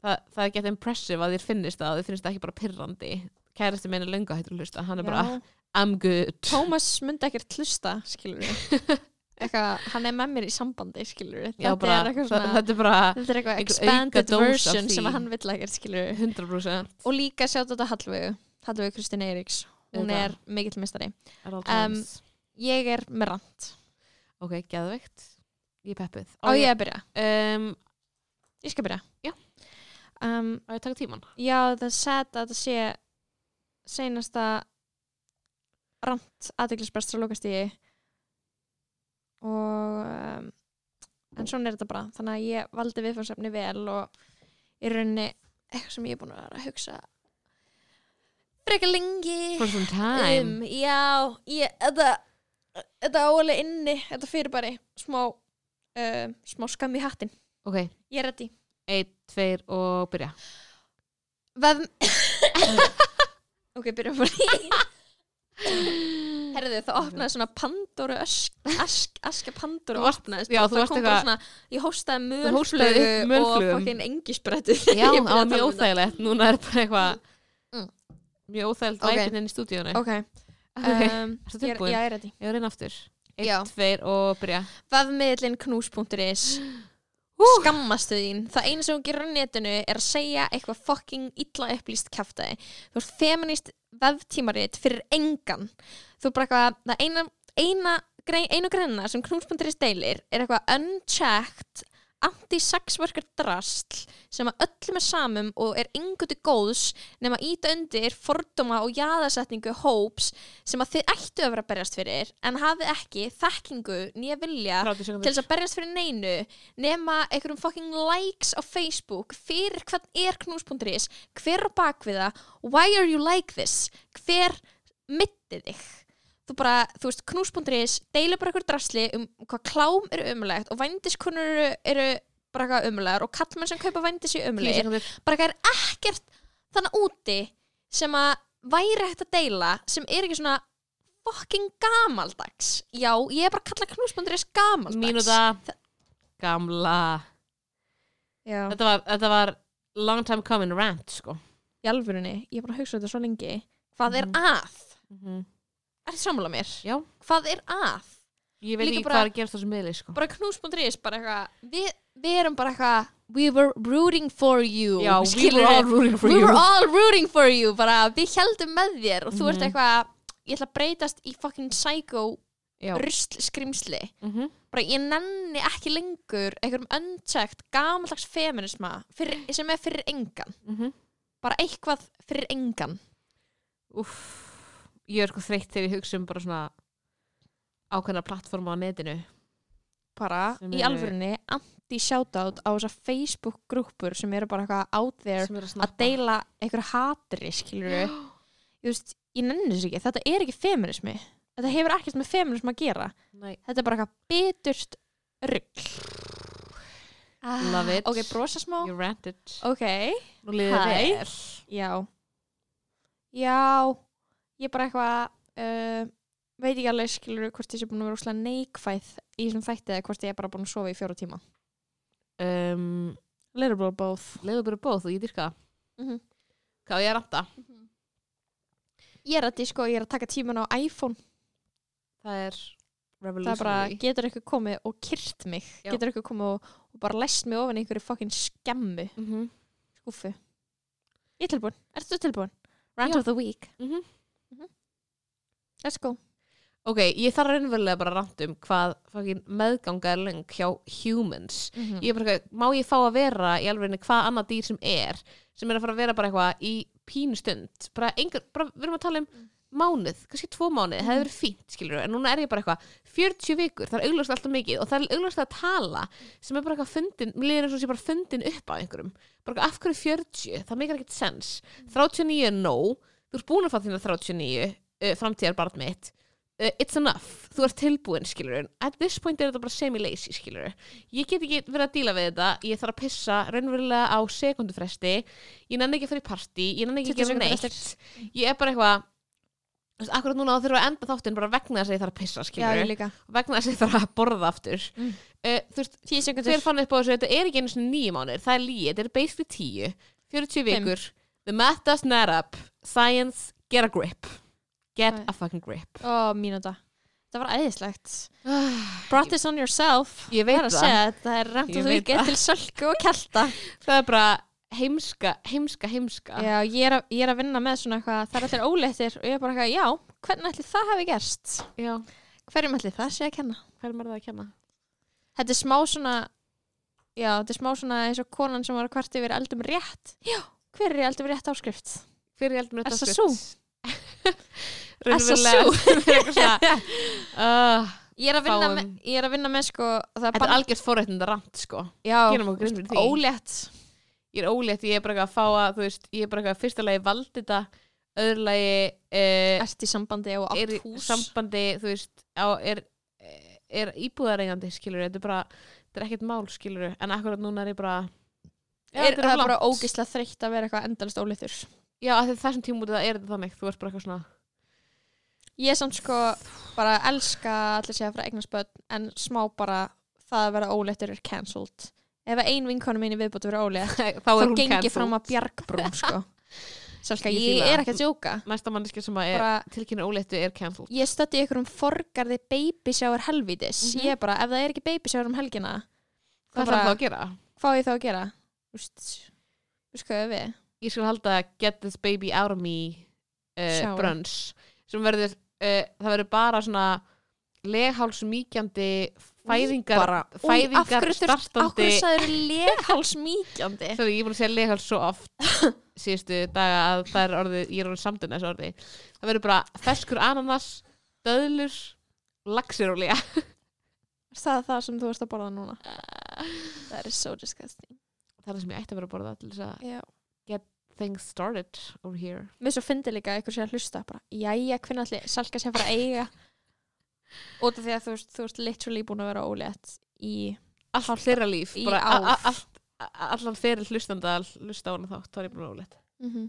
Speaker 3: það, það er gett impressive að þér finnist það, þér finnist það ekki bara pirrandi kærasti minn er löngu hættur að hlusta hann er bara,
Speaker 4: Já.
Speaker 3: I'm good
Speaker 4: Tómas myndi ekkert hlusta, skilur við
Speaker 3: [laughs]
Speaker 4: eitthvað, hann er með mér í sambandi skilur við,
Speaker 3: Já,
Speaker 4: þetta
Speaker 3: bara,
Speaker 4: er eitthvað
Speaker 3: það-
Speaker 4: svona
Speaker 3: þetta er bara
Speaker 4: þetta er eitthvað
Speaker 3: einhver
Speaker 4: expanded
Speaker 3: aukadós af
Speaker 4: version
Speaker 3: því.
Speaker 4: sem að hann vill ekkert skilur við
Speaker 3: 100%
Speaker 4: og líka sjátt þetta Hallvegu Hallvegu Kristín Eiríks, hún
Speaker 3: Auðvitað.
Speaker 4: er mikill mistari
Speaker 3: at all
Speaker 4: Um,
Speaker 3: times.
Speaker 4: ég er með rand,
Speaker 3: ok, geðveikt, ég er peppuð
Speaker 4: á ég að byrja
Speaker 3: um,
Speaker 4: ég skal byrja
Speaker 3: Já.
Speaker 4: um,
Speaker 3: á ég að taka tíman
Speaker 4: Já, það er sad að það sé seinasta rant aðdeglisbrestur að lókast í og um, en svona er þetta bara þannig að ég valdi viðfórsefni vel og í rauninni eitthvað sem ég er búin að vera að hugsa frekar lengi
Speaker 3: for some
Speaker 4: um,
Speaker 3: time
Speaker 4: já, ég þetta, þetta álega inni þetta fyrir bara smá um, smá skam í hattin,
Speaker 3: ok,
Speaker 4: ég er ready
Speaker 3: 1, 2 og byrja
Speaker 4: Vef... ok, byrjum bara í Herðu, það opnaði svona Pandóru ösk, ask, askja Pandóru
Speaker 3: Þú varst-
Speaker 4: opnaðist
Speaker 3: já,
Speaker 4: og
Speaker 3: þú
Speaker 4: það
Speaker 3: varst
Speaker 4: kom bara
Speaker 3: eitthvað-
Speaker 4: svona, ég hóstaði
Speaker 3: hóstaðir
Speaker 4: mölflögu
Speaker 3: upp
Speaker 4: og
Speaker 3: mölflugum.
Speaker 4: fokkin engisbrettu
Speaker 3: Já,
Speaker 4: [laughs]
Speaker 3: það var mjög óþægilegt, núna er bara eitthvað
Speaker 4: um Mm.
Speaker 3: mjög óþægilegt
Speaker 4: Ok.
Speaker 3: okay. væpinn inn í stúdíónu
Speaker 4: Ok,
Speaker 3: okay.
Speaker 4: um,
Speaker 3: Ertu
Speaker 4: ég, er- já,
Speaker 3: tilbúin?
Speaker 4: ég er ready
Speaker 3: Ég var reyna aftur
Speaker 4: Já.
Speaker 3: 1, 2 og byrja
Speaker 4: Vefmiðlinn knús.is Skammastu þín Það eina sem hún gerir á netinu er að segja eitthvað fucking illa upplýst kæftæði Þú ert feminist veftímarit fyrir engan Þú bara eitthvað, það eina, eina grei, einu greina sem knús.is deilir er eitthvað unchecked anti-sexworker drastl sem að öllum er samum og er yngutu góðs nema íta undir fordóma og jaðasetningu hóps sem að þið ættu að vera að berjast fyrir en hafið ekki þekkingu nýja vilja
Speaker 3: 30
Speaker 4: Ah, til
Speaker 3: sekundur
Speaker 4: þess að berjast fyrir neinu nema einhverjum fucking likes á Facebook fyrir hvern er knús.is hver á bakviða, why are you like this hver mittið þig þú bara, þú veist, knús.is deila bara einhver drasli um hvað klám eru umulegt og vændiskunnur eru, eru bara eitthvað umlegar og kallmenn sem kaupa vændis í
Speaker 3: 10
Speaker 4: umlegir
Speaker 3: sekundur
Speaker 4: bara eitthvað er ekkert þannig úti sem að væri hægt að deila sem er ekki svona fucking gamaldags já, ég er bara að kalla knúsbunduris gamaldags
Speaker 3: Mínúta Gamla
Speaker 4: já,
Speaker 3: þetta var, þetta var long time coming rant sko
Speaker 4: í alvörunni, ég er bara að hugsa um þetta svo lengi hvað
Speaker 3: Mhm.
Speaker 4: er að? Er þetta sammála mér?
Speaker 3: Já.
Speaker 4: hvað er að?
Speaker 3: Ég veit
Speaker 4: Líka
Speaker 3: ekki
Speaker 4: bara-
Speaker 3: hvað er að gerast á þessum miðli sko
Speaker 4: bara knús.is, bara eitthvað við, við erum bara eitthvað we were rooting for you
Speaker 3: Já, we
Speaker 4: skilurðu?
Speaker 3: were all rooting for
Speaker 4: we
Speaker 3: you
Speaker 4: were all rooting for you bara við heldum með þér og þú ert
Speaker 3: Mhm.
Speaker 4: eitthvað ég ætla að breytast í fucking psycho
Speaker 3: Já.
Speaker 4: rusl skrimsli
Speaker 3: Mhm.
Speaker 4: bara ég nenni ekki lengur einhverjum unchecked gamaldags feminisma fyrir, sem er fyrir engan
Speaker 3: Mhm.
Speaker 4: bara eitthvað fyrir engan
Speaker 3: Úff, Ég er sko þreytt þegar ég hugsa um bara svona ákveðna plattforma á netinu
Speaker 4: bara
Speaker 3: Sem
Speaker 4: í
Speaker 3: eru-
Speaker 4: alvörinni anti-shoutout á þessar Facebook grúpur sem eru bara eitthvað out there
Speaker 3: sem er að
Speaker 4: að
Speaker 3: snappa
Speaker 4: deila einhverju hatri skilur við veist, ég nenni þessu ekki, þetta er ekki feminismi þetta hefur ekkert með feminismi að gera
Speaker 3: Nei.
Speaker 4: þetta er bara eitthvað biturt rugg
Speaker 3: Love it.
Speaker 4: ok, brosa smá
Speaker 3: You ranted
Speaker 4: ok,
Speaker 3: Nú liðið
Speaker 4: Hæ.
Speaker 3: vel
Speaker 4: já já, ég bara eitthvað uh, veit ekki alveg skilur við hvort ég sé búin að vera úslega neikvæð í þessum þætti eða hvort ég er bara búin að sofa í fjóra tíma
Speaker 3: um,
Speaker 4: little bit of both
Speaker 3: leiðu bara bóð og ég dyrka það
Speaker 4: Mhm.
Speaker 3: hvað á ég að ranta
Speaker 4: ég er að disko, ég er að taka tíman á iPhone
Speaker 3: það er
Speaker 4: það er bara,
Speaker 3: revolutionary
Speaker 4: getur eitthvað komið og kyrt mig
Speaker 3: Já.
Speaker 4: getur eitthvað komið og, og bara læst mig ofan í einhverju fokkin skemmu
Speaker 3: Mhm.
Speaker 4: skúfu ég er tilbúin, ertu tilbúin? Rant
Speaker 3: Já.
Speaker 4: of the week
Speaker 3: Mhm.
Speaker 4: Mhm. let's go
Speaker 3: ok, ég þarf raunverulega bara að ranta um hvað fucking meðganga er leng hjá humans
Speaker 4: Mhm.
Speaker 3: ég er bara, eitthvað, má ég fá að vera í alveg hvað annað dýr sem er sem er að fara að vera bara eitthvað í pínustund bara einhver, bara, við erum að tala um mánuð, kannski tvo mánuð, það hefur verið fínt skilur en núna er ég bara eitthvað 40 vikur, það er auglast alltaf mikið og það er auglast að tala sem er bara eitthvað fundin, mér líður eins og sé bara fundin upp á einhverjum bara eitthvað, af hverju 40, það meikar
Speaker 4: Mm.
Speaker 3: ekkert sens 39 er nóg, þú ert búin að fá þína 39 uh, framtíðar eh, barn mitt uh, it's enough, þú ert tilbúin skilur at this point er þetta bara semi-lazy skilur ég get ekki verið að díla við þetta ég þarf að pissa raunverulega á sekundufresti ég nenni ekki að fara í partí ég nenni ekki
Speaker 4: 20 sekúndur
Speaker 3: að gera neitt ég er bara eitthvað þú veist, akkurat núna þá þurfum við að enda þáttinn bara vegna þess að ég þarf að pissa
Speaker 4: Já,
Speaker 3: skilur
Speaker 4: ég líka.
Speaker 3: vegna þess að ég þarf að borða aftur
Speaker 4: Mm.
Speaker 3: uh, þú veist,
Speaker 4: Tíu sekundur.
Speaker 3: hver fann upp á þessu þetta er ekki einu svona nýju mánir, það er líi þetta er basically tíu, 40
Speaker 4: Fimm.
Speaker 3: vikur the math does not up, science get a grip, get
Speaker 4: Nei.
Speaker 3: a fucking grip
Speaker 4: Ó, mínúta. Það var æðislegt.
Speaker 3: Ah,
Speaker 4: Brought this on yourself.
Speaker 3: ég veit
Speaker 4: er að
Speaker 3: það.
Speaker 4: segja, þetta er remt
Speaker 3: Ég
Speaker 4: og þú
Speaker 3: veit
Speaker 4: ekki
Speaker 3: það.
Speaker 4: til sölku og kelta.
Speaker 3: það er bara heimska, heimska, heimska
Speaker 4: Já, ég er, að, ég er að vinna með svona eitthvað, það er allir óleittir og ég er bara eitthvað, já, hvernig ætli það hafi gerst?
Speaker 3: já,
Speaker 4: Hverjum ætli það sé að kenna?
Speaker 3: hvað er maður það að kenna?
Speaker 4: Þetta er smá svona, já, þetta er smá svona eins og konan sem var að kvart yfir eldum rétt. Já, hver er í eldum rétt áskrift?
Speaker 3: fyrir ég heldur með
Speaker 4: SSU.
Speaker 3: [laughs] raunverulega uh,
Speaker 4: Ég er að vinna,
Speaker 3: Fáum-
Speaker 4: með, ég er að vinna með sko, það
Speaker 3: þetta er algjört forréttinda ramt sko
Speaker 4: já,
Speaker 3: gerum okkur grinn fyrir því
Speaker 4: ólétt.
Speaker 3: ég er ólétt, ég er bara eitthvað að fá að þú veist, ég er bara eitthvað að fyrsta lagi valdi þetta öðru lagi uh,
Speaker 4: Ert í sambandi og
Speaker 3: er
Speaker 4: átt
Speaker 3: í
Speaker 4: hús.
Speaker 3: sambandi þú veist, á, er, er íbúðareigandi skilur, þetta er bara þetta er ekkert mál skilur, en akkurat núna er ég bara
Speaker 4: er,
Speaker 3: þetta
Speaker 4: það er
Speaker 3: langt.
Speaker 4: bara ógislega þreytt að vera eitthvað endalist óleittur.
Speaker 3: já, af því þessum tímum út það er þetta þannig, þú ert bara eitthvað svona [laughs]
Speaker 4: Ég samt sko bara elska allir sé að fara að eignast börn en smá bara það að vera óléttur er cancelled. Ef ein vinkonu mín í viðbót vera ólétt
Speaker 3: [laughs] þá
Speaker 4: þá
Speaker 3: er hún
Speaker 4: gengi
Speaker 3: cancelled.
Speaker 4: fram að bjargbrún [laughs] sko. Sjálfka,
Speaker 3: Ég
Speaker 4: ég,
Speaker 3: fíla Eh. það.
Speaker 4: er ekki að djóka.
Speaker 3: næsta manneski sem að er
Speaker 4: Bara,
Speaker 3: tilkynna óléttu er cancelled
Speaker 4: ég stötti ykkur um forgarði babysjáur helvítis.
Speaker 3: Mhm.
Speaker 4: Ég er bara, ef það er ekki babysjáur um helgina,
Speaker 3: hvað
Speaker 4: bara-
Speaker 3: þarf það að gera?
Speaker 4: hvað á ég þá að gera? Úst, úst hvað er við?
Speaker 3: ég skal halda get this baby out of me uh,
Speaker 4: Shower.
Speaker 3: brunch sem verður, uh, það verður bara svona leghálsmíkjandi fæðingar,
Speaker 4: Bara, új, af
Speaker 3: fæðingar
Speaker 4: hverju þurft- Af
Speaker 3: startandi
Speaker 4: hverju sagður
Speaker 3: [laughs]
Speaker 4: leghalsmíkjandi?
Speaker 3: Sorry, ég er búin að segja leghals svo
Speaker 4: [laughs]
Speaker 3: oft síðustu daga að það er orðið ég er orðið samdinn þessu orði það verður bara feskur ananas, döðlur laxirólega
Speaker 4: Er það það sem þú ert að borða núna?
Speaker 3: Eh.
Speaker 4: Það er so disgusting.
Speaker 3: það er það sem ég ætti að vera að borða til þess að
Speaker 4: Já.
Speaker 3: things started over here
Speaker 4: Mér svo fyndi líka að ykkur sé að hlusta bara, jæja, hvernig allir salka sé að fara að eiga út af því að þú, veist- þú ert literally búin að vera ólétt í
Speaker 3: allt þeirra líf
Speaker 4: í
Speaker 3: bara, a- a-
Speaker 4: ár.
Speaker 3: allt- a- allan fyrir hlustanda að hlusta á hana þátt, þá er ég búin að ólega
Speaker 4: Mhm.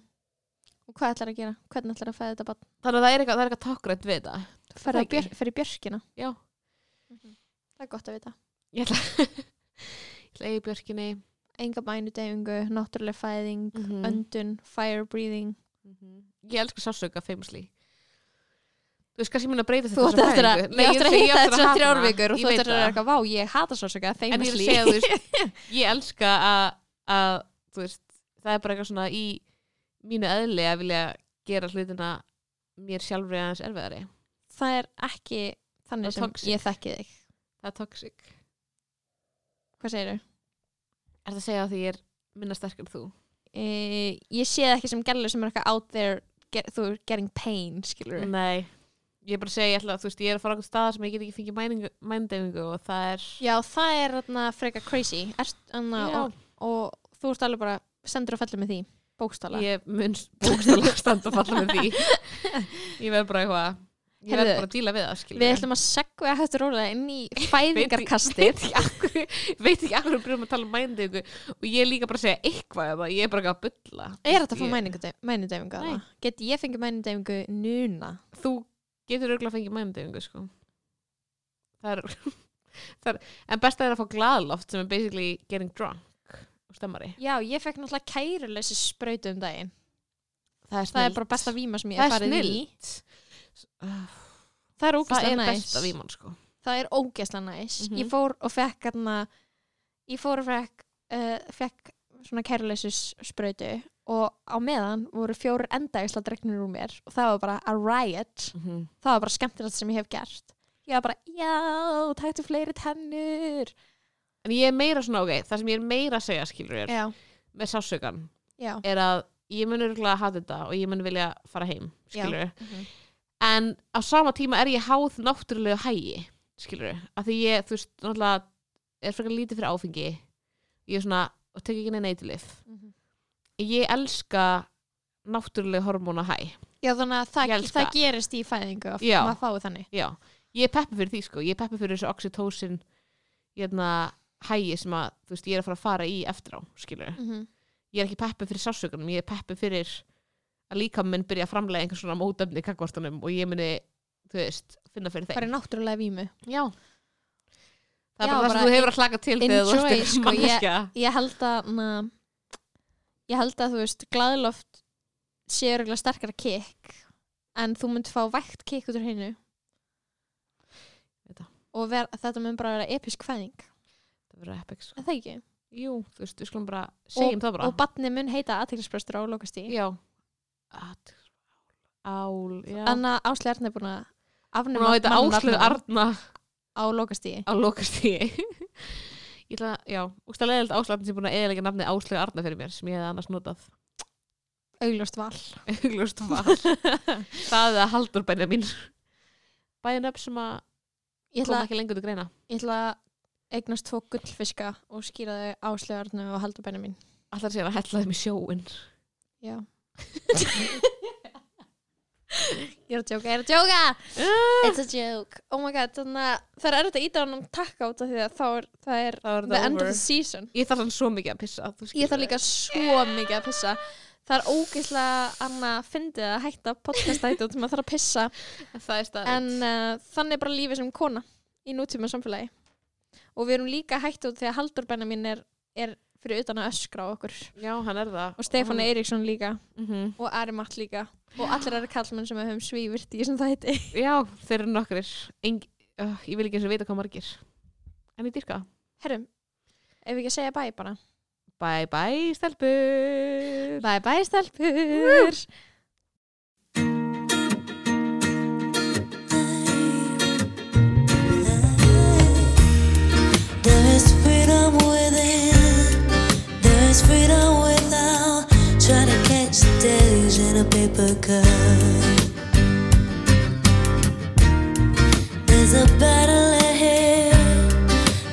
Speaker 4: og hvað ætlar að gera? Hvernig ætlar að fæða þetta bann?
Speaker 3: Þannig að það er eitthvað, það er eitthvað tákrætt við þetta.
Speaker 4: Fer,
Speaker 3: Það
Speaker 4: að
Speaker 3: ekki.
Speaker 4: björ, fer í björkina?
Speaker 3: Já.
Speaker 4: Það er gott að vita.
Speaker 3: Ég ætla, ég ætla að eigi björkinni.
Speaker 4: Enga mænudefingu, náttúrulega fæðing,
Speaker 3: Mm -hmm.
Speaker 4: öndun, fire breathing. Mhm.
Speaker 3: Ég elsku sásauka, famously. Þú veist kannski ég mun að breyta
Speaker 4: Þú ætti eftir að,
Speaker 3: Nei,
Speaker 4: ég ætti að
Speaker 3: ég
Speaker 4: hitta
Speaker 3: átti
Speaker 4: þetta
Speaker 3: hata
Speaker 4: þrjár
Speaker 3: hana.
Speaker 4: vikur og
Speaker 3: Ég
Speaker 4: þú
Speaker 3: veit
Speaker 4: ætti að vera
Speaker 3: það.
Speaker 4: eitthvað, vá, ég hata sálsöka, þeim
Speaker 3: En ég er að segja, þú veist, [laughs] ég elska að, að, þú veist, það er bara eitthvað svona í mínu eðli að vilja gera hlutina mér sjálfri aðeins erfiðari.
Speaker 4: Það er ekki þannig
Speaker 3: Það
Speaker 4: sem
Speaker 3: tókst.
Speaker 4: ég þekki þig.
Speaker 3: Það er toxic.
Speaker 4: Hvað segirðu?
Speaker 3: Er það að segja að því ég er minna sterk en þú?
Speaker 4: uh, ég sé það ekki sem gælu sem er eitthvað out there get, þú er getting pain, skilur
Speaker 3: Nei. Ég er bara að segja, ég ætla, þú veist, ég er að fara á einhvern stað sem ég get ekki fengið mæningu- mændefingu og það er...
Speaker 4: já, það er þarna freka crazy Ert, anna,
Speaker 3: Já.
Speaker 4: og, og þú ert alveg bara sendur og fellur með því, bókstala
Speaker 3: Ég mun bókstala standa og falla með því [laughs] Ég verð bara eitthvað Ég verð
Speaker 4: Heyrðu,
Speaker 3: bara að díla við það skilur
Speaker 4: við ætlum að segja hættu rólega
Speaker 3: [laughs]
Speaker 4: inn í fæðingarkastið
Speaker 3: Akkur, veit ekki akkur við byrjum að tala um mændingu og ég er líka bara að segja eitthvað eða ég er bara eitthvað að bulla
Speaker 4: er þetta að fá
Speaker 3: Ég-
Speaker 4: mæningu- mænudefingu að
Speaker 3: Nei.
Speaker 4: það? get ég fengið mænudefingu núna?
Speaker 3: Þú getur auðvitað að fengið mændingu sko. það er, [laughs] það er en best að er að fá glaðloft sem er basically getting drunk og stemmari
Speaker 4: já, ég fekk náttúrulega kæruleysi sprautu um daginn
Speaker 3: það
Speaker 4: það er bara besta víma sem ég
Speaker 3: Það
Speaker 4: hef
Speaker 3: er
Speaker 4: farið í
Speaker 3: snillt. Ah,
Speaker 4: það er
Speaker 3: það
Speaker 4: ógæslega
Speaker 3: er
Speaker 4: næs
Speaker 3: besta vímann sko.
Speaker 4: það er ógeðslega næs
Speaker 3: Mhm.
Speaker 4: ég fór og fekk hérna ég fór og fekk, uh, fekk svona kærleysis sprautu og á meðan voru fjórir endægisla dregnir úr mér og það var bara a riot
Speaker 3: mm -hmm.
Speaker 4: það var bara skemmtilegt sem ég hef gert ég var bara, já, taktu fleiri tennur
Speaker 3: en ég er meira svona ok það sem ég er meira að segja skilur er
Speaker 4: já,
Speaker 3: með sásaukan
Speaker 4: já,
Speaker 3: er að ég mun örgulega að hafa þetta og ég mun vilja fara heim skilur
Speaker 4: Mhm.
Speaker 3: en á sama tíma er ég háð náttúrulegu hægi skilur af því ég þú veist náttúrulega er frekar lítið fyrir áfengi ég er svona og tek ekki neina eitilif
Speaker 4: Mhm.
Speaker 3: ég elska náttúruleg hormóna hæ
Speaker 4: Já, þannig að
Speaker 3: Ég
Speaker 4: það,
Speaker 3: elska
Speaker 4: það
Speaker 3: það.
Speaker 4: gerist í fæðingu að
Speaker 3: Já.
Speaker 4: maður fái þannig.
Speaker 3: já, ég er peppi fyrir því sko ég er peppi fyrir þessu oxytocin hérna, hægi sem að þú veist, ég er að fara að fara í eftir á skilur.
Speaker 4: Mm
Speaker 3: ég er ekki peppi fyrir sásökunum ég er peppi fyrir að líka minn byrja að framlega einhvers svona mótefni kakvartanum og ég muni, þú veist, finna fyrir
Speaker 4: Það
Speaker 3: þeim
Speaker 4: er náttúrulega vímu.
Speaker 3: já það
Speaker 4: Já,
Speaker 3: er bara það
Speaker 4: bara
Speaker 3: sem þú hefur að hlaka til þegar þú
Speaker 4: enjoy,
Speaker 3: ert
Speaker 4: sko,
Speaker 3: sko, manneskja
Speaker 4: Ég held að, na, ég held að þú veist, glæðloft sé örgulega sterkara kikk en þú myndi fá vægt kikk út úr hennu.
Speaker 3: Veit það.
Speaker 4: Og ver, þetta mun bara vera episk fæðing.
Speaker 3: það verður epic sko.
Speaker 4: Er það ekki?
Speaker 3: jú, þú veist, við skulum bara segjum það bara
Speaker 4: Og batni mun heita aðtækisbrestur á lokastí.
Speaker 3: já At- ál, já hún
Speaker 4: Anna Ásli Arna er búin að afnum
Speaker 3: á að heita Áslöð Arna
Speaker 4: á lokastí.
Speaker 3: á lokastíi [laughs] ég ætla, að- já, úst að leiðild Áslöð Arna sem er búin að eðalega nafni Áslöð Arna fyrir mér sem ég hefði annars [laughs] notað
Speaker 4: Augljóst val.
Speaker 3: augljóst [laughs] val það er að haldur bænja mín bæðin upp sem að
Speaker 4: Ég ætla,
Speaker 3: koma ekki lengur til greina
Speaker 4: ég ætla að eignast tvo gullfiska og skýra þau Ásli Arna og halda benni mín.
Speaker 3: allar sér að hella þeim í sjóin
Speaker 4: Já. ég er að djóka, ég er að djóka! It's a joke. Oh my god, þannig að það er erfitt að íta honum takk át af því að þá er, það er
Speaker 3: það
Speaker 4: the end of the season.
Speaker 3: ég þarf hann svo mikið að pissa þú skilur
Speaker 4: Ég þarf líka svo mikið að pissa. Það er ógeðslega annað að fyndið að hætta podcastættu út sem maður þarf að pissa.
Speaker 3: það. það er
Speaker 4: En
Speaker 3: staðið
Speaker 4: uh, þannig er bara lífið sem kona í nútíma samfélagi. Og við erum líka hætt út þegar Haldur benni mín er, er fyrir utan að öskra á okkur.
Speaker 3: já hann er það
Speaker 4: Og Stefán Eiríksson líka.
Speaker 3: mm -hmm.
Speaker 4: Og Ari Matt líka. Og allir aðra kallmenn sem við höfum svívirt í sem það heiti.
Speaker 3: já þeir eru nokkrir Eng, uh, ég vil ekki eins og vita hvað margir en ég dyrka
Speaker 4: Herrum, ef við ekki að segja bæ bara.
Speaker 3: bye bye stelpur
Speaker 4: Bæ bæ stelpur!
Speaker 5: There's freedom within, there's freedom without. Trying to catch the days in a paper cup. There's a battle ahead,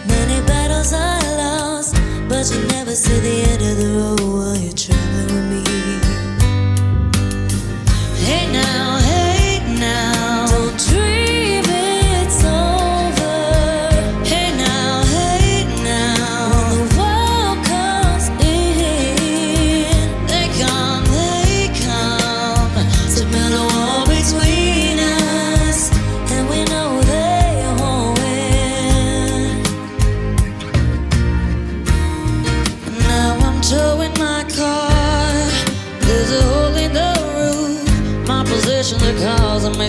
Speaker 5: many battles are lost, but you never see the end of the road while you're traveling with me. Hey now, hey now, don't dream it's over. Hey now, hey now, when the world comes in, they come, they come to build a wall between us, and we know they won't win. Now I'm towing my car. There's a hole in the roof. My position, the cause of my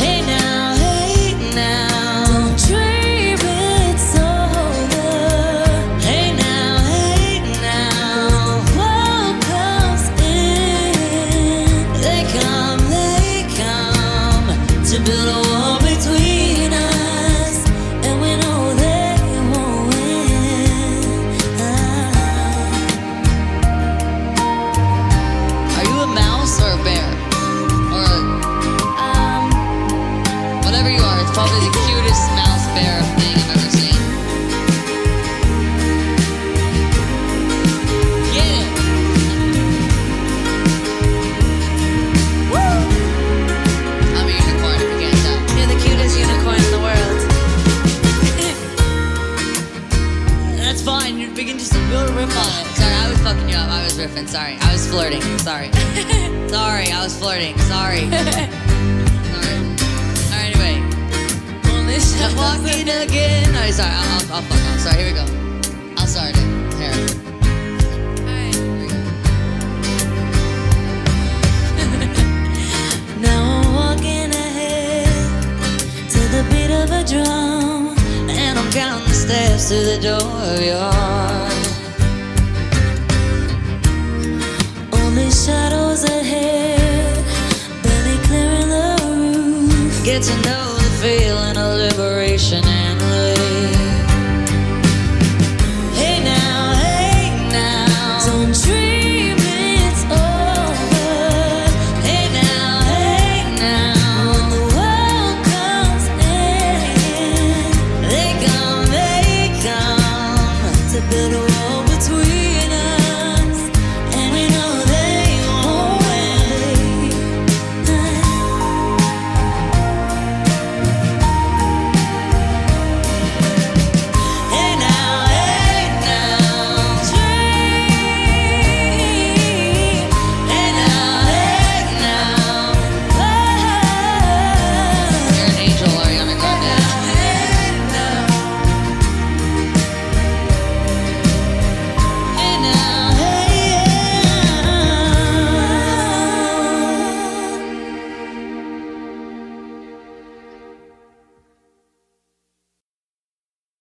Speaker 5: Hey now, hey now, don't dream it's over. Hey now, hey now, what comes in? They come, they come to build a wall between us, and we know they won't win. Are you a mouse or a bear or a? Um. Whatever you are, it's probably the cutest mouse bear thing I've ever seen. Get it! Woo! I'm a unicorn, if you can't tell. You're the cutest unicorn in the world. [laughs] That's fine, you can just build a riff on it. Sorry, I was fucking you up. I was riffing, sorry. I was flirting, [laughs] sorry. sorry, I was flirting, [laughs] sorry. sorry. Alright, anyway. On this I'm walking again. No, sorry, I'll, I'll, I'll fuck off. Sorry, here we go. I'll start it. Here. Alright, here we go. [laughs] now I'm walking ahead to the beat of a drum. And I'm counting the steps to the door of your heart. Only shadows ahead, barely clearing the roof. Get to know the feeling of liberation